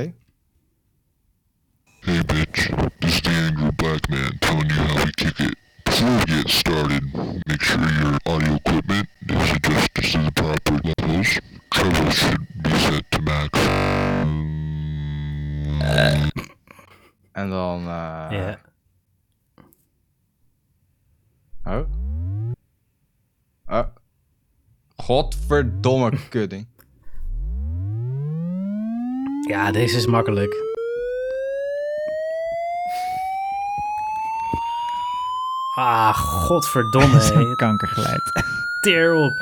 G: Hey bitch, this is Daniel Blackman telling you how we kick it. Before we get started, make sure your audio equipment is adjusted to the proper levels. Treble should be set to max.
C: En dan... eh,
A: Ja.
C: Oh. Oh. Godverdomme kudding.
A: ja, deze is makkelijk. Ah, godverdomme. hé.
D: kankergeluid.
A: Teer op.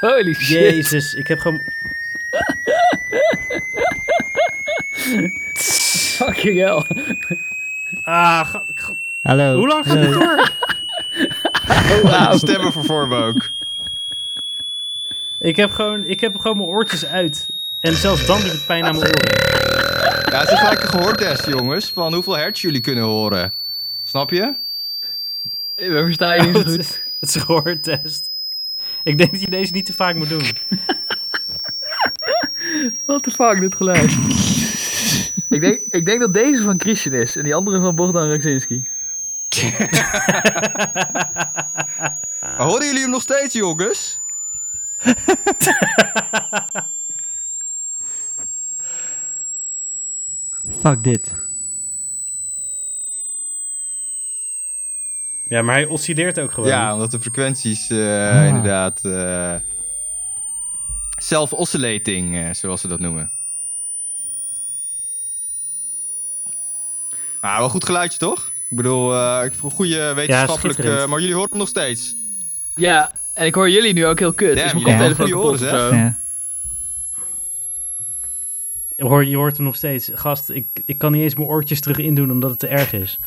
B: Holy shit.
A: Jezus, ik heb gewoon...
B: Fucking hell.
A: Ah, ga- ga-
D: Hallo.
A: hoe lang gaat dit
D: hallo.
A: door?
C: Stemmen voor vorm ook.
A: Ik heb, gewoon, ik heb gewoon mijn oortjes uit. En zelfs dan doet het pijn aan mijn oren.
C: Ja, het is gelijk een gehoortest, jongens. Van hoeveel hertz jullie kunnen horen. Snap je?
B: We verstaan je niet zo
A: Het
B: goed.
A: is, het is een gehoortest. Ik denk dat je deze niet te vaak moet doen.
B: What the fuck, dit geluid. ik, denk, ik denk dat deze van Christian is en die andere van Bogdan Raksinski.
C: Maar horen jullie hem nog steeds, jongens?
D: Fuck dit.
A: Ja, maar hij oscilleert ook gewoon. Ah.
C: Ja, omdat de frequenties eh, inderdaad... eh, Self-oscillating, eh, zoals ze dat noemen. Maar wel goed geluidje, toch? Ik bedoel, eh, ik vond goede wetenschappelijke...
A: schitterend.
C: maar jullie horen hem nog steeds.
B: Ja, en ik hoor jullie nu ook heel kut.
C: Damn,
B: dus mijn
C: jullie
D: hebben
B: koptelefoon
C: goede
B: kapot
C: oren,
B: of zo.
D: Ja.
A: Je hoort, je hoort hem nog steeds. Gast, ik, ik kan niet eens mijn oortjes terug indoen omdat het te erg is.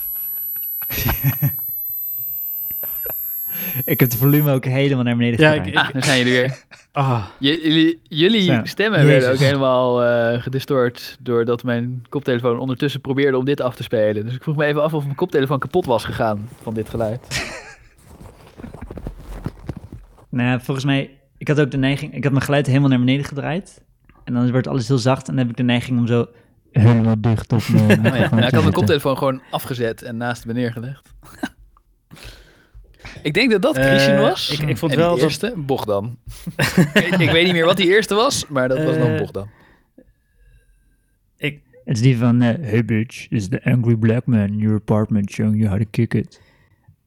D: Ik heb de volume ook helemaal naar beneden
A: Ja,
D: gedraaid.
A: ik-
B: Ah, daar zijn jullie weer.
A: Ah,
B: J- jullie jullie
D: Ja.
B: stemmen
A: Jezus.
B: werden ook helemaal eh gedistort doordat mijn koptelefoon ondertussen probeerde om dit af te spelen. Dus ik vroeg me even af of mijn koptelefoon kapot was gegaan van dit geluid.
D: Nou, volgens mij, ik had ook de neiging, ik had mijn geluid helemaal naar beneden gedraaid. En dan wordt alles heel zacht en dan heb ik de neiging om zo helemaal dicht op mijn
B: Oh, ja.
D: microfoon
B: Nou,
D: te
B: ik had mijn
D: zitten.
B: koptelefoon gewoon afgezet en naast me neergelegd. ik denk dat dat
A: Eh,
B: Christian was.
A: ik- ik vond
B: en
A: wel
B: de
A: dat-
B: eerste, Bogdan. ik, ik weet niet meer wat die eerste was, maar dat was dan
A: Eh,
B: Bogdan.
A: ik,
D: Het is die van, eh, hey bitch, is the angry black man in your apartment showing you how to kick it.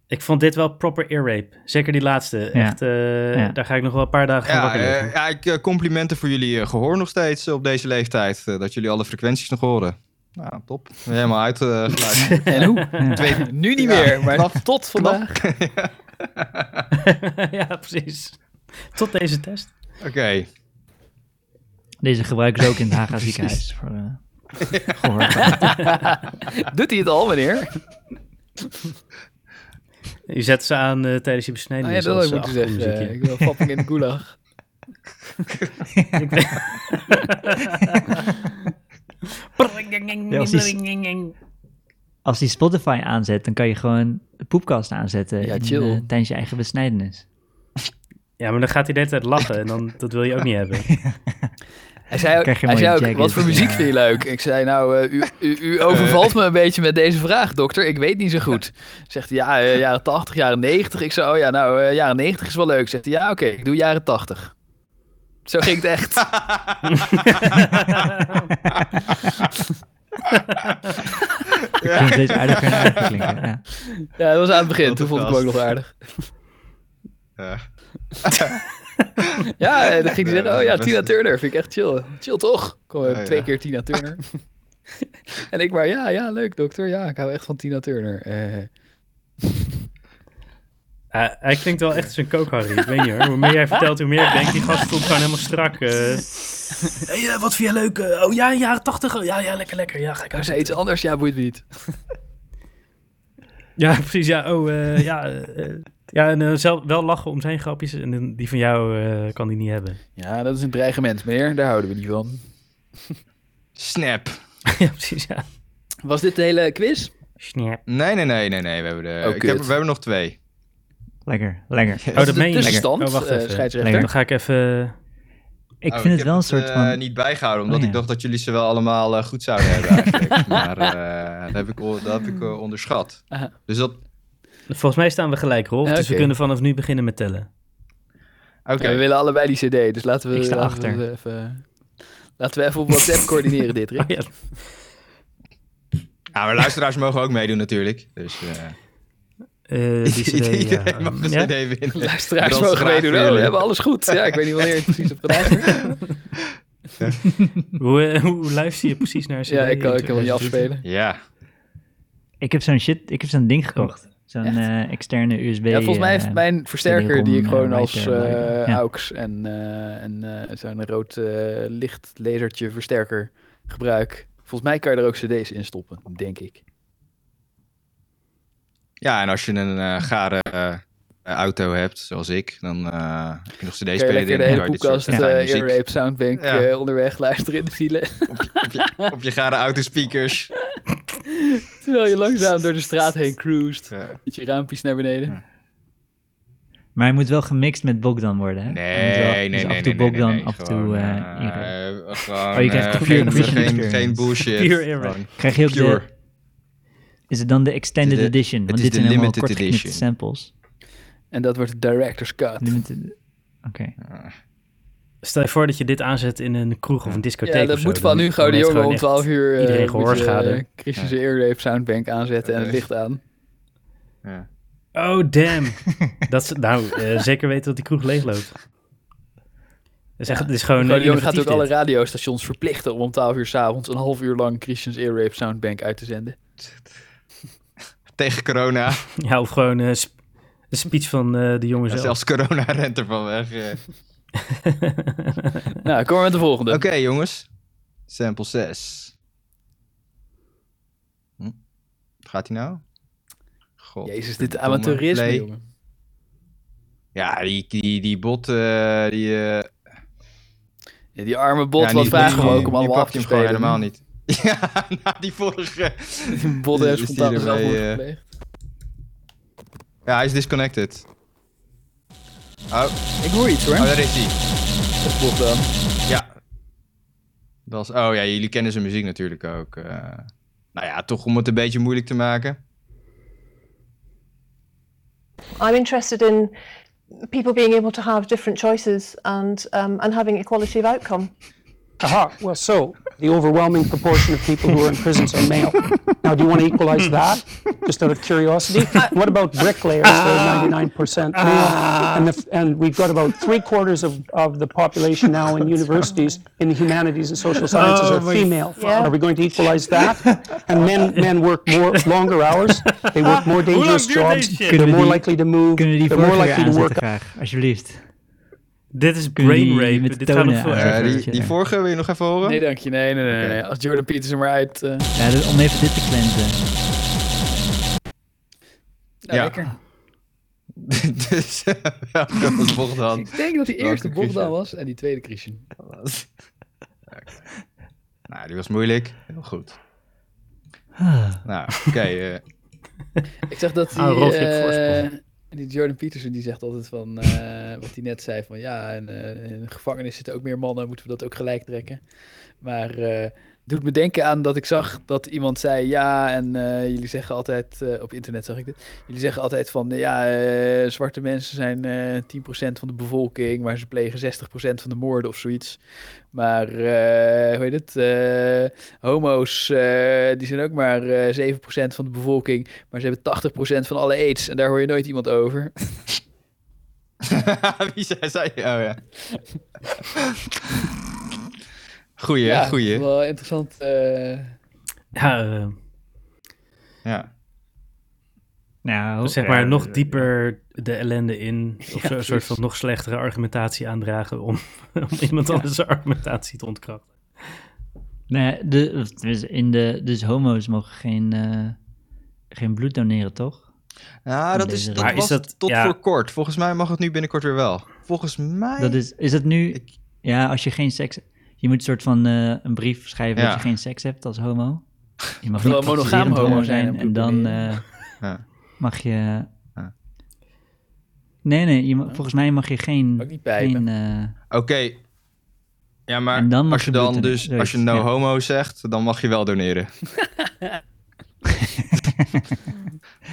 A: ik vond dit wel proper ear rape. Zeker die laatste. Echt, eh,
D: Ja.
A: daar ga ik nog wel een paar dagen gaan
C: Ja,
A: wakker liggen.
C: eh, ja, ik, eh, complimenten voor jullie eh, gehoor nog steeds eh, op deze leeftijd. eh, dat jullie alle frequenties nog horen. Nou, top. Helemaal eh, uitgeluisterd.
B: En hoe?
C: Twee-
B: Nu niet
C: Ja,
B: meer, maar
C: knap,
B: tot vandaag.
A: ja, precies. Tot deze test.
C: Oké.
D: Deze gebruiken ze ook in het Haga ziekenhuis. Voor, eh, gehoor.
B: Doet hij het al, meneer?
A: Je zet ze aan eh, tijdens je
B: Nou
A: besnijdenis.
B: ja, dat
A: als,
B: had ik moeten
A: eh,
B: zeggen.
A: achtergrondmuziekje.
B: ik wil fapping in de gulag.
D: Ja, als, die, als die Spotify aanzet, dan kan je gewoon de poepkast aanzetten
B: Ja,
D: in,
B: chill.
D: eh, tijdens je eigen besnijdenis.
A: Ja, maar dan gaat hij de hele tijd lachen en dan, dat wil je ook niet hebben.
B: Hij zei ook,
D: Krijg je
B: hij
D: een
B: zei
D: mooie
B: ook
D: jacket.
B: wat voor muziek vind je leuk? Ik zei, nou, eh, u, u, u overvalt me een beetje met deze vraag, dokter. Ik weet niet zo goed. Zegt hij, ja, eh, jaren 80, jaren 90. Ik zei, oh ja, nou, eh, jaren 90 is wel leuk. Zegt hij, ja, oké, ik doe jaren 80. Zo ging het echt.
D: Klinkt steeds aardiger en aardiger klinken. Ja.
B: Ja, dat was aan het begin. Toen vond ik hem ook
C: Podcast.
B: nog aardig.
C: Ja.
B: Ja, en dan ging hij
C: Nee,
B: zeggen, oh ja,
C: dat is-
B: Tina Turner vind ik echt chill. Chill toch? Kom, eh,
C: Ja,
B: twee
C: ja.
B: keer Tina Turner. en ik maar, ja, ja, leuk dokter. Ja, ik hou echt van Tina Turner. Eh,
A: Eh, hij klinkt wel echt zijn kook, Harry. Ik weet niet hoor. Hoe meer jij vertelt, hoe meer ik denk, die gast voelt gewoon helemaal strak. eh. wat vind je leuk? oh ja, jaren tachtig. ja, ja, lekker, lekker. Ja, ga ik
B: nou, zei iets anders, ja, boeit me niet.
A: Ja, precies. Ja, oh, eh, ja. eh, eh. ja, en eh, zelf wel lachen om zijn grapjes. En dan die van jou eh, kan hij niet hebben.
B: Ja, dat is een dreigement, meneer. Daar houden we niet van.
C: Snap.
A: ja, precies, ja. Oh,
B: Was dit de hele quiz?
A: Snap.
C: Nee, nee, nee, nee, nee. We hebben, de,
B: Oh,
C: ik heb,
B: kut.
C: we hebben nog twee.
D: Lekker, lekker.
A: Oh, dat
B: de
A: meen je.
B: tussenstand,
A: Lekker. Oh, wacht
B: eh,
A: even.
B: scheidsrechter.
A: Dan ga ik even... eh,
D: Ik
C: Oh,
D: vind het
C: heb
D: wel een soort
C: eh,
D: van...
C: niet bijgehouden, omdat
D: Oh, ja.
C: ik dacht dat jullie ze wel allemaal eh, goed zouden hebben. eigenlijk. maar eh, dat heb ik, o- dat heb ik eh, onderschat.
B: Aha.
C: Dus dat.
A: Volgens mij staan we gelijk, Rolf.
B: Ja,
A: Dus we
B: oké.
A: kunnen vanaf nu beginnen met tellen.
C: Oké.
B: Ja, we willen allebei die cd, dus laten we,
D: Ik sta
B: laten
D: achter.
B: we even... Laten we even op WhatsApp coördineren dit, Rick.
A: Oh, ja.
C: Ja, maar luisteraars mogen ook meedoen, natuurlijk. Dus. eh
A: Eh, die CD, ja.
C: iedereen mag een
A: Ja?
C: CD winnen.
B: Luisteraars
C: Dat
B: mogen
C: vragen
B: meedoen. Oh,
C: jullie.
B: we hebben alles goed. Ja, ik weet niet wanneer je het precies hebt gedaan.
A: Hoe, eh, hoe luister je precies naar een CD?
B: Ja, ik kan, ik kan hem niet
A: 2020?
B: afspelen.
C: Ja.
D: Ik heb zo'n shit, ik heb zo'n
C: Oh,
D: ding gekocht. Zo'n
B: Echt?
D: eh, externe USB.
B: Ja, volgens mij heeft
D: eh,
B: mijn versterker,
D: CD-ROM,
B: die ik gewoon
D: eh,
B: als
D: writer,
B: eh,
D: ja.
B: AUX en, eh, en eh, zo'n rood eh, lichtlasertje versterker gebruik. Volgens mij kan je er ook cd's in stoppen, denk ik.
C: ja, en als je een eh, gare eh, auto hebt, zoals ik, dan eh, heb je nog
B: Kan je
C: CD-speler
B: lekker de hele
C: dus,
B: koelkast,
D: soort
B: eh Earrape, Soundbank
C: Ja.
B: eh, onderweg luisteren in de file.
C: op, je, op je gare autospeakers.
B: Terwijl je langzaam door de straat heen cruist.
C: Ja.
B: Met je raampjes naar beneden.
D: Maar hij moet wel gemixt met Bogdan worden, hè? Hij moet
C: Nee,
D: wel-
C: nee, nee.
D: dus
C: nee,
D: af en toe
C: nee, nee,
D: Bogdan,
C: nee,
D: af en
C: gewoon,
D: toe... eh,
C: eh,
D: Ira.
C: eh, gewoon,
D: Oh, je krijgt
C: eh,
D: de pure
C: geen,
D: vision
C: geen,
D: experience.
C: geen bullshit.
A: Pure era.
C: Gewoon
D: Krijg je ook de...
C: Pure.
D: Is het dan de extended
C: Het is de-
D: edition?
C: het
D: Want
C: is
D: dit
C: de
D: zijn helemaal
C: limited
D: kort geknipte
C: edition.
D: samples.
B: En dat wordt de director's cut.
D: Limited... Oké.
C: eh,
A: Stel je voor dat je dit aanzet in een kroeg of een discotheek
B: Ja, dat
A: of zo,
B: moet
A: dan-
B: van nu
A: dan
B: gewoon de
A: heeft
B: jongen om
A: echt-
B: 12 uur. eh,
A: iedereen
B: moet je,
A: gehoorschade.
B: eh, Christian's Earrape Soundbank aanzetten en het
C: Oké.
B: licht aan.
C: Ja.
A: Oh, damn. dat is, nou, eh, zeker weten dat die kroeg leegloopt. Dat is echt, het is gewoon...
B: Gewoon, de jongen gaat ook
A: innovatief
B: alle
A: dit.
B: radiostations verplichten om om 12 uur s'avonds een half uur lang Christian's Earrape Soundbank uit te zenden.
C: Tegen corona.
A: Ja, of gewoon eh, sp- een speech van eh, de jongen zelf.
C: Zelfs corona rent er van weg. eh.
B: Nou, kom maar met de volgende.
C: Oké, jongens. Sample 6. Hm? Gaat hij nou? God.
B: Jezus, dit
C: verdomme.
B: amateurisme,
C: Play.
B: jongen.
C: Ja, die, die, die bot, eh, die... eh,
B: Ja, die arme bot,
C: ja,
B: wat
C: die-
B: vragen we
C: die-
B: ook om
C: die
B: allemaal af
C: pakt
B: te
C: hem gewoon
B: spelen.
C: helemaal niet. Ja, na die vorige...
B: Die bot heeft
C: Is die
B: spontaan
C: erbij,
B: zelf
C: eh,
B: gepleegd.
C: Ja, hij is disconnected. Oh, oh
B: Ik hoor iets hoor.
C: daar is hij.
B: Dat is bot dan.
C: Ja. Dat is, oh ja, jullie kennen zijn muziek natuurlijk ook. eh. nou ja, toch om het een beetje moeilijk te maken.
H: I'm interested in people being able to have different choices and um, and having equality of outcome.
I: Aha, Uh-huh. well, so the overwhelming proportion of people who are in prisons are male. Now, do you want to equalize that? Just out of curiosity. What about bricklayers? They're 99% male. And, the, and we've got about three quarters of, of the population now in universities in the humanities and social sciences are female.
H: Yeah.
I: Are we going to equalize that? And men, men work more longer hours. They work more dangerous
A: duurt deze
I: jobs.
A: shit?
I: They're more
D: die-
I: likely to move.
D: Kunnen we die
I: They're more
D: vorige weer
I: likely to
D: aanzetten
I: work
D: graag? Alsjeblieft.
A: Dit is
D: Kunnen die
A: brain rape.
D: met
A: Dit gaat nog
D: tonen
A: veel
D: aan-
A: erger.
C: Eh, die,
D: Jeetje.
C: die vorige wil je nog even horen?
B: Nee, dank je. Nee, nee, nee. nee. Als Jordan Peterson maar uit. eh, nou,
D: Ja, dus om even dit te cleansen.
C: Ja.
B: Nou, lekker.
C: dus eh, welke was Bogdan?
B: Ik denk dat die
C: Welke
B: eerste bot dan
C: Christian?
B: was en die tweede Christian.
C: Nou, die was moeilijk. Heel goed. Nou, oké. eh,
B: Ik zeg dat die,
A: Ah, Rolf, je hebt
B: eh,
A: voorsprong.
B: die Jordan Peterson die zegt altijd van eh, wat hij net zei van ja, en, eh, in de gevangenis zitten ook meer mannen, moeten we dat ook gelijk trekken. Maar eh, doet me denken aan dat ik zag dat iemand zei ja en eh, jullie zeggen altijd, eh, op internet zag ik dit, jullie zeggen altijd van ja, eh, zwarte mensen zijn eh 10% van de bevolking, maar ze plegen 60% van de moorden of zoiets. Maar eh, hoe heet het? Eh, homo's, eh, die zijn ook maar eh 7% van de bevolking, maar ze hebben 80% van alle aids en daar hoor je nooit iemand over.
C: Wie zei, zei- Oh ja. Goeie,
B: Ja,
C: hè? goeie.
B: Wel interessant. eh,
A: Ja, eh,
C: Ja.
D: Nou,
A: zeg maar
D: eh,
A: nog dieper de ellende in. Of zo, een soort
B: precies.
A: van nog slechtere argumentatie aandragen om, om iemand anders zijn argumentatie te ontkrachten.
D: Nee, Nou de, of tenminste, in de, dus homo's mogen geen, eh, geen bloed doneren, toch?
C: Nou, dat, is,
D: Deze
C: dat
A: Maar
C: was
A: is dat-
C: tot
A: ja.
C: voor kort. Volgens mij mag het nu binnenkort weer wel. Volgens mij...
D: Dat is, is dat nu, ja, als je geen seks, je moet een soort van eh, een brief schrijven
C: Ja.
D: dat je geen seks hebt als homo. Je mag
B: Wel
D: niet
B: een monogaam
D: praktiserend
B: homo zijn en
D: en
B: bloed
D: dan
B: doneren.
D: eh,
C: Ja.
D: mag je,
C: Ja.
D: nee, nee, je, ma- volgens mij mag je geen,
B: Ook niet pijpen.
D: geen eh,
C: Oké. Ja, maar
D: En dan mag
C: als je
D: je bloed
C: dan
D: doneren.
C: dus... Als je no
D: Zoiets, ja.
C: homo zegt, dan mag je wel doneren.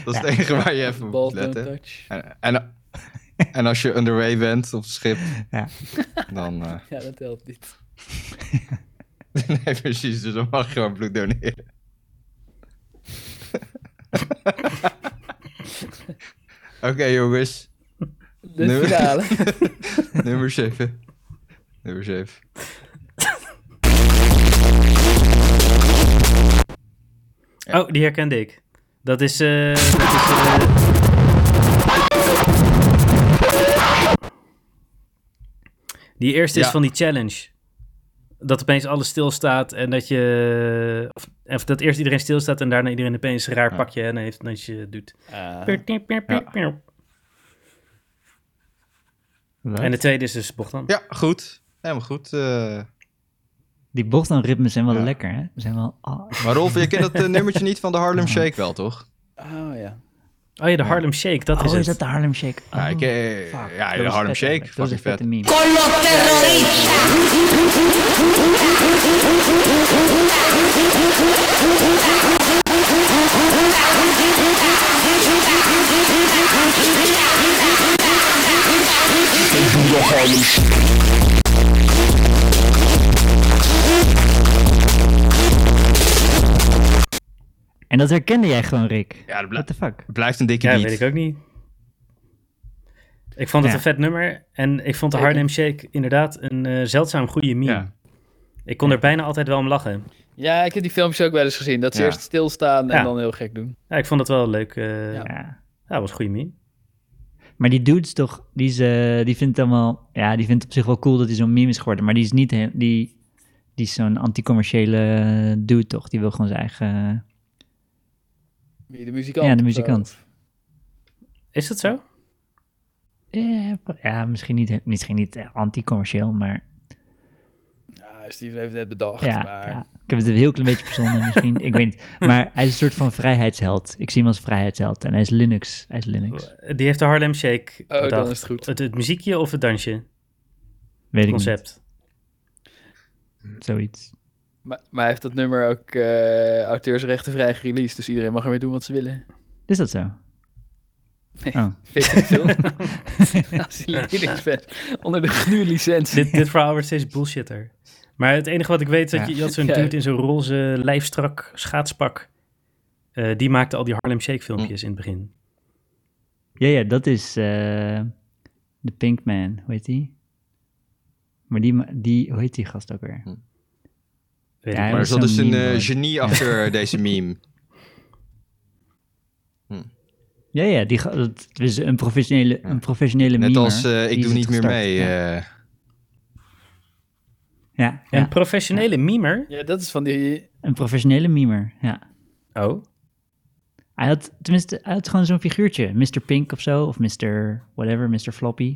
C: dat is het enige waar je
D: eh,
C: even op
B: Bal
C: moet letten.
B: touch.
C: En, en, en als je underway bent op het schip,
D: Ja.
C: dan... eh,
B: Ja, dat helpt niet.
C: nee, precies. Dus dan mag je gewoon bloed doneren. Oké, jongens.
B: De
C: Nee, we-
B: finale.
C: Nummer 7. Nummer 7.
A: Oh, die herkende ik. Dat is. eh, dat is eh, Die eerste
C: Ja.
A: is van die challenge. Dat opeens alles stilstaat en dat je. Of, of dat eerst iedereen stilstaat en daarna iedereen opeens een raar pakje en heeft dat je het doet.
C: Eh,
A: En de tweede is dus Bochtan.
C: Ja, goed. Helemaal goed. eh.
D: die bocht aan ritmes zijn wel
C: Ja.
D: lekker, hè? Ze Zijn wel, ah,
C: Maar Rolf, je kent dat eh, nummertje niet van de Harlem Shake wel, toch?
B: Oh ja.
A: Oh ja, de Harlem Shake, dat
D: oh,
A: is
D: is,
A: het.
D: dat de Harlem Shake?
C: ja,
D: Oh,
C: ik, eh,
D: fuck.
C: ja
D: Dat
C: de
D: was vet
C: Harlem Shake.
D: eigenlijk. Dat was een
C: Fucking vet.
D: vette meme. En dat herkende jij gewoon, Rick.
C: Ja, dat
D: What
C: blijft,
D: the fuck?
C: blijft een dikke
A: Ja,
C: beat.
A: weet ik ook niet. Ik vond het
D: Ja.
A: een vet nummer en ik vond de
B: Zeker.
A: Harlem Shake inderdaad een eh, zeldzaam goede meme.
C: Ja.
A: Ik kon er bijna altijd wel om lachen.
B: Ja, ik heb die filmpjes ook wel eens gezien. Dat ze
C: Ja.
B: eerst stilstaan en
A: Ja.
B: dan heel gek doen.
A: Ja, ik vond het wel leuk. eh, ja.
D: Ja.
A: dat was een goede meme.
D: Maar die dudes toch, die, is, eh, die vindt allemaal, ja, die vindt op zich wel cool dat hij zo'n meme is geworden, maar die is niet, heel- die, die is zo'n anticommerciële eh, dude toch? Die wil gewoon zijn eigen,
B: Wie, De muzikant.
D: ja, de
B: of
D: muzikant.
A: Is dat zo?
D: Eh, Ja, misschien niet, misschien niet eh, anticommercieel, maar
B: zo. Ja, Steven heeft het net bedacht.
D: ja,
B: maar...
D: ja. Ik heb het een heel klein beetje verzonnen misschien, ik weet niet. Maar hij is een soort van vrijheidsheld. Ik zie hem als vrijheidsheld en hij is Linux, hij is Linux.
A: Die heeft de Harlem Shake
B: Oh,
A: bedacht.
B: dan is het goed.
A: Het, het muziekje of het dansje?
D: Weet ik
A: concept.
D: niet, zoiets.
B: Maar, maar hij heeft dat nummer ook eh auteursrechtenvrij gereleased. Dus iedereen mag ermee doen wat ze willen.
D: Is dat zo?
B: Weet je veel? Als je Linux bent. Onder de gnu licentie.
A: dit, dit verhaal wordt steeds bullshitter. Maar het enige wat ik weet, is dat je, je had zo'n
B: Ja.
A: dude in zo'n roze lijfstrak schaatspak. Eh, die maakte al die Harlem Shake filmpjes in het begin.
D: Ja, ja, dat is eh, de Pinkman, hoe heet die? Maar die, ma- die, hoe heet die gast ook weer?
A: Weet
D: Ja,
A: ik
C: Maar
A: maar.
C: er
D: is
C: zat
D: zo'n
C: dus een
D: meme,
C: eh,
D: hoor.
C: genie achter deze meme.
D: Ja, ja, die, ga- dat is een professionele, een professionele
C: Net
D: memer,
C: als eh,
D: die
C: ik
D: is
C: doe
D: het
C: niet meer
D: gestart.
C: mee.
D: Ja,
C: eh.
D: ja, ja,
A: Een professionele memer?
B: Ja, dat is van die...
D: een professionele memer, ja.
A: Oh.
D: Hij had, tenminste, hij had gewoon zo'n figuurtje, Mr. Pink of zo, of Mr. whatever, Mr. Floppy.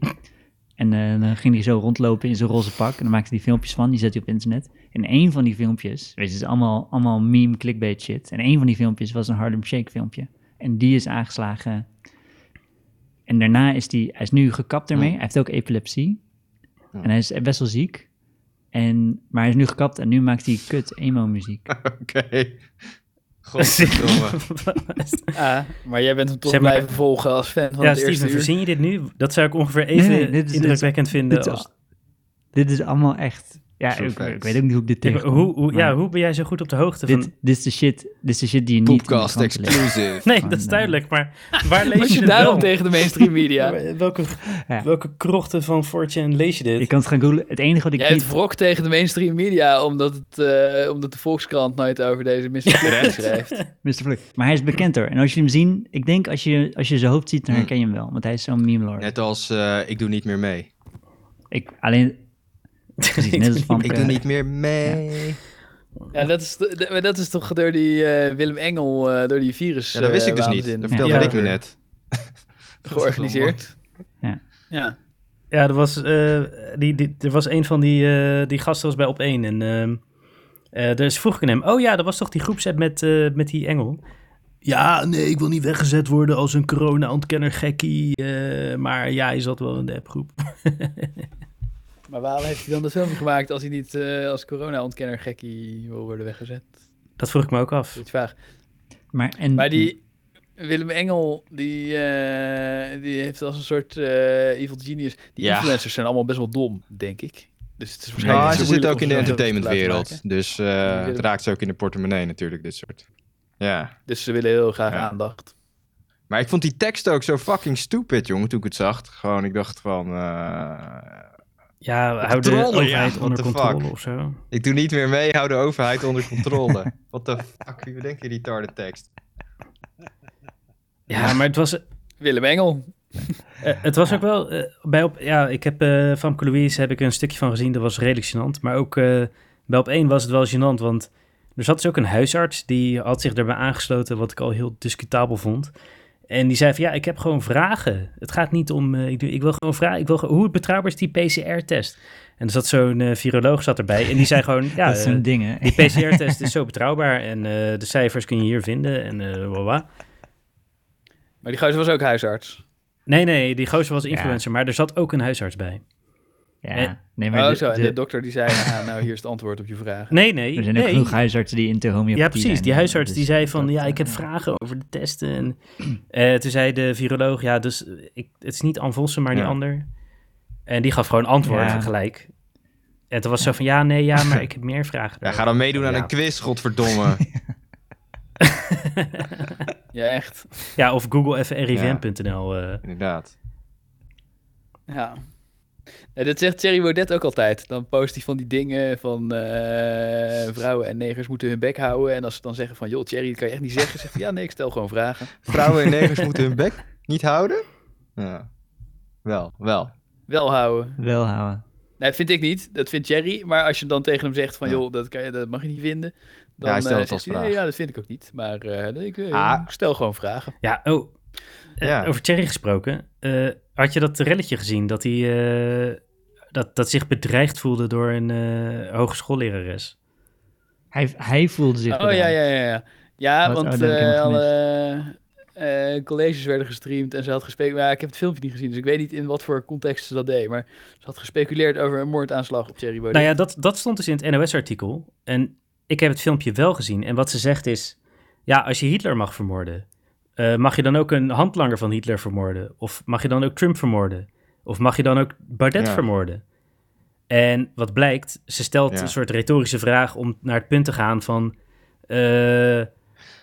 D: En eh, dan ging hij zo rondlopen in zijn roze pak en dan maakte hij filmpjes van, die zet hij op internet. En één van die filmpjes, weet je, het is allemaal, allemaal meme clickbait shit. En één van die filmpjes was een Harlem Shake filmpje. En die is aangeslagen. En daarna is die, hij is nu gekapt ermee, hij heeft ook epilepsie. En hij is best wel ziek. En, maar hij is nu gekapt en nu maakt hij kut emo-muziek.
C: eh. Oké. Godverdomme.
B: Ah, maar jij bent hem toch
A: Zeg maar-
B: blijven volgen als fan van
A: ja,
B: het eerste
A: Steven,
B: uur.
A: verzin je dit nu? Dat zou ik ongeveer even
D: Nee, nee, dit is-
A: indrukwekkend vinden.
D: dit is-
A: als,
D: Dit is allemaal echt... Ja,
C: True
D: ik,
C: facts.
D: ik weet ook niet hoe ik dit
A: Ja, maar
D: tegenkom,
A: hoe, hoe, ja,
D: maar
A: hoe ben jij zo goed op de hoogte
D: Dit,
A: van...
D: dit, is de shit, dit is de shit die je niet in de
C: Poepcast
D: krant leest.
C: exclusive.
A: Nee,
D: van,
A: dat is
D: eh,
A: duidelijk, maar waar lees
B: Als
A: je
B: je
A: het
B: daarom
A: wel?
B: tegen de mainstream media.
A: Ja, Welke,
D: Ja.
A: welke krochten van Fortune lees je dit?
D: Je kan het gaan googlen. Het enige wat ik
B: Jij
D: niet...
B: hebt wrok tegen de mainstream media omdat, het, eh, omdat de Volkskrant nooit over deze misverstand schrijft.
D: Mr. Vlug. Maar hij is bekend hoor. En als je hem ziet, ik denk als je, als je zijn hoofd ziet, dan
B: Hmm.
D: herken je hem wel. Want hij is zo'n meme lord.
C: Net als eh, ik doe niet meer mee.
D: Ik, alleen... Precies, net als van...
C: Ik doe niet meer mee.
B: Ja, dat is, de- de- maar dat is toch door die eh, Willem Engel, eh, door die virus.
C: Ja, dat wist
B: eh,
C: ik dus niet.
B: waanzin
C: Dat vertelde
A: Ja.
C: ik me net.
B: Georganiseerd.
D: Ja.
B: ja.
A: Ja, er was, eh, die, die, er was een van die, eh, die gasten was bij op één En ehm eh dus vroeg ik aan hem, oh ja, dat was toch die groepset met, eh, met die engel? Ja, nee, ik wil niet weggezet worden als een corona-ontkenner gekkie. eh, maar ja, hij zat wel in de appgroep.
B: Maar waarom heeft hij dan dat filmpje gemaakt als hij niet eh, als corona-ontkenner gekkie wil worden weggezet?
A: Dat vroeg ik me ook af.
B: Dat is vaag.
D: Maar, en,
B: Maar die
C: Mm-hmm.
B: Willem Engel, die, eh, die heeft als een soort eh, evil genius. Die
C: Ja.
B: influencers zijn allemaal best wel dom, denk ik. Dus het is waarschijnlijk
C: Ja,
B: niet
C: Ah, ze
B: zo
C: zitten
B: moeilijk
C: ook in de
B: om ze te laten
C: entertainmentwereld.
B: maken.
C: Dus eh,
B: willen-
C: het raakt ze ook in de portemonnee natuurlijk, dit soort. Ja.
B: Dus ze willen heel graag
C: Ja.
B: aandacht.
C: Maar ik vond die tekst ook zo fucking stupid, jongen, toen ik het zag. Gewoon, ik dacht van... eh,
A: Ja, hou de
C: Controle, ja,
A: overheid
C: what
A: onder
C: the
A: controle
C: fuck.
A: of zo.
C: ik doe niet meer mee, hou de overheid onder controle. Wat de fuck, wie bedenkt die retarded tekst?
A: Ja, maar het was,
B: Willem Engel.
A: Eh, het was ook wel eh, bij op. Ja, ik heb eh Famke Louise heb ik een stukje van gezien. Dat was redelijk gênant. Maar ook eh, bij op één was het wel gênant, want er zat dus ook een huisarts die had zich daarbij aangesloten, wat ik al heel discutabel vond. En die zei van ja, ik heb gewoon vragen. Het gaat niet om. eh, ik, doe- ik wil gewoon vragen. Ik wil, gewoon- hoe betrouwbaar is die PCR-test? En er zat zo'n eh, viroloog zat erbij en die zei gewoon ja.
D: dat is
A: eh,
D: zo'n ding hè.
A: die PCR-test is zo betrouwbaar en eh, de cijfers kun je hier vinden en eh voilà.
B: Maar die gozer was ook huisarts.
A: Nee, nee, die gozer was influencer, maar er zat ook een huisarts bij. Eh,
D: Ja, nee, maar
B: Oh
D: de-
B: zo, en
D: de-
B: de dokter die zei, ah, nou hier is het antwoord op je vraag.
A: Nee, nee.
D: er zijn ook
A: nee.
D: genoeg huisartsen die in de homeopathie
A: Ja, precies.
D: zijn,
A: Die
D: eh,
A: huisarts
D: dus
A: die zei van,
D: dat,
A: ja, ik heb
D: eh,
A: vragen over de testen. En, eh, toen zei de viroloog, ja, dus ik, het is niet Ann Vossen, maar die
C: Ja.
A: ander. En die gaf gewoon antwoord
D: Ja.
A: gelijk. En toen was zo van, ja, nee, ja, maar ik heb meer vragen.
C: Ja, ga dan meedoen aan
A: Ja.
C: een quiz, godverdomme.
B: Ja, echt.
A: Ja, of google even rivm.nl. eh.
C: Inderdaad.
B: Ja. Ja, dat zegt Thierry Baudet ook altijd. Dan post hij van die dingen van eh, vrouwen en negers moeten hun bek houden. En als ze dan zeggen van, joh Thierry, dat kan je echt niet zeggen. Zegt hij, ja nee, ik stel gewoon vragen.
C: Vrouwen en negers moeten hun bek niet houden? Ja. Wel, wel.
B: Wel houden.
D: Wel houden.
B: Nee, vind ik niet. Dat vindt Jerry. Maar als je dan tegen hem zegt van,
C: Ja.
B: joh, dat, kan je, dat mag je niet vinden. Dan
C: Ja, hij stelt
B: eh,
C: het
B: zegt
C: als
B: hij,
C: vraag.
B: nee, ja, dat vind ik ook niet. Maar eh, ik, eh,
C: Ah.
B: ik stel gewoon vragen.
A: Ja, oh, eh,
C: Ja.
A: over Thierry gesproken. eh, had je dat relletje gezien, dat hij eh, dat, dat zich bedreigd voelde door een eh hogeschoollerares?
D: Hij, hij voelde zich
B: Oh ja,
D: bedreigd.
B: ja, ja. Ja, ja
D: Wat? Oh, dat
B: want
D: heb ik
B: eh,
D: helemaal
B: alle eh, colleges werden gestreamd en ze had gespeculeerd. Maar ja, ik heb het filmpje niet gezien, dus ik weet niet in wat voor context ze dat deed. Maar ze had gespeculeerd over een moordaanslag op Thierry Baudet.
A: Nou ja, dat, dat stond dus in het NOS-artikel. En ik heb het filmpje wel gezien. En wat ze zegt is: ja, als je Hitler mag vermoorden, eh, mag je dan ook een handlanger van Hitler vermoorden? Of mag je dan ook Trump vermoorden? Of mag je dan ook Bardet
C: Ja.
A: vermoorden? En wat blijkt, ze stelt
C: Ja.
A: een soort retorische vraag om naar het punt te gaan van. eh,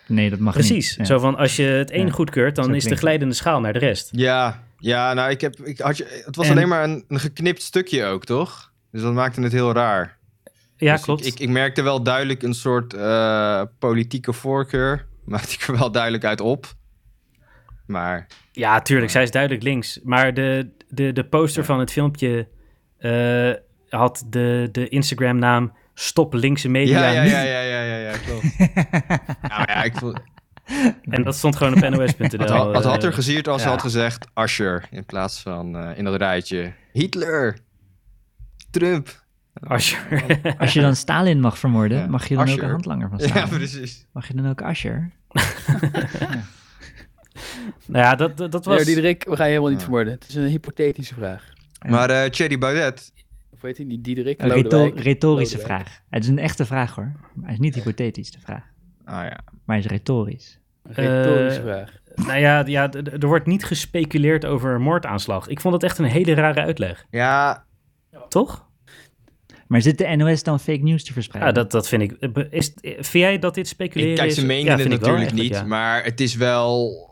D: Nee, dat mag
A: precies.
D: niet. Ja.
A: Zo van als je het een
D: Ja.
A: goedkeurt,
D: Zo
A: dan is de
D: klinkt het.
A: glijdende schaal naar de rest.
C: Ja, ja nou, ik heb, ik had je, het was
A: En-
C: alleen maar een, een geknipt stukje ook, toch? Dus dat maakte het heel raar.
A: Ja,
C: Dus ik-
A: klopt.
C: Ik, ik, merkte wel duidelijk een soort eh, politieke voorkeur. Maakte ik er wel duidelijk uit op. Maar
A: Ja, tuurlijk. Zij is duidelijk links. Maar de, de, de poster van het filmpje eh, had de, de Instagram-naam Stop Linkse Media.
C: ja, ja,
A: Nu.
C: ja, ja, ja, ja, ja, klopt. ja, maar ja, ik voel,
A: En dat stond gewoon op nos.nl.
C: wat, had, wat
A: eh.
C: had er gezierd als ze
A: ja.
C: had gezegd Asher in plaats van eh, in dat rijtje Hitler, Trump.
A: Als je-
D: Als je dan Stalin mag vermoorden,
C: Ja.
D: mag je dan ook
C: Asscher.
D: een handlanger van
C: Ja,
D: Stalin?
C: precies.
D: Mag je dan ook Asher?
A: nou ja, dat, dat, dat was...
B: Diederik, we gaan je helemaal niet
C: Ja.
B: vermoorden. Het is een hypothetische vraag.
D: Ja.
C: Maar eh Thierry Baudet,
B: Of weet hij niet, Diederik?
D: Een rheto-
B: Lodewijk.
D: retorische
B: Lodewijk.
D: vraag. Het is een echte vraag hoor. Maar het is niet hypothetisch, de vraag.
C: Ah ja.
D: Maar het is retorisch.
B: Retorische
A: Eh,
B: vraag.
A: Nou ja, ja, d- d- er wordt niet gespeculeerd over een moordaanslag. Ik vond dat echt een hele rare uitleg,
C: Ja,
A: toch?
D: Maar zit de NOS dan fake news te
A: Ja,
D: verspreiden?
A: dat, dat vind ik. eh, Is, vind jij dat dit speculeren
C: ik kijk,
A: is?
C: ze menen
A: Ja,
C: het
A: vind ik wel
C: natuurlijk niet,
A: eigenlijk, ja.
C: maar het is wel...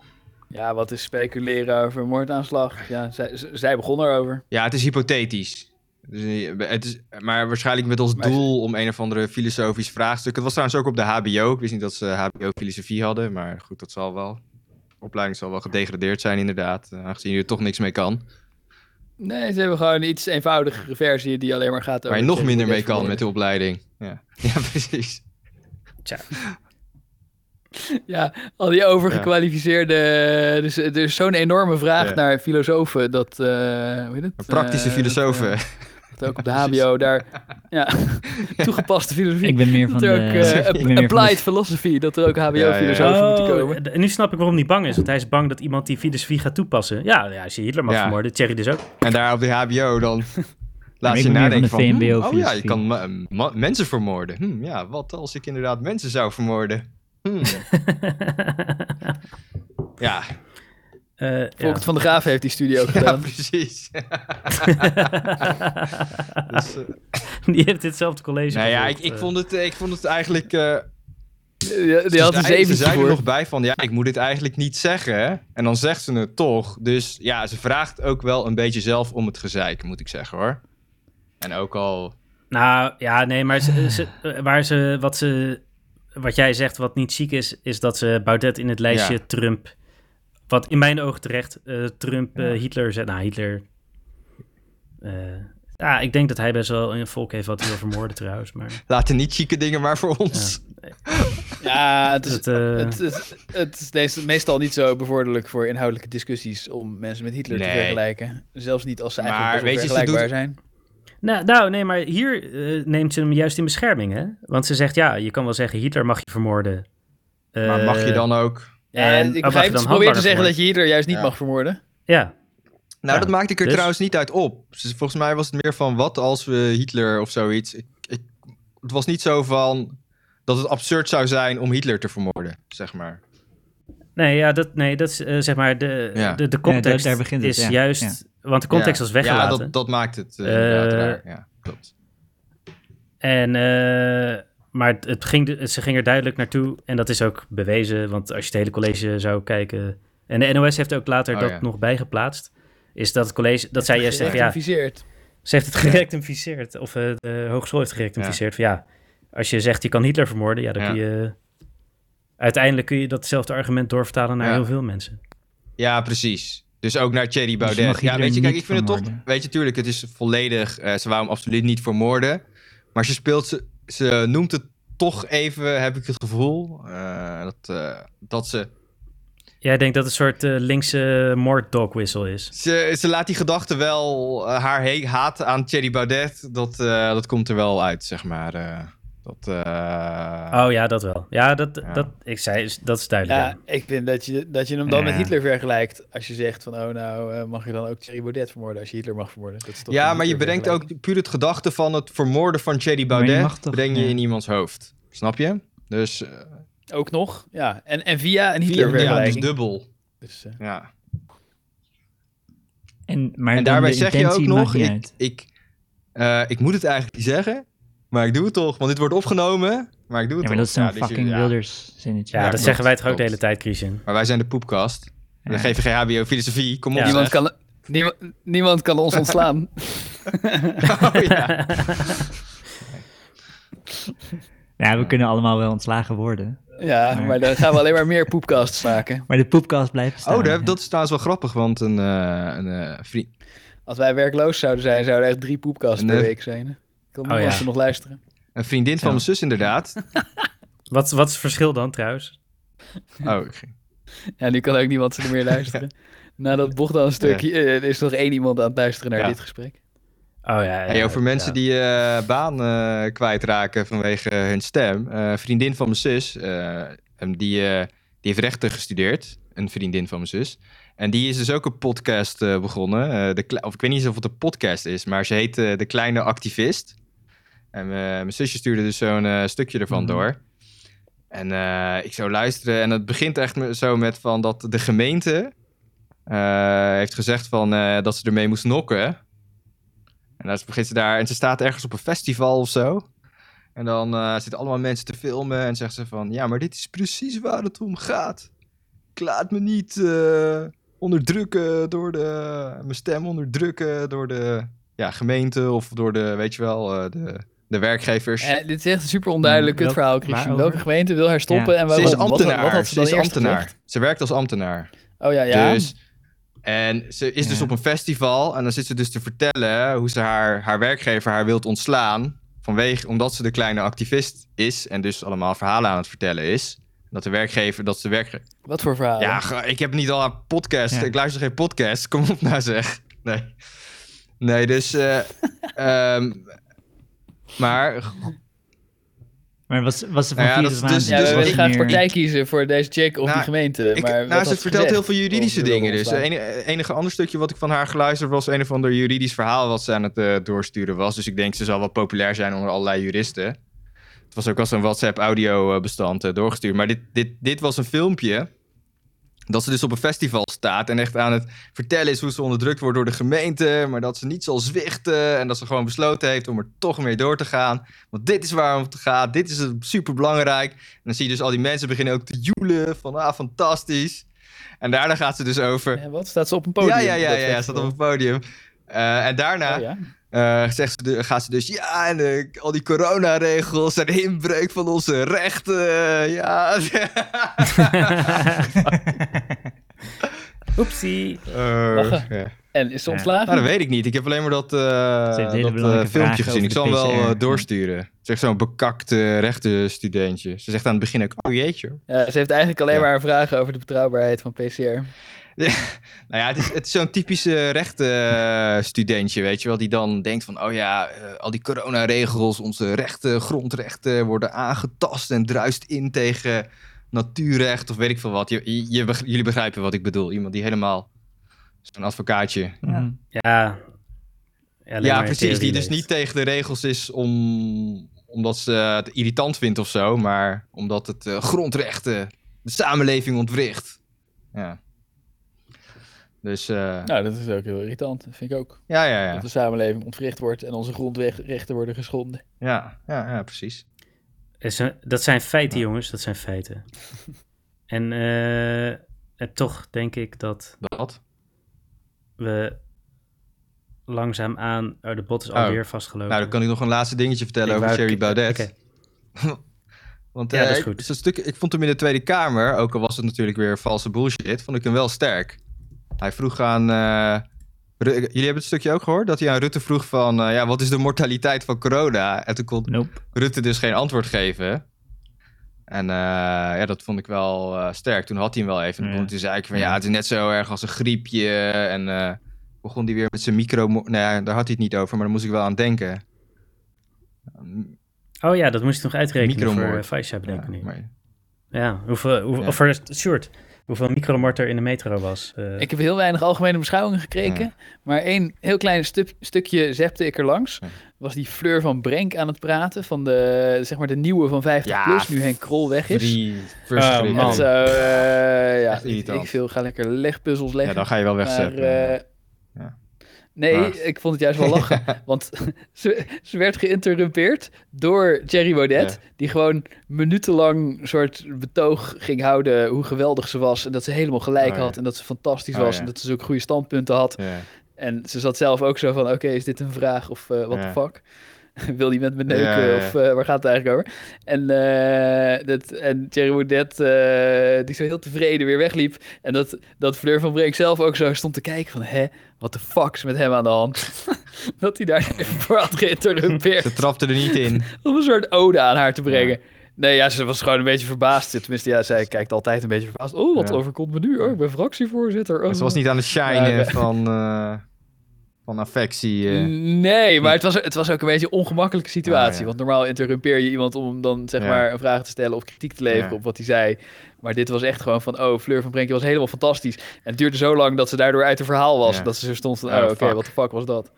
B: Ja, wat is speculeren over een moordaanslag? Ja, zij, z- zij begon erover.
C: Ja, het is hypothetisch. Dus, eh, het is, maar waarschijnlijk met als
B: Maar-
C: doel om een of andere filosofisch vraagstuk. Het was trouwens ook op de HBO. Ik wist niet dat ze HBO-filosofie hadden, maar goed, dat zal wel. De opleiding zal wel gedegradeerd zijn, inderdaad. eh, Aangezien je er toch niks mee kan.
B: Nee, ze hebben gewoon een iets eenvoudigere versie die alleen maar gaat over...
C: Waar je nog
B: zeg,
C: minder
B: hoe
C: mee
B: deze
C: kan met de
B: verwoorden-
C: opleiding. Ja, ja precies.
B: Ja, al die overgekwalificeerde... Dus er is zo'n enorme vraag
C: Ja.
B: naar filosofen dat... eh, hoe heet het?
C: Praktische
B: Eh, dat,
C: filosofen.
B: eh, dat ook op de
C: Precies.
B: HBO daar... Ja, toegepaste filosofie.
D: Ik ben meer van
B: dat
D: de...
B: er ook eh,
D: ik ben meer van de-
B: applied philosophy, dat er ook HBO-filosofen moeten
A: Oh,
B: komen.
A: d- en nu snap ik waarom hij bang is. Want hij is bang dat iemand die filosofie gaat toepassen. Ja, ja als je Hitler mag
C: Ja.
A: vermoorden, Thierry dus ook.
C: En daar op de HBO dan laat
D: ik
C: je
D: ben meer
C: nadenken
D: van de
C: van...
D: VMBO
C: hm, oh ja, je
D: filosofie.
C: kan ma- ma- mensen vermoorden. Hm, ja, wat als ik inderdaad mensen zou vermoorden? Hm. ja,
A: Eh, ja.
B: Volkert van de Graaf heeft die studie ook
C: ja,
B: gedaan.
C: precies. dus, eh,
A: Die heeft ditzelfde college.
C: nou ja, ik,
A: gevolgd,
C: ik,
A: eh.
C: vond het, ik vond het eigenlijk... eh,
B: Ja, Die had
C: ze
B: een
C: zei- ze
B: zeventje
C: zei er
B: voor.
C: nog bij van, ja, ik moet dit eigenlijk niet zeggen. hè. En dan zegt ze het toch. Dus ja, ze vraagt ook wel een beetje zelf om het gezeik, moet ik zeggen hoor. En ook al...
A: Nou ja, nee, maar ze, ze- eh, waar ze, wat, ze, wat jij zegt wat niet ziek is, is dat ze Baudet in het lijstje
C: Ja.
A: Trump, wat in mijn oog terecht, eh, Trump, eh, Hitler zet. Nou, Hitler. eh, ja, ik denk dat hij best wel een volk heeft wat hij wil vermoorden trouwens. Maar
C: Laten niet chique dingen maar voor ons.
B: Ja, het is,
A: dat, eh,
B: Het, het, het is deze- meestal niet zo bevorderlijk voor inhoudelijke discussies om mensen met Hitler te
C: Nee.
B: vergelijken. Zelfs niet als ze
C: Maar
B: eigenlijk best wel
C: weet je, ze
B: vergelijkbaar
C: doet-
B: zijn.
A: nou, nou, nee, maar hier eh, neemt ze hem juist in bescherming, hè? Want ze zegt, ja, je kan wel zeggen, Hitler mag je vermoorden.
C: maar mag je
A: Eh,
C: dan ook...
B: Ja,
A: en-
B: ik
A: oh, mag je
B: begrijp
A: dan
B: dat ze proberen te
A: handlanger
B: zeggen dat
A: vermoorden?
B: je Hitler juist niet
C: Ja.
B: mag vermoorden.
A: Ja,
C: Nou,
A: Ja,
C: dat maakte ik er
A: dus-
C: trouwens niet uit op. Dus volgens mij was het meer van wat als we Hitler of zoiets. Ik, ik, het was niet zo van dat het absurd zou zijn om Hitler te vermoorden, zeg maar.
A: Nee, ja, dat, nee, dat is eh, zeg maar de,
C: Ja.
A: de, de context
D: Ja, daar- daar begint het,
A: is
D: ja.
A: juist... Want de context
C: ja.
A: was weggelaten.
C: Ja, dat, dat maakt het eh,
A: Eh,
C: inderdaad raar. Ja, klopt.
A: En, eh, maar het- het ging, de- ze ging er duidelijk naartoe. En dat is ook bewezen. Want als je het hele college zou kijken... En de NOS heeft ook later
C: Oh,
A: dat
C: ja.
A: nog bijgeplaatst. Is dat het college... Dat zij juist zeggen, ja,
B: Gerectificeerd.
A: ze heeft het gerectificeerd. Of eh, de hogeschool heeft gerectificeerd. Van, ja, als je zegt, je kan Hitler vermoorden... Ja, dan
C: Ja.
A: kun je... eh, Uiteindelijk kun je datzelfde argument doorvertalen naar
C: Ja.
A: heel veel mensen.
C: Ja, precies. Dus ook naar Thierry
D: je
C: Baudet.
D: mag
C: ja,
D: Hitler
C: weet je, kijk,
D: niet
C: ik vind het toch.
D: vermoorden.
C: Weet je, tuurlijk, het is volledig. eh, ze wou hem absoluut niet vermoorden. Maar ze speelt ze. Ze noemt het toch even, heb ik het gevoel. eh, dat, eh, dat ze
A: Jij denkt dat het een soort eh, linkse moorddog whistle is.
C: Ze, ze laat die gedachte wel, eh, haar he- haat aan Thierry Baudet, dat, eh, dat komt er wel uit, zeg maar. eh. dat, eh,
D: Ah,
A: Oh ja, dat wel. Ja, dat,
C: Ja.
A: dat, ik zei, dat is duidelijk.
B: Ja,
A: ja.
B: ik vind dat je, dat je hem dan met
D: Ja.
B: Hitler vergelijkt. Als je zegt van, oh nou, eh, mag je dan ook Thierry Baudet vermoorden als je Hitler mag vermoorden. Dat is toch
C: ja,
B: een
C: maar je
B: Hitler
C: bedenkt ook puur het gedachte van het vermoorden van Thierry
D: Maar je
C: Baudet,
D: mag toch-
C: breng je
D: ja.
C: in iemands hoofd. Snap je? Dus, eh,
B: vergelijking. Ook nog, ja. En, en via een Hitler
C: vier, ja, dus
B: vergelijking.
C: dubbel.
B: dus, eh,
C: Ja.
D: En, maar
C: en
D: dan
C: daarbij
D: de
C: zeg je ook
D: intentie maakt
C: nog,
D: niet
C: ik,
D: uit.
C: ik, eh, ik moet het eigenlijk niet zeggen, maar ik doe het toch, want dit wordt opgenomen, maar ik
D: Ja, maar
C: doe het toch.
D: dat is zo'n
C: Ja, dus je-
D: fucking
C: ja.
D: Wilders zinnetje.
A: Ja, dat
C: klopt,
A: zeggen wij toch ook de
C: klopt.
A: hele tijd, Christian.
C: Maar wij zijn de poepkast. We
D: Ja.
C: geven geen HBO filosofie, kom op.
A: Ja.
C: zeg.
B: niemand, kan, niemand, niemand kan ons ontslaan.
C: Oh, ja.
D: Ja, we kunnen allemaal wel ontslagen worden.
B: ja, maar dan gaan we alleen maar meer poepcasts maken.
D: Maar de poepkast blijft staan.
C: Oh, daar-
D: ja.
C: dat is trouwens wel grappig, want een, eh, een eh, vriend...
B: Als wij werkloos zouden zijn, zouden er echt drie poepcasts
C: Nee.
B: per week zijn. hè? Kan
A: Oh,
B: niemand
A: ja.
B: ze nog luisteren.
C: Een vriendin van
D: Ja.
C: mijn zus inderdaad.
A: Wat, wat is het verschil dan trouwens?
C: Oh, ik ging-
B: Ja, nu kan ook niemand ze er meer luisteren. Na dat Bogdan stukje eh, is nog één iemand aan het luisteren naar
C: Ja.
B: dit gesprek.
A: Oh ja.
C: hey, over mensen die eh, baan eh, kwijtraken vanwege hun stem. Eh, Een vriendin van mijn zus, eh, hem die eh, heeft rechten gestudeerd, een vriendin van mijn zus. En die is dus ook een podcast eh, begonnen. eh, de kle- of ik weet niet eens of het een podcast is, maar ze heet eh, De Kleine Activist. En eh, mijn zusje stuurde dus zo'n eh, stukje ervan
A: Mhm.
C: door. En eh, ik zou luisteren en het begint echt me- zo met van dat de gemeente eh, heeft gezegd van, eh, dat ze ermee moest nokken. En dan begint ze daar en ze staat ergens op een festival of zo. En dan eh, zitten allemaal mensen te filmen en zegt ze van... Ja, maar dit is precies waar het om gaat. Ik laat me niet eh, onderdrukken door de... Mijn stem onderdrukken door de ja, gemeente of door de, weet je wel, eh, de, de werkgevers.
B: Eh, dit is echt een super onduidelijk
A: Mm, Welk-
B: het verhaal, Christian.
A: waarover?
B: Welke gemeente wil haar stoppen?
A: Ja.
B: En
C: ze
B: waarom?
C: is
B: Wat- wat-
C: ambtenaar.
B: Wat, had ze
C: ze
B: dan
C: is
B: eerst
C: ambtenaar.
B: gezegd?
C: Ze werkt als ambtenaar.
B: Oh ja, ja.
C: Dus, en ze is dus
D: Ja.
C: op een festival en dan zit ze dus te vertellen hoe ze haar, haar werkgever haar wilt ontslaan. Vanwege, omdat ze de kleine activist is en dus allemaal verhalen aan het vertellen is. Dat de werkgever, dat ze werkgever...
B: Wat voor verhaal?
C: Ja, ge- ik heb niet al een podcast.
D: Ja.
C: Ik luister geen podcast. Kom op nou zeg. Nee. Nee, dus... eh, ehm, maar
D: Maar was, was ze van
C: Nou ja,
D: vier
C: dat
D: tot
C: is
D: aan
C: dus-
B: Ja,
D: dus
B: we
D: was
B: willen
D: het
B: graag
D: meer-
B: partij kiezen voor deze chick of
C: Nou,
B: die gemeente.
C: Ik,
B: maar
C: nou,
B: wat
C: ze
B: had
C: vertelt heel
B: gezegd?
C: veel juridische
B: Of eh, ze wilde
C: dingen. Dus het
B: ontslaan.
C: enige, enige ander stukje wat ik van haar geluisterd was een of ander juridisch verhaal wat ze aan het eh, doorsturen was. Dus ik denk ze zal wel populair zijn onder allerlei juristen. Het was ook wel zo'n WhatsApp audio eh, bestand eh, doorgestuurd. Maar dit, dit, dit was een filmpje dat ze dus op een festival staat en echt aan het vertellen is hoe ze onderdrukt wordt door de gemeente. Maar dat ze niet zal zwichten en dat ze gewoon besloten heeft om er toch mee door te gaan. Want dit is waarom het gaat, dit is super belangrijk. En dan zie je dus al die mensen beginnen ook te joelen van ah, fantastisch. En daarna gaat ze dus over...
B: En wat? Staat ze op een podium?
C: ja, ja, ja,
B: Dat
C: ja,
B: weet
C: ja,
B: ik
C: staat op
B: wel.
C: het podium. Eh, en daarna
B: Oh, ja.
C: eh, zegt ze, de- gaat ze dus, ja, en eh, al die coronaregels en inbreuk van onze rechten, ja. Eh,
A: Oepsie.
C: Eh, ja.
B: En is ze
D: Ja.
B: ontslagen?
C: Nou, dat weet ik niet. Ik heb alleen maar dat,
D: heeft
C: eh,
D: hele
C: dat eh,
D: belangrijke
C: filmpje
D: vragen
C: gezien. Ik zal hem
D: over de
C: wel eh,
D: PCR.
C: doorsturen. Zegt zo'n bekakte rechtenstudentje. Ze zegt aan het begin ook, oh jeetje.
B: Ja, ze heeft eigenlijk alleen
C: Ja.
B: maar vragen over de betrouwbaarheid van PCR.
C: Nou ja, het is, het is zo'n typische rechtenstudentje, weet je wel. Die dan denkt van, oh ja, eh, al die coronaregels, onze rechten, grondrechten worden aangetast en druist in tegen natuurrecht of weet ik veel wat. Je, je- je beg- jullie begrijpen wat ik bedoel. Iemand die helemaal zo'n advocaatje
D: Mhm.
A: Ja. alleen
C: Ja,
A: maar in
C: precies. Die
A: theorie
C: dus
A: leeft.
C: niet tegen de regels is om, omdat ze het irritant vindt of zo, maar omdat het eh, grondrechten de samenleving ontwricht. Ja. Dus eh,
B: Nou, dat is ook heel irritant. Dat vind ik ook.
C: ja, ja, ja.
B: Dat de samenleving ontwricht wordt en onze grondrechten worden geschonden.
C: Ja, ja, ja, precies.
A: Is een- Dat zijn feiten, jongens. Dat zijn feiten. en, eh, en toch denk ik dat
C: Dat.
A: we langzaamaan... Oh, de bot is
C: Oh.
A: alweer vastgelopen.
C: Nou, dan kan ik nog een laatste dingetje vertellen
A: Ik
C: over
A: wou-
C: Thierry Baudet.
A: Oké.
C: Want
A: Ja,
C: eh,
A: dat is
C: ik-
A: goed.
C: zo'n stuk, ik vond hem in de Tweede Kamer, ook al was het natuurlijk weer valse bullshit, vond ik hem wel sterk. Hij vroeg aan. eh, Ru- jullie hebben het stukje ook gehoord? Dat hij aan Rutte vroeg van, eh, ja, wat is de mortaliteit van corona? En toen kon
D: Nope.
C: Rutte dus geen antwoord geven. En eh, ja, dat vond ik wel eh, sterk. Toen had hij hem wel even.
D: Ja.
C: Toen zei ik van, ja, het is net zo erg als een griepje. En eh, begon hij weer met zijn micro... Nee, daar had hij het niet over, maar daar moest ik wel aan denken.
A: Oh ja, dat moest ik nog uitrekenen voor
C: Micromoord.
A: uh, Faisha, bedenk ik
C: Ja,
A: nu.
C: maar-
A: Ja, hoeveel, hoe,
C: Ja.
A: of er, Sjoerd, hoeveel micromart er in de metro was. eh,
B: Ik heb heel weinig algemene beschouwingen gekregen. Maar één heel klein stu- stukje zepte ik er langs.
C: Ja.
B: Was die Fleur van Brenk aan het praten. Van de, zeg maar de nieuwe van 50
C: Ja,
B: plus. Nu Henk Krol weg is.
C: Drie
A: verschrikkelijk. man.
B: En zo, eh, ja,
C: Echt
B: weet
C: irritant.
B: ik veel. Ga lekker legpuzzels
C: Ja,
B: leggen.
C: dan ga je wel
B: maar,
C: wegzetten.
B: eh,
C: Ja.
B: Nee,
C: Maar-
B: ik vond het juist wel lachen. want ze, ze werd geïnterrumpeerd door Jerry Baudet. Die gewoon minutenlang een soort betoog ging houden hoe geweldig ze was. En dat ze helemaal gelijk
C: Oh, ja.
B: had. En dat ze fantastisch
C: Oh,
B: was.
C: ja.
B: En dat ze ook goede standpunten had.
C: ja.
B: En ze zat zelf ook zo van, oké, is dit een vraag of wat what
C: Ja.
B: the fuck? Wil die met me neuken
C: Ja, ja, ja.
B: of eh, waar gaat het eigenlijk over? En, eh dat, en Thierry Baudet, eh, die zo heel tevreden weer wegliep. En dat, dat Fleur van Breek zelf ook zo stond te kijken van, hè, wat de fuck is met hem aan de hand? dat hij daar even voor had geïnterrumpeerd
C: Ze trapte er niet in.
B: om een soort ode aan haar te brengen. Nee, ja, ze was gewoon een beetje verbaasd. Tenminste, ja, zij kijkt altijd een beetje verbaasd. Oh, wat
C: Ja.
B: overkomt me nu? Oh, ik ben fractievoorzitter. Oh.
C: Ze was niet aan het shinen
B: Maar, eh,
C: van... eh, Van affectie. eh.
B: Mm. Nee, maar het was, het was ook een beetje een ongemakkelijke situatie.
C: Ah, ja.
B: Want normaal interrumpeer je iemand om hem dan zeg
C: Ja.
B: maar een vraag te stellen of kritiek te leveren
C: Ja.
B: op wat hij zei. Maar dit was echt gewoon van, oh, Fleur van Brenkje was helemaal fantastisch. En het duurde zo lang dat ze daardoor uit het verhaal was.
C: Ja.
B: Dat ze zo stond van,
C: Oh,
B: oh, oké,
C: fuck.
B: wat de fuck was dat?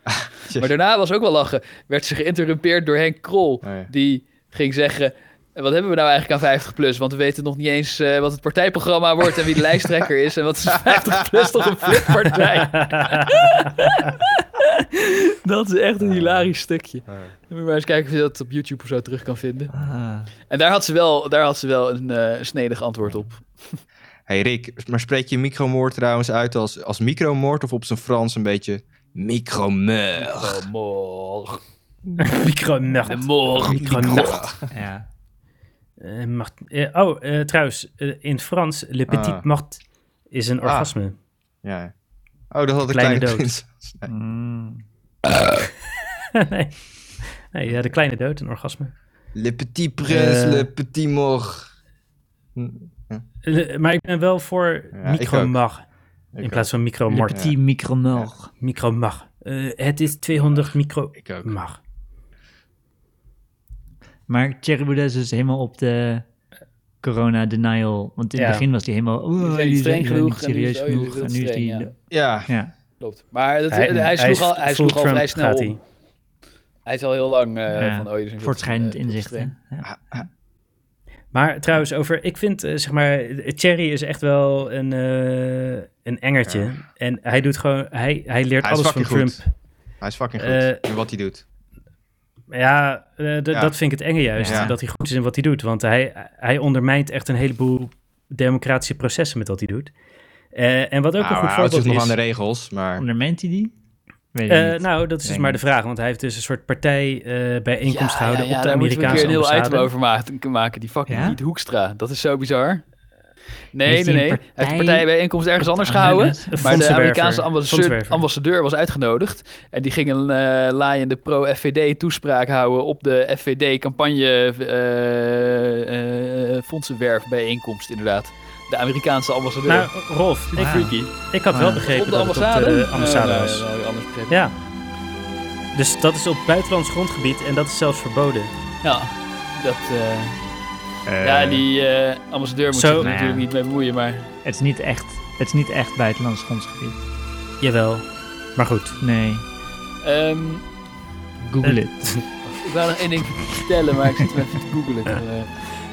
B: maar daarna was ook wel lachen. Werd ze geïnterrumpeerd door Henk Krol.
C: Oh, ja.
B: Die ging zeggen, "En wat hebben we nou eigenlijk aan 50PLUS? Want we weten nog niet eens eh, wat het partijprogramma wordt en wie de lijsttrekker is. En wat is 50PLUS toch een flippartij? dat is echt een hilarisch stukje. Moet je maar eens kijken of je dat op YouTube of zo terug kan vinden.
D: Ah.
B: En daar had ze wel, daar had ze wel een eh, snedig antwoord op.
C: Hey Rick, maar spreek je micromoord trouwens uit als, als micromoord of op zijn Frans een beetje micromeur?
B: Oh, morgen.
A: Micronacht.
B: Morgen.
A: Micronacht.
D: Ja.
A: Eh, mart- eh, oh, eh, trouwens, eh, in Frans, le petit
C: Ah.
A: mort is een orgasme.
C: Ja. Oh, dat had een
A: Kleine
C: kleine, kleine
A: dood.
C: prins.
D: Mm.
A: nee. nee ja, de kleine dood, een orgasme.
C: Le petit prince,
A: Eh.
C: le petit mort.
A: Le- Eh, maar ik ben wel voor
C: Ja, ik
A: micromag
C: Ik
A: in plaats van micromort.
D: Morty micromulg.
A: Micromag. Eh, het is 200 micro.
C: Ik ook.
A: Mag.
D: Maar Thierry Baudet is dus helemaal op de corona-denial. Want in het
A: Ja.
D: begin was hij helemaal... Oh,
B: niet
D: jullie
B: streng
D: jullie
B: genoeg en nu
D: serieus
B: is- oh, jullie
D: genoeg.
B: zijn
D: En
B: veel
D: nu is
B: te
D: die...
B: streng,
C: Ja,
D: Ja.
B: Klopt. Maar dat, hij, sloeg
A: is
B: al, hij
A: full
B: sloeg al
A: Trump,
B: vrij snel
A: gaat
B: om.
A: hij.
B: Hij is al heel lang eh,
D: Ja,
B: van... Oh, jullie zijn
D: Voortschrijdend
B: veel te-
D: inzicht,
B: veel te
D: hè?
B: streng.
D: Ja.
A: Maar trouwens, over, ik vind eh, zeg maar, eh, Thierry is echt wel een, eh, een engertje. En hij doet gewoon, hij, hij leert
C: Hij is
A: alles van
C: fucking
A: Trump.
C: goed. hij is fucking goed
A: Eh.
C: in wat hij doet.
A: Ja, eh, d-
C: Ja.
A: dat vind ik het enge juist.
C: Ja.
A: Dat hij goed is in wat hij doet. Want hij, hij ondermijnt echt een heleboel democratische processen met wat hij doet. Eh, en wat ook een
C: Nou, hij
A: goed
C: houdt
A: voorbeeld
C: zich
A: is...
C: nog aan de regels, maar...
D: Onderment hij die? Weet ik
A: Eh,
D: niet.
A: nou, dat is dus
D: Denk
A: maar de
D: niet.
A: vraag. Want hij heeft dus een soort partijbijeenkomst bijeenkomst
B: Ja,
A: gehouden
B: ja, ja,
A: op de
B: daar moeten we
A: Amerikaanse
B: een keer een heel
A: ambassade.
B: item over maken, maken die fucking
D: Ja?
B: Piet Hoekstra. Dat is zo bizar. Nee,
D: Heeft
B: nee,
D: hij
B: nee.
D: een
B: Hij heeft de
D: partij-
B: partijbijeenkomst ergens anders
D: Ah,
B: gehouden.
D: dat is-
A: Een
B: Maar de
A: fondsenwerver.
B: Amerikaanse ambassadeur,
A: Fondsenwerver.
B: ambassadeur was uitgenodigd. En die ging een eh laaiende pro-FVD toespraak houden op de FVD-campagne eh eh fondsenwerfbijeenkomst, inderdaad. De Amerikaanse ambassadeur.
A: Nou, Rolf, ik,
B: Freaky.
A: ik had wel
D: Ah.
A: begrepen
B: Op de
A: dat het op
B: ambassade?
A: de ambassade
B: Eh,
A: was.
B: nou, nou, anders begrepen.
A: Ja. Dus dat is op buitenlands grondgebied en dat is zelfs verboden.
B: Ja, dat... eh, ja, die eh, ambassadeur moet
A: Zo.
B: zich er
A: Nou
D: ja.
B: natuurlijk niet mee bemoeien, maar...
D: Het is niet echt, het is niet echt buitenlands grondgebied.
A: Jawel. Maar goed. Ah,
D: Nee,
B: ehm,
D: google it.
B: ik wou nog één ding vertellen, maar ik zit hem even te googlen.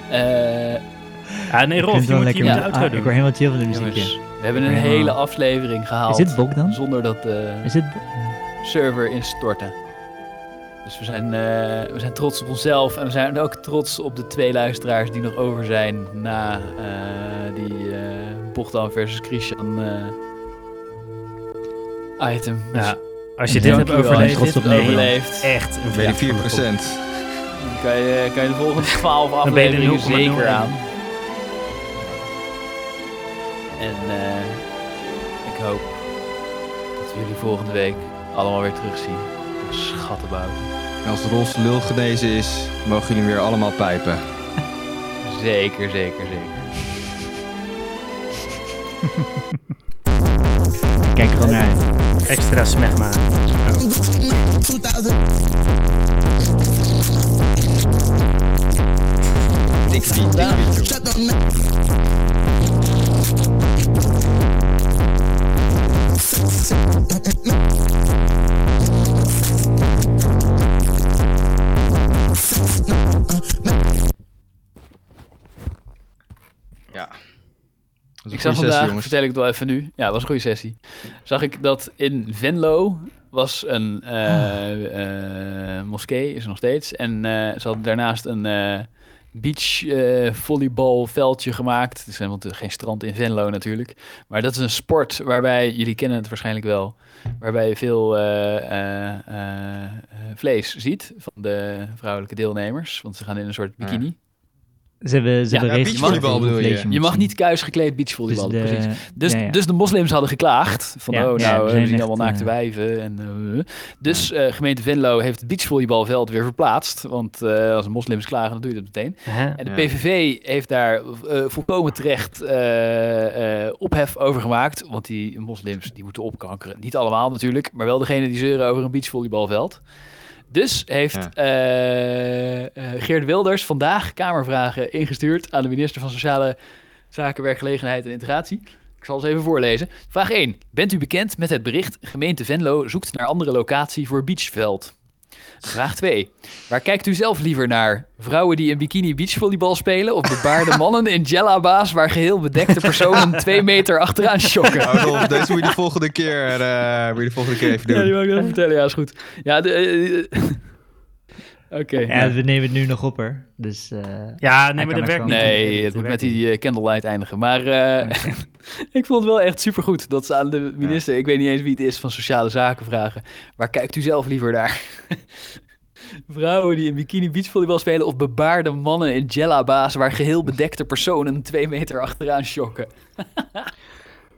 B: Eh, eh,
A: Ah, nee, Rolf,
D: vind
A: je
D: het wel
A: moet hier met de
D: ja.
A: outro
D: Ah, Ik
A: doen.
D: word helemaal chill van de muziek.
B: jongens,
D: ja.
B: we hebben een
D: Ja.
B: hele aflevering
D: Is
B: gehaald.
D: dit Bok dan?
B: Zonder dat de
D: Is dit Bok?
B: server instortte. Dus we zijn, eh, we zijn trots op onszelf en we zijn ook trots op de twee luisteraars die nog over zijn na eh, die eh Bogdan versus Christian eh, item.
A: Ja, als je
D: Ja,
A: dit hebt
B: dankjewel.
A: overleefd, Eh.
D: Trots op
A: ben je
D: Nederland.
B: overleefd.
A: echt een
C: Bij
A: verjaardag
C: die
A: van de
C: 4
A: kop.
B: Dan kan je, kan je de volgende 12
A: Dan ben je
B: afleveringen
A: er
B: zeker
A: 0,01.
B: aan. En eh, ik hoop dat we jullie volgende week allemaal weer terugzien. Schattenbouw.
C: En als Rolfs lul genezen is, mogen jullie hem weer allemaal pijpen.
B: Zeker, zeker, zeker.
D: Kijk er gewoon naar uit.
A: Extra smegma.
C: Dik, dik, dik, dik, joh. Ja. Dat is een
B: Ik zag
C: goede sessie,
B: vandaag,
C: jongens.
B: vertel ik het wel even nu. Ja, het was een goede sessie. Zag ik dat in Venlo was een eh,
C: Ah.
B: eh, moskee, is er nog steeds. En eh, ze hadden daarnaast een eh beach eh, volleybalveldje gemaakt. Het is helemaal te- geen strand in Venlo natuurlijk. Maar dat is een sport waarbij, jullie kennen het waarschijnlijk wel, waarbij je veel eh, eh, eh, eh, vlees ziet van de vrouwelijke deelnemers. Want ze gaan in een soort bikini.
D: Ze hebben, ze
B: Ja,
D: hebben
C: ja,
D: regels
C: beachvolleybal
D: over
C: bedoel je.
D: inflation
B: Je mag
D: moeten.
B: niet kuis gekleed beachvolleyballen,
D: Dus de-
B: precies. Dus,
D: ja, ja.
B: dus de moslims hadden geklaagd van,
D: Ja,
B: oh
D: ja,
B: nou,
D: we
B: eh,
D: zijn
B: we zien
D: echt,
B: allemaal naakte
D: eh,
B: wijven. En, eh, dus eh, gemeente Venlo heeft het beachvolleybalveld weer verplaatst. Want eh, als de moslims klagen, dan doe je dat meteen.
A: Hè?
B: En de
C: Ja.
B: PVV heeft daar eh, volkomen terecht eh, eh, ophef over gemaakt. Want die moslims die moeten opkankeren. Niet allemaal natuurlijk, maar wel degene die zeuren over een beachvolleybalveld. Dus heeft
C: Ja.
B: eh, eh, Geert Wilders vandaag Kamervragen ingestuurd aan de minister van Sociale Zaken, Werkgelegenheid en Integratie. Ik zal ze even voorlezen. Vraag 1. Bent u bekend met het bericht gemeente Venlo zoekt naar andere locatie voor beachveld? Vraag 2. Waar kijkt u zelf liever naar? Vrouwen die in bikini beachvolleybal spelen of bebaarde mannen in jellaba's waar geheel bedekte personen twee meter achteraan shokken?
C: Oh, Rolf, deze moet je de volgende keer, eh, moet je de volgende keer even doen.
B: Ja, die wil ik wel vertellen. Ja, is goed. Ja, de, eh, eh, Oké.
D: Ja, we nemen het nu nog op, hoor. Dus eh,
A: Ja, nee, maar
D: Hij kan
A: dat
D: echt
A: werkt
D: wel.
A: niet.
B: Nee,
A: Dat
B: het moet met
A: werkt
B: die eh, candlelight eindigen. Maar eh, ik vond het wel echt supergoed dat ze aan de minister, ik weet niet eens wie het is, van Sociale Zaken vragen. Waar kijkt u zelf liever naar? Vrouwen die in bikini beachvolleybal spelen of bebaarde mannen in jellaba's waar geheel bedekte personen twee meter achteraan shocken.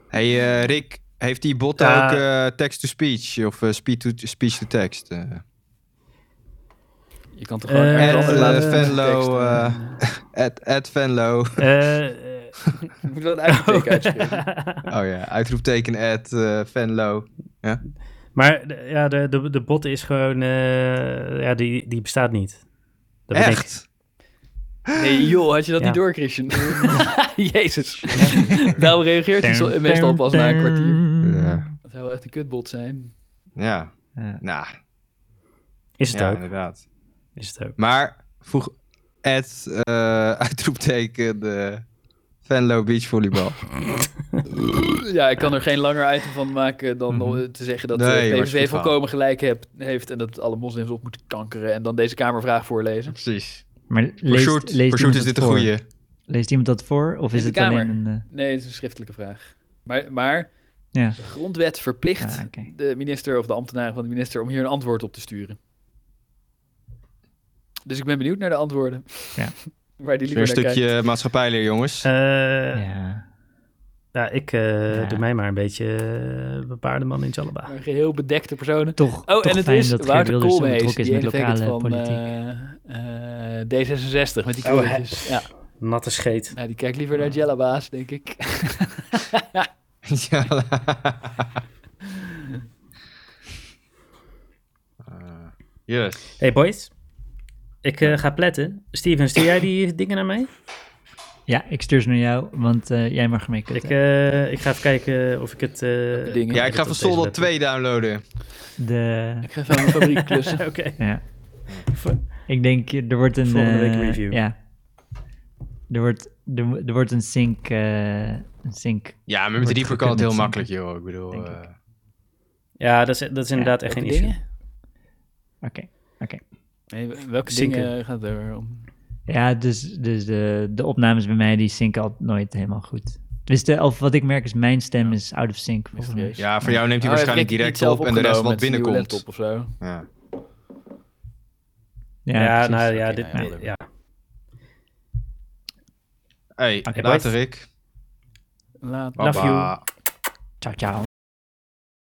C: Hey eh, Rick, heeft die bot
A: Ja.
C: ook eh, text-to-speech of eh, speech-to- speech-to-text? eh?
B: Je kan toch
A: Eh,
B: gewoon
A: Eh,
B: ergens
C: At,
B: anders
C: eh,
B: laten teksten.
C: Venlo, eh, at, at Venlo.
A: Eh, eh,
B: Je Moet wel een uitgekeken uitspreken.
C: Oh ja, uitroepteken at eh, Venlo.
A: maar de- ja, de, de, de bot is gewoon... eh, ja, die, die bestaat niet. Dat bedenk-
C: Echt?
B: Nee, joh, had je dat
A: Ja.
B: niet door, Christian? Jezus. Daarom reageert hij zo- meestal pas na een kwartier.
A: Mm.
C: Ja.
B: Dat zou wel echt een kutbot zijn.
C: Ja,
D: Ja.
C: nou,
A: Is het
C: ja,
A: ook.
C: inderdaad.
A: Is het ook.
C: Maar vroeg at eh, uitroepteken de Venlo beachvolleybal.
B: Ja, ik kan er geen langer item van maken
D: Mhm.
B: dan om te zeggen dat eh,
C: Nee,
B: de
C: maar is
B: PVV
C: goed verhaal.
B: volkomen gelijk heb- heeft en dat alle moslims op moeten kankeren en dan deze Kamervraag voorlezen.
C: Precies.
D: Maar
C: Voor
D: leest,
C: Sjoerd
D: leest
C: voor Sjoerd
D: iemand
C: is
D: het
C: dit een
D: voor?
C: goede.
D: Leest iemand dat voor? Of
B: In
D: is
B: de
D: het alleen
B: Kamer.
D: een... eh,
B: Nee, het is een schriftelijke vraag. Maar, maar
D: ja,
B: de grondwet verplicht
D: Ah, oké.
B: de minister of de ambtenaren van de minister om hier een antwoord op te sturen. Dus ik ben benieuwd naar de antwoorden.
D: Ja.
B: Waar die
C: Weer een
B: liever naar kijkt.
C: stukje maatschappijleer, jongens.
A: Eh,
D: ja.
B: Oh,
A: Ja, ik eh,
D: Ja.
A: doe mij maar een beetje eh, bepaarde man in Jalaba.
B: Maar geheel bedekte personen.
D: Toch,
B: Oh,
D: toch
B: en het
D: fijn
B: is
D: dat Geert
B: Wouter
D: Wilders zo
B: Koolmees,
D: betrokken is
B: die
D: met
B: ene vent
D: lokale
B: van
D: politiek.
B: eh, eh, D66, met die kleurtjes. ja,
A: Natte scheet.
B: nou, die kijkt liever naar Jellabaas, denk ik.
C: ja. Eh, yes.
A: Hey boys, ik eh, ga pletten. Steven, stuur jij die dingen naar mij?
D: Ja, ik stuur ze naar jou, want eh, jij mag ermee
A: Ik,
D: kutten.
A: eh, ik ga even kijken of ik het... eh,
B: dingen?
C: Ja, ik ga
A: dat
C: van
A: op
C: Soldat
A: deze laptop.
C: 2 downloaden.
D: de,
B: Ik ga even aan mijn fabriek klussen.
A: Oké.
D: ja. ik denk, er wordt een...
A: Volgende week een
D: eh,
A: review.
D: Ja. Er wordt, er, mo- er wordt een sync... eh, een sync.
C: Ja, maar met
D: Wordt
C: die
D: gekund
C: kan het heel
D: met
C: makkelijk, joh. Ik bedoel,
D: Denk
C: eh,
A: Ja, dat is, dat is inderdaad echt geen
B: Welke
A: issue.
B: dingen?
D: Oké, oké.
B: Nee, welke
A: Zinken.
B: dingen gaat het er om?
D: Ja, dus, dus de, de opnames bij mij, die synken altijd nooit helemaal goed. Dus de, of wat ik merk is, mijn stem is out of sync. volgens mij.
B: Mysterieus.
C: ja, voor jou neemt hij
B: Oh,
C: waarschijnlijk
B: heeft Rick niet zelf
C: direct op en de rest
B: opgenomen
C: wat
B: met zijn nieuwe
C: binnenkomt.
B: laptop of zo.
C: Ja.
A: Ja,
D: precies.
A: nou ja,
B: Oké,
A: dit,
B: nou ja,
A: dit-
B: leuk.
A: ja.
C: Hey,
D: Oké,
C: later, Rick.
B: Laat.
A: Love you.
C: Baba.
D: Ciao, ciao.